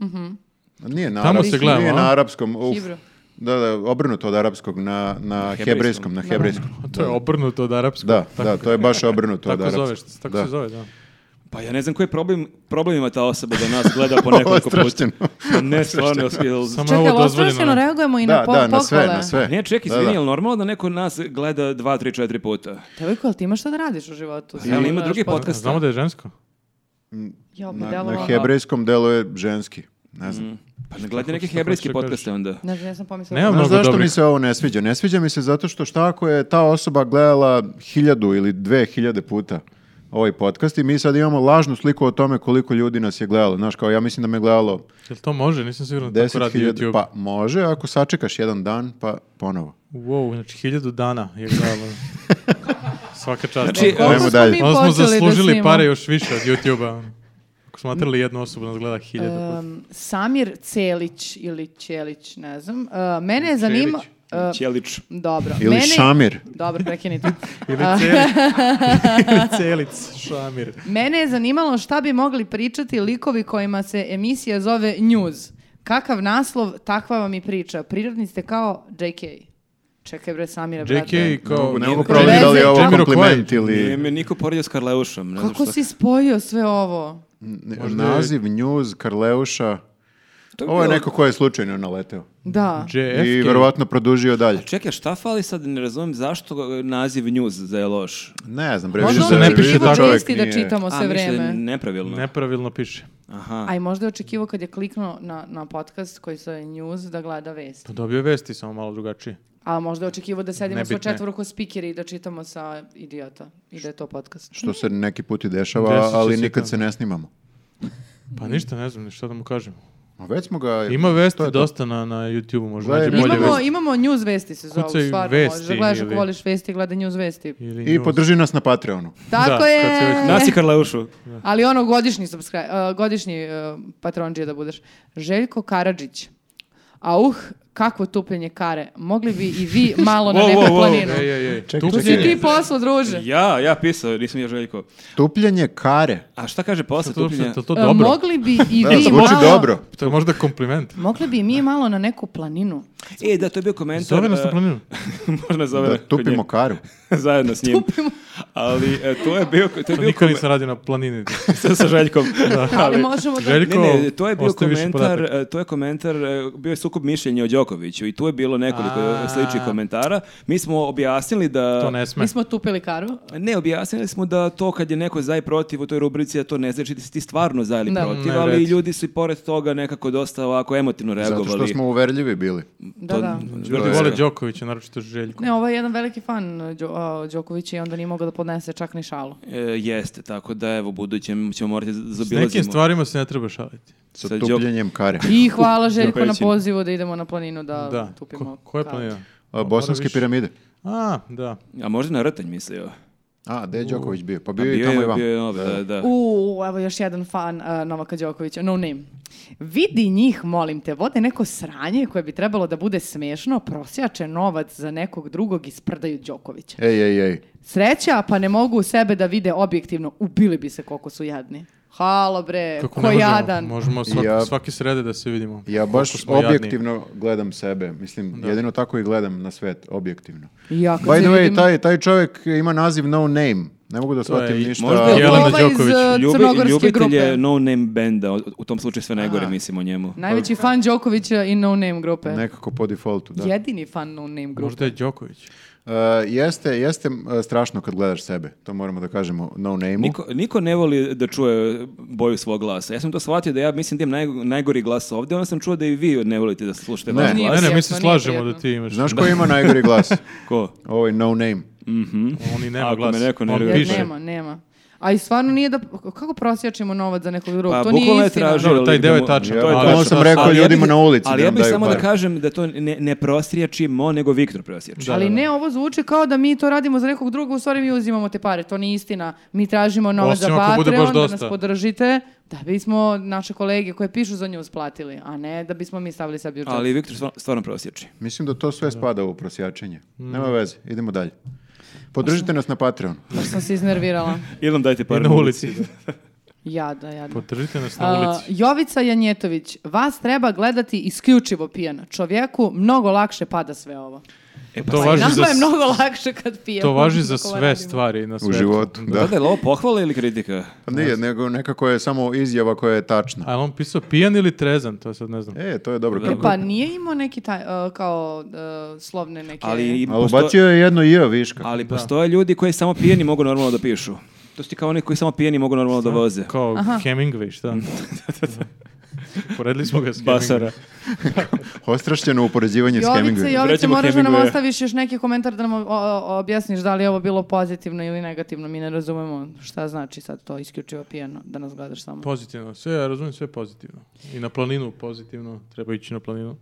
Nije na
Tamo
arapskom.
se gledamo,
Nije
a?
na arapskom. Uf.
Mhm. Hibru.
Da, da, obrnuto od arapskog na, na
hebrejskom.
hebrejskom. Na hebrejskom.
Pa To je obrnuto od arapskog.
Da, da, to je baš obrnuto od
Tako
arapskog.
zoveš, tako
Da. *laughs*
se zove, da.
Pa ja ne znam koji je problem, problem ima ta osoba da nas gleda
*laughs*
po nekoliko puta.
Ostrašćeno.
Ne, stvarno, jel-
Samo je
Čekaj,
ovo
ali
dozvoljeno.
ostrašćeno
ne?
reagujemo i
Da,
na po,
da, na sve,
pohvale.
na sve.
Ne, čekaj,
Da, da.
izvini, jel normalno da neko nas gleda dva, tri, četiri puta? Pa
Devojko, ali ti imaš šta da radiš u životu?
Ja, ali ima
Znaš,
drugi
pa-
podcast. podcasta.
Znamo da je žensko.
Ja, opet
Na,
delovalo-
na hebrejskom delu je ženski. Ne znam.
Pa ne gledaj neke
Šta
hebrejske
hoćeš da
podcaste onda.
Ne znam, ja sam pomislila.
Nemam
Znaš
mnogo
zašto
dobrih.
mi se ovo ne sviđa? Ne sviđa mi se zato što šta ako je ta osoba gledala hiljadu ili dve hiljade puta ovaj podcast i mi sad imamo lažnu sliku o tome koliko ljudi nas je gledalo. Znaš, kao ja mislim da me gledalo
Jel to može? Nisam siguran da tako radi
10.000,
YouTube.
pa može ako sačekaš jedan dan, pa ponovo.
Wow, znači hiljadu dana je gledalo. Svaka čast.
Znači,
Koliko
Ajmo
smo
dalje.
mi
Onda Ono smo
počeli da
zaslužili
snimamo?
pare još više od YouTube-a. Ako smatrali jednu osobu nas gleda hiljadu. puta.
Um, Samir Celić ili Ćelić, ne znam. Uh, mene je
Čelić.
zanima... uh,
Ćelić.
E.
dobro.
Ili
mene...
Šamir.
Dobro, prekinite.
Ili
*laughs*
celic. Ili celic. Šamir.
Mene je zanimalo šta bi mogli pričati likovi kojima se emisija zove News. Kakav naslov, takva vam i priča. Prirodni ste kao JK. Čekaj bre, Samira, brate.
JK kao...
Ne mogu
Nije-
provjeriti da li je ovo
Jamiroquai.
kompliment
Nije
ili
me niko poredio s Karleušom. Ne znam
Kako
šta.
si spojio sve ovo?
n-
Možda je-
naziv, news, Karleuša.
To bi
Ovo je
bilo-
neko ko je slučajno naleteo.
Da.
JFK.
I verovatno produžio dalje.
A čekaj, šta fali sad? Ne razumijem zašto e, naziv news da je loš.
Ne znam, bre,
Možda
vidiš
se
ono
da-
ne
ne
piše
vidiš da
tako.
čovjek
listi da
nije-
čitamo sve
A, misle,
vreme.
nepravilno.
Nepravilno piše.
Aha.
A i možda je očekivao kad je kliknuo na, na podcast koji se zove News da gleda vest.
Pa dobio je vesti, samo malo drugačije.
A možda je očekivao da sedimo sve
Nebitne.
četvoro ko spikeri i da čitamo sa idiota i da je to podcast.
Što se neki put i dešava,
Desit će
ali
se
nikad
to.
se ne snimamo.
Pa
Mm.
ništa, ne znam, šta da mu kažem.
A Već smo ga...
Ima
to
vesti
je to.
dosta na, na YouTube-u, možda
Gledaj,
nađe bolje
Imamo,
vesti.
imamo news vesti se zovu,
Kucaj
stvarno.
vesti
možda gledaš ako
ili-
voliš vesti, gleda news vesti.
Ili
I
news.
podrži nas na Patreonu.
Tako
kad se
je!
već-
Nasi Karleušu.
Ali ono godišnji, subscribe, uh, godišnji uh, patronđija da budeš. Željko Karadžić. A uh, kakvo tupljenje kare. Mogli bi i vi malo na
Wow,
neku
wow, wow.
planinu.
Ej, ej, ej.
Čekaj,
Tu
Tu
čekaj.
si
se-
ti posao, druže.
Ja, ja pisao, nisam ja Željko.
Tupljenje kare.
A šta kaže posle
To, uopšte-
tupljenja?
to, to
Uh,
dobro.
mogli bi i
Da,
vi
zvuči
malo...
dobro.
To je možda kompliment.
Mogli bi i mi malo na neku planinu.
E, da, to je bio komentar.
Zove nas na
e,
planinu.
*laughs* Možda nas zove
Da
kod njega.
tupimo karu.
*laughs* Zajedno s njim. Ali e, to je bio... To je
To
bio
nikad
kome-
nisam radio na
*laughs*
planini.
sa, sa *laughs* Željkom.
Ali možemo da...
Željko,
Ne, ne, to je bio
ostavi više
komentar,
podataka.
e, to je komentar, e, bio je sukob mišljenja o Đokoviću i tu je bilo nekoliko
A.
sličnih komentara. Mi smo objasnili da...
To ne sme.
Mi smo tupili karu.
Ne, objasnili smo da to kad je neko za i protiv u toj rubrici, da to ne znači da si ti stvarno za ili
Da.
protiv,
Ne,
ali
red.
ljudi su i pored toga nekako dosta ovako emotivno reagovali.
Zato što smo uverljivi bili.
Da,
To-
da.
Ljudi
to je-
vole Đokovića, naročito Željko.
Ne, ovo je jedan veliki fan uh, Đo, uh, Đokovića i onda nije mogao da podnese čak ni šalu.
E, jeste, tako da evo, buduće ćemo morati da
S
zabilazimo.
nekim stvarima se ne treba šaliti.
Sa
Sa Đok-
tupljenjem kare.
I hvala Željko na
Đokovićem.
pozivu da idemo na planinu da,
Da.
tupimo.
Ko, ko je
karu.
planina?
A, Bosanske
Moraviš.
piramide.
A, da.
A možda na Rtanj mislio.
A, gde je Đoković bio? Pa
A
bio je i tamo i vam.
bio je ovdje, da, da.
U, evo još jedan fan uh, Novaka Đokovića, no name. Vidi njih, molim te, vode neko sranje koje bi trebalo da bude smešno, prosjače novac za nekog drugog i sprdaju Đokovića.
Ej, ej, ej.
Sreća, pa ne mogu sebe da vide objektivno, ubili bi se koliko su jadni. Halo bre,
Kako
E, ko
ne možemo?
jadan.
Možemo svak,
Ja-
svaki srede da se vidimo.
Ja baš
smo jadni.
objektivno gledam sebe. Mislim, jedino tako i gledam na svet, objektivno.
I ja kad
By
se
the way,
vidim-
taj, taj čovjek ima naziv No Name. Ne mogu da shvatim
je i-
ništa.
možda je-
Jelena
Ovaj iz,
Đoković.
uh,
Ljubi-
crnogorske
ljubitelj
grupe.
je no name benda, u- u tom slučaju sve najgore mislim o njemu.
Najveći fan Đokovića i No Name grupe.
Nekako po defaultu, da.
Jedini fan No Name grupe.
Možda je Đoković.
Uh, jeste, jeste uh, strašno kad gledaš sebe. To moramo da kažemo No Name-u.
Niko, niko ne voli da čuje boju svog glasa. Ja sam to shvatio da ja mislim da imam naj, najgori glas ovdje, onda sam čuo da i vi ne volite da slušate vaš
Ne.
glas.
Nije
Ne, ne, mi se
prijetno, nije
slažemo da
prijetno.
ti imaš.
Znaš ko ima najgori glas?
Ko?
Ovaj No Name.
On i nema
Ako
glas.
me neko ne
On
vjeruje.
Jer
piše.
nema, nema. A i stvarno nije da... Kako prosjačimo novac za nekog drugog?
Pa,
to
bukvalno
nije
je
istina.
tražio.
Dobro, taj
lik da
deo
mu-
je tačan.
Ja,
To je
ono
tačno.
sam rekao
Ali ja bih-
ljudima na ulici
Ali
da
ja
im
bih
daju
samo da
pare.
kažem da to ne, ne prostriječi Mo, nego Viktor prostriječi.
Da,
Ali
da, da.
ne, ovo zvuči kao da mi to radimo za nekog drugog, u stvari mi uzimamo te pare, to nije istina. Mi tražimo novac za
Osim ako bude
Patreon,
baš
da nas
dosta.
podržite, da bismo naše kolege koje pišu za nju splatili, a ne da bismo mi stavili sebi u džep.
Ali Viktor stvar- stvarno prosječi.
Mislim da to sve spada u prosjačenje. Nema veze, idemo dalje. Podržite nas na Patreon.
Baš sam se iznervirala. *laughs*
Ili nam dajte
I
par
na ulici.
Jada, jada.
Potržite nas na
A,
ulici.
Jovica Janjetović, vas treba gledati isključivo pijana. Čovjeku mnogo lakše pada sve ovo.
E,
To
pa,
važi
Nama
za
je
s-
mnogo lakše kad pijemo.
To važi za
Tako
sve
radimo.
stvari na
U
svijetu.
životu, da.
Tada je li ovo pohvala ili kritika?
Pa Nije, nego nekako je samo izjava koja je tačna.
A je on pisao pijan ili trezan, to sad ne znam.
E, to je dobro.
Da.
E,
Kako?
pa nije imao neki taj, uh, kao uh, slovne neke...
Ali,
Ali
i posto-
ubacio je jedno J viška.
ali postoje ljudi koji samo pijeni mogu normalno da pišu. To su ti kao oni koji samo pijeni mogu normalno da voze.
Mm. Kao Hemingway, šta? *laughs* Poredili smo ga s Hemingway. *laughs*
Basara.
Ostrašćeno upoređivanje s
Jovice,
Hemingwayom.
Jovice,
Vraćamo
moraš da nam
Hemingwaya.
ostaviš još neki komentar da nam o- o- objasniš da li je ovo bilo pozitivno ili negativno. Mi ne razumemo šta znači sad to isključivo pijano, da nas gledaš samo.
Pa,
Pozitivno, sve, ja razumijem, sve pozitivno. I na planinu pozitivno, treba ići na planinu.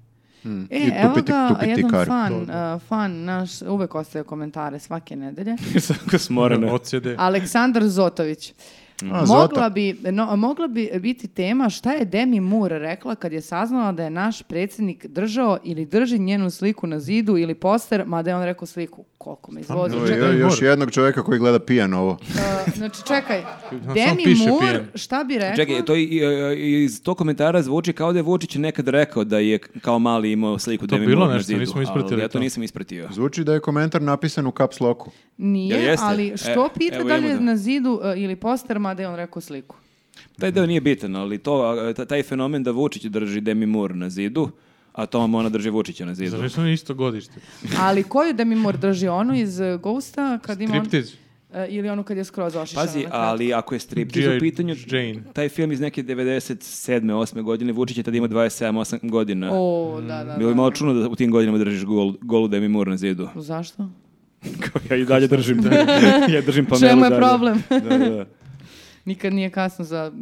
E,
I
evo
tupiti-
ga,
tupiti
jedan
kar.
fan, uh, fan naš, uvek ostaje komentare svake nedelje.
Sako smorano.
Ocjede.
Aleksandar Zotović.
A,
Mogla
Zota.
bi, no, mogla bi biti tema šta je Demi Moore rekla kad je saznala da je naš predsjednik držao ili drži njenu sliku na zidu ili poster, mada je on rekao sliku. Koliko me izvodi.
Evo,
Čekaj,
jo- još
mora.
jednog čovjeka koji gleda pijan ovo.
Uh, znači čekaj,
Samo
Demi
piše
Moore,
pijen.
šta bi rekla?
Čekaj, to i- i- i- iz tog komentara zvuči kao da je Vučić nekad rekao da je kao mali imao sliku
To
Demi
bilo
Moore na
nešto,
zidu,
nismo ispratili
ali ja to
to.
nisam ispratio.
Zvuči da je komentar napisan u caps locku.
Nije,
Jel jeste?
ali što
E,
pita
evo
da li
imamo
je
ga.
na zidu uh, ili poster, mada je on rekao sliku.
Taj deo nije bitan, ali to, a, ta- taj fenomen da Vučić drži Demi Moore na zidu, a Tom ona drži Vučića na zidu.
Zar nisu oni isto godište?
Ali koju Demi Moore drži? Onu iz uh, Ghosta kad ima on-
Striptiz.
uh, ili onu kad je skroz ošišana.
Pazi,
na kraju?
ali ako je striptiz
G.I.
u pitanju,
Jane.
taj film iz neke 97. 8. godine, Vučić je tada imao 27, 8 godina.
O, da, da,
Bilo bi
da.
malo čudno da u tim godinama držiš gol, golu Demi Moore na zidu.
Zašto?
Kao *laughs* ja i dalje *laughs* držim. ja držim Pamelu
Čemu je
Pa dalje.
problem? *laughs*
Da, da.
Nikad nije kasno za...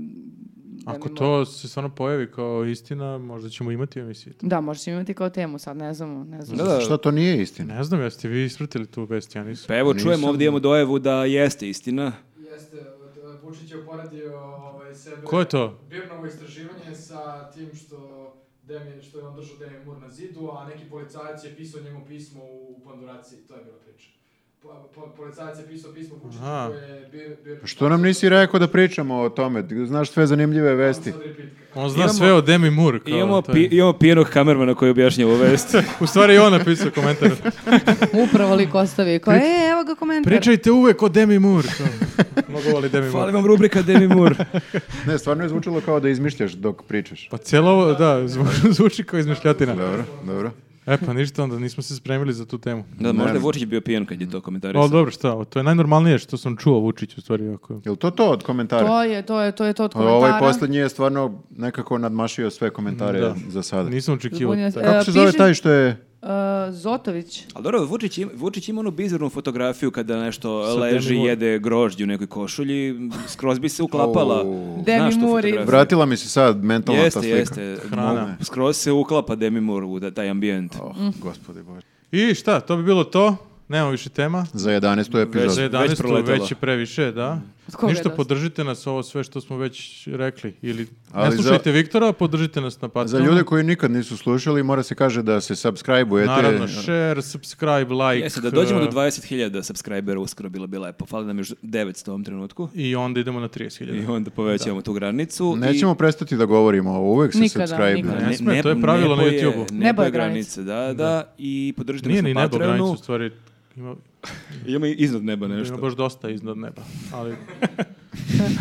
Ako to se stvarno pojavi kao istina, možda ćemo imati emisiju.
Da, možeš imati kao temu sad, ne znamo, ne znamo.
Da, da.
Šta to nije istina?
Ne znam, jeste vi ispratili tu vest, ja nisam.
Pa evo, čujem
Nisam.
ovdje imamo dojevu da jeste istina.
Jeste, od- eh, Vučić je poredio ovaj, sebe...
Ko je to?
Birnovo istraživanje sa tim što, Demi, što je on držao Demi Moore na zidu, a neki policajac je pisao njemu pismo u panduraciji, to je bila priča. Po, po, policajac je pisao pismo Vučiću
Aha.
koje je... Bir, bir,
Pa Što nam nisi rekao da pričamo o tome? Znaš sve zanimljive vesti.
Sad repeatka.
On zna
Imamo-
sve o Demi Moore. Kao,
Imamo,
to
pi,
je-
imamo pijenog kamermana koji objašnja ovu *laughs* vest.
*laughs* U stvari je on napisao komentar.
Upravo lik ostavi kao, e, evo ga komentar.
*laughs* Pričajte uvek o Demi Moore. kao. Mnogo voli Demi
Hvala
Moore.
vam rubrika Demi Moore.
Ne, stvarno je zvučilo kao da izmišljaš dok pričaš.
Pa cijelo ovo, da, zvu- *laughs* zvuči kao izmišljotina.
Dobro, dobro.
E pa ništa, onda nismo se spremili za tu temu.
Da, možda je Vučić bio pijen kad je to
O,
komentarisao.
dobro, šta, to je najnormalnije što sam čuo Vučić u stvari. Ako...
Jel to to od komentara?
To je, to je, to je to od
A
komentara.
Ovaj posljednji je stvarno nekako nadmašio sve komentare
Da.
za sada.
Nisam očekivao.
Zbunio se.
taj-
Kako
E,
se zove
piše-
taj što je...
Uh, Zotović.
Ali dobro, Vučić, im, Vučić ima onu bizarnu fotografiju kada nešto
Sa
leži,
Demi Moore.
jede grožđe u nekoj košulji, skroz bi se uklapala.
O.
Demi
Znaš tu
Moore i-
fotografiju?
Vratila mi se sad mentalna ta
Jeste,
slika.
jeste.
Hrana.
Mogu- Skroz se uklapa Demi Moore u da- taj ambijent.
Oh,
Mhm.
gospode Bože.
I šta, to bi bilo to. Nema više tema.
Za 11.
Za
epizodu.
Već
11.
proletelo.
već je previše, da.
Od
Ništa,
koga da?
podržite nas ovo sve što smo već rekli. Ili ne
Ali za-
slušajte Viktora, podržite nas na Patreonu.
Za ljude koji nikad nisu slušali, mora se kaže da se subscribe-ujete.
Naravno, share, subscribe, like.
Jeste, E da dođemo do
eh,
20.000 subscribera uskoro, bilo bi lepo. pa Fali nam još 900 u ovom trenutku.
I onda idemo na 30.000.
I onda povećavamo tu granicu. i-
Nećemo prestati da govorimo ovo, uvek se
Nikada,
subscribe
nikada.
Ne sme, to je pravilo na
nebo je-
YouTube-u.
Nebo je granice, da, da. I podržite
Nije
nas
ni
na
nebo granicu,
Patreonu.
u stvari. Ima,
Ima i iznad neba
ima
nešto.
baš dosta iznad neba. Ali, *laughs*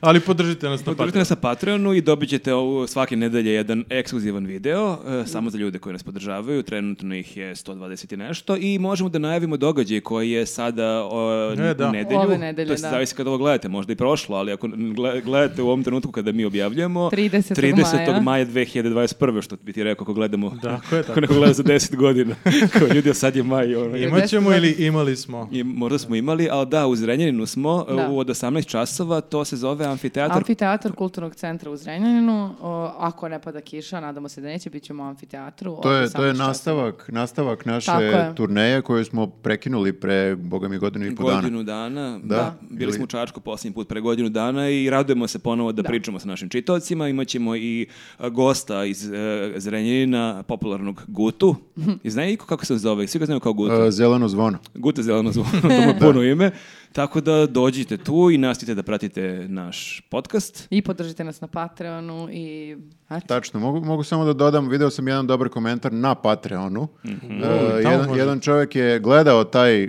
ali podržite nas na
Podržite
Patreonu.
nas na Patreonu i dobit ćete ovu svake nedelje jedan ekskluzivan video, e, samo za ljude koji nas podržavaju, trenutno ih je 120 i nešto i možemo da najavimo događaj koji je sada o,
E, da.
u nedelju.
Ove nedelje,
to jest,
da.
zavisi kada ovo gledate, možda i prošlo, ali ako gle- gledate u ovom trenutku kada mi objavljamo,
30.
30.
maja.
maja 2021. što bi ti rekao ako gledamo,
Da, ako je tako.
*laughs* ako neko gleda za 10
*laughs*
godina, kao ljudi, a sad je maj. Ono,
Imaćemo ili imali smo.
i možda smo imali, ali da, u Zrenjaninu smo
Da.
u od 18 časova, to se zove amfiteatar
Amfiteatar kulturnog centra u Zrenjaninu. O, ako ne pada kiša, nadamo se da neće, bit ćemo u amfiteatru.
To
od
je, to je
18
nastavak, nastavak
Tako
naše
je.
turneje koju smo prekinuli pre, boga mi, godinu i po dana. E,
godinu dana.
Da.
Bili
Ili-
smo u Čačku posljednji put pre godinu dana i radujemo se ponovo da, pričamo sa našim čitaocima. Imaćemo i a, gosta iz e, Zrenjanina, popularnog Gutu. I zna iko kako se zove, svi ga znaju kao Gutu.
E, zeleno zvono.
Gute
*laughs*
zeleno zvono, to mu je puno ime. Tako da dođite tu i nastavite da pratite naš podcast.
I podržite nas na Patreonu i... Eto.
Tačno, mogu, mogu samo da dodam, video sam jedan dobar komentar na Patreonu. E,
Oj, tamo
jedan,
može.
jedan čovjek je gledao taj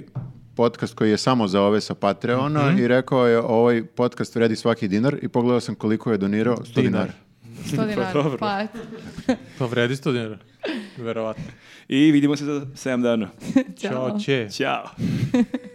podcast koji je samo za ove sa Patreona
Mhm.
i rekao je ovaj podcast vredi svaki dinar i pogledao sam koliko je donirao, 100 dinara.
100
Dinar.
dinara, pa *laughs* eto.
Pa vredi 100 dinara. Verovatno.
I vidimo se za 7 dana.
Ćao.
Ćao, će.
Ćao!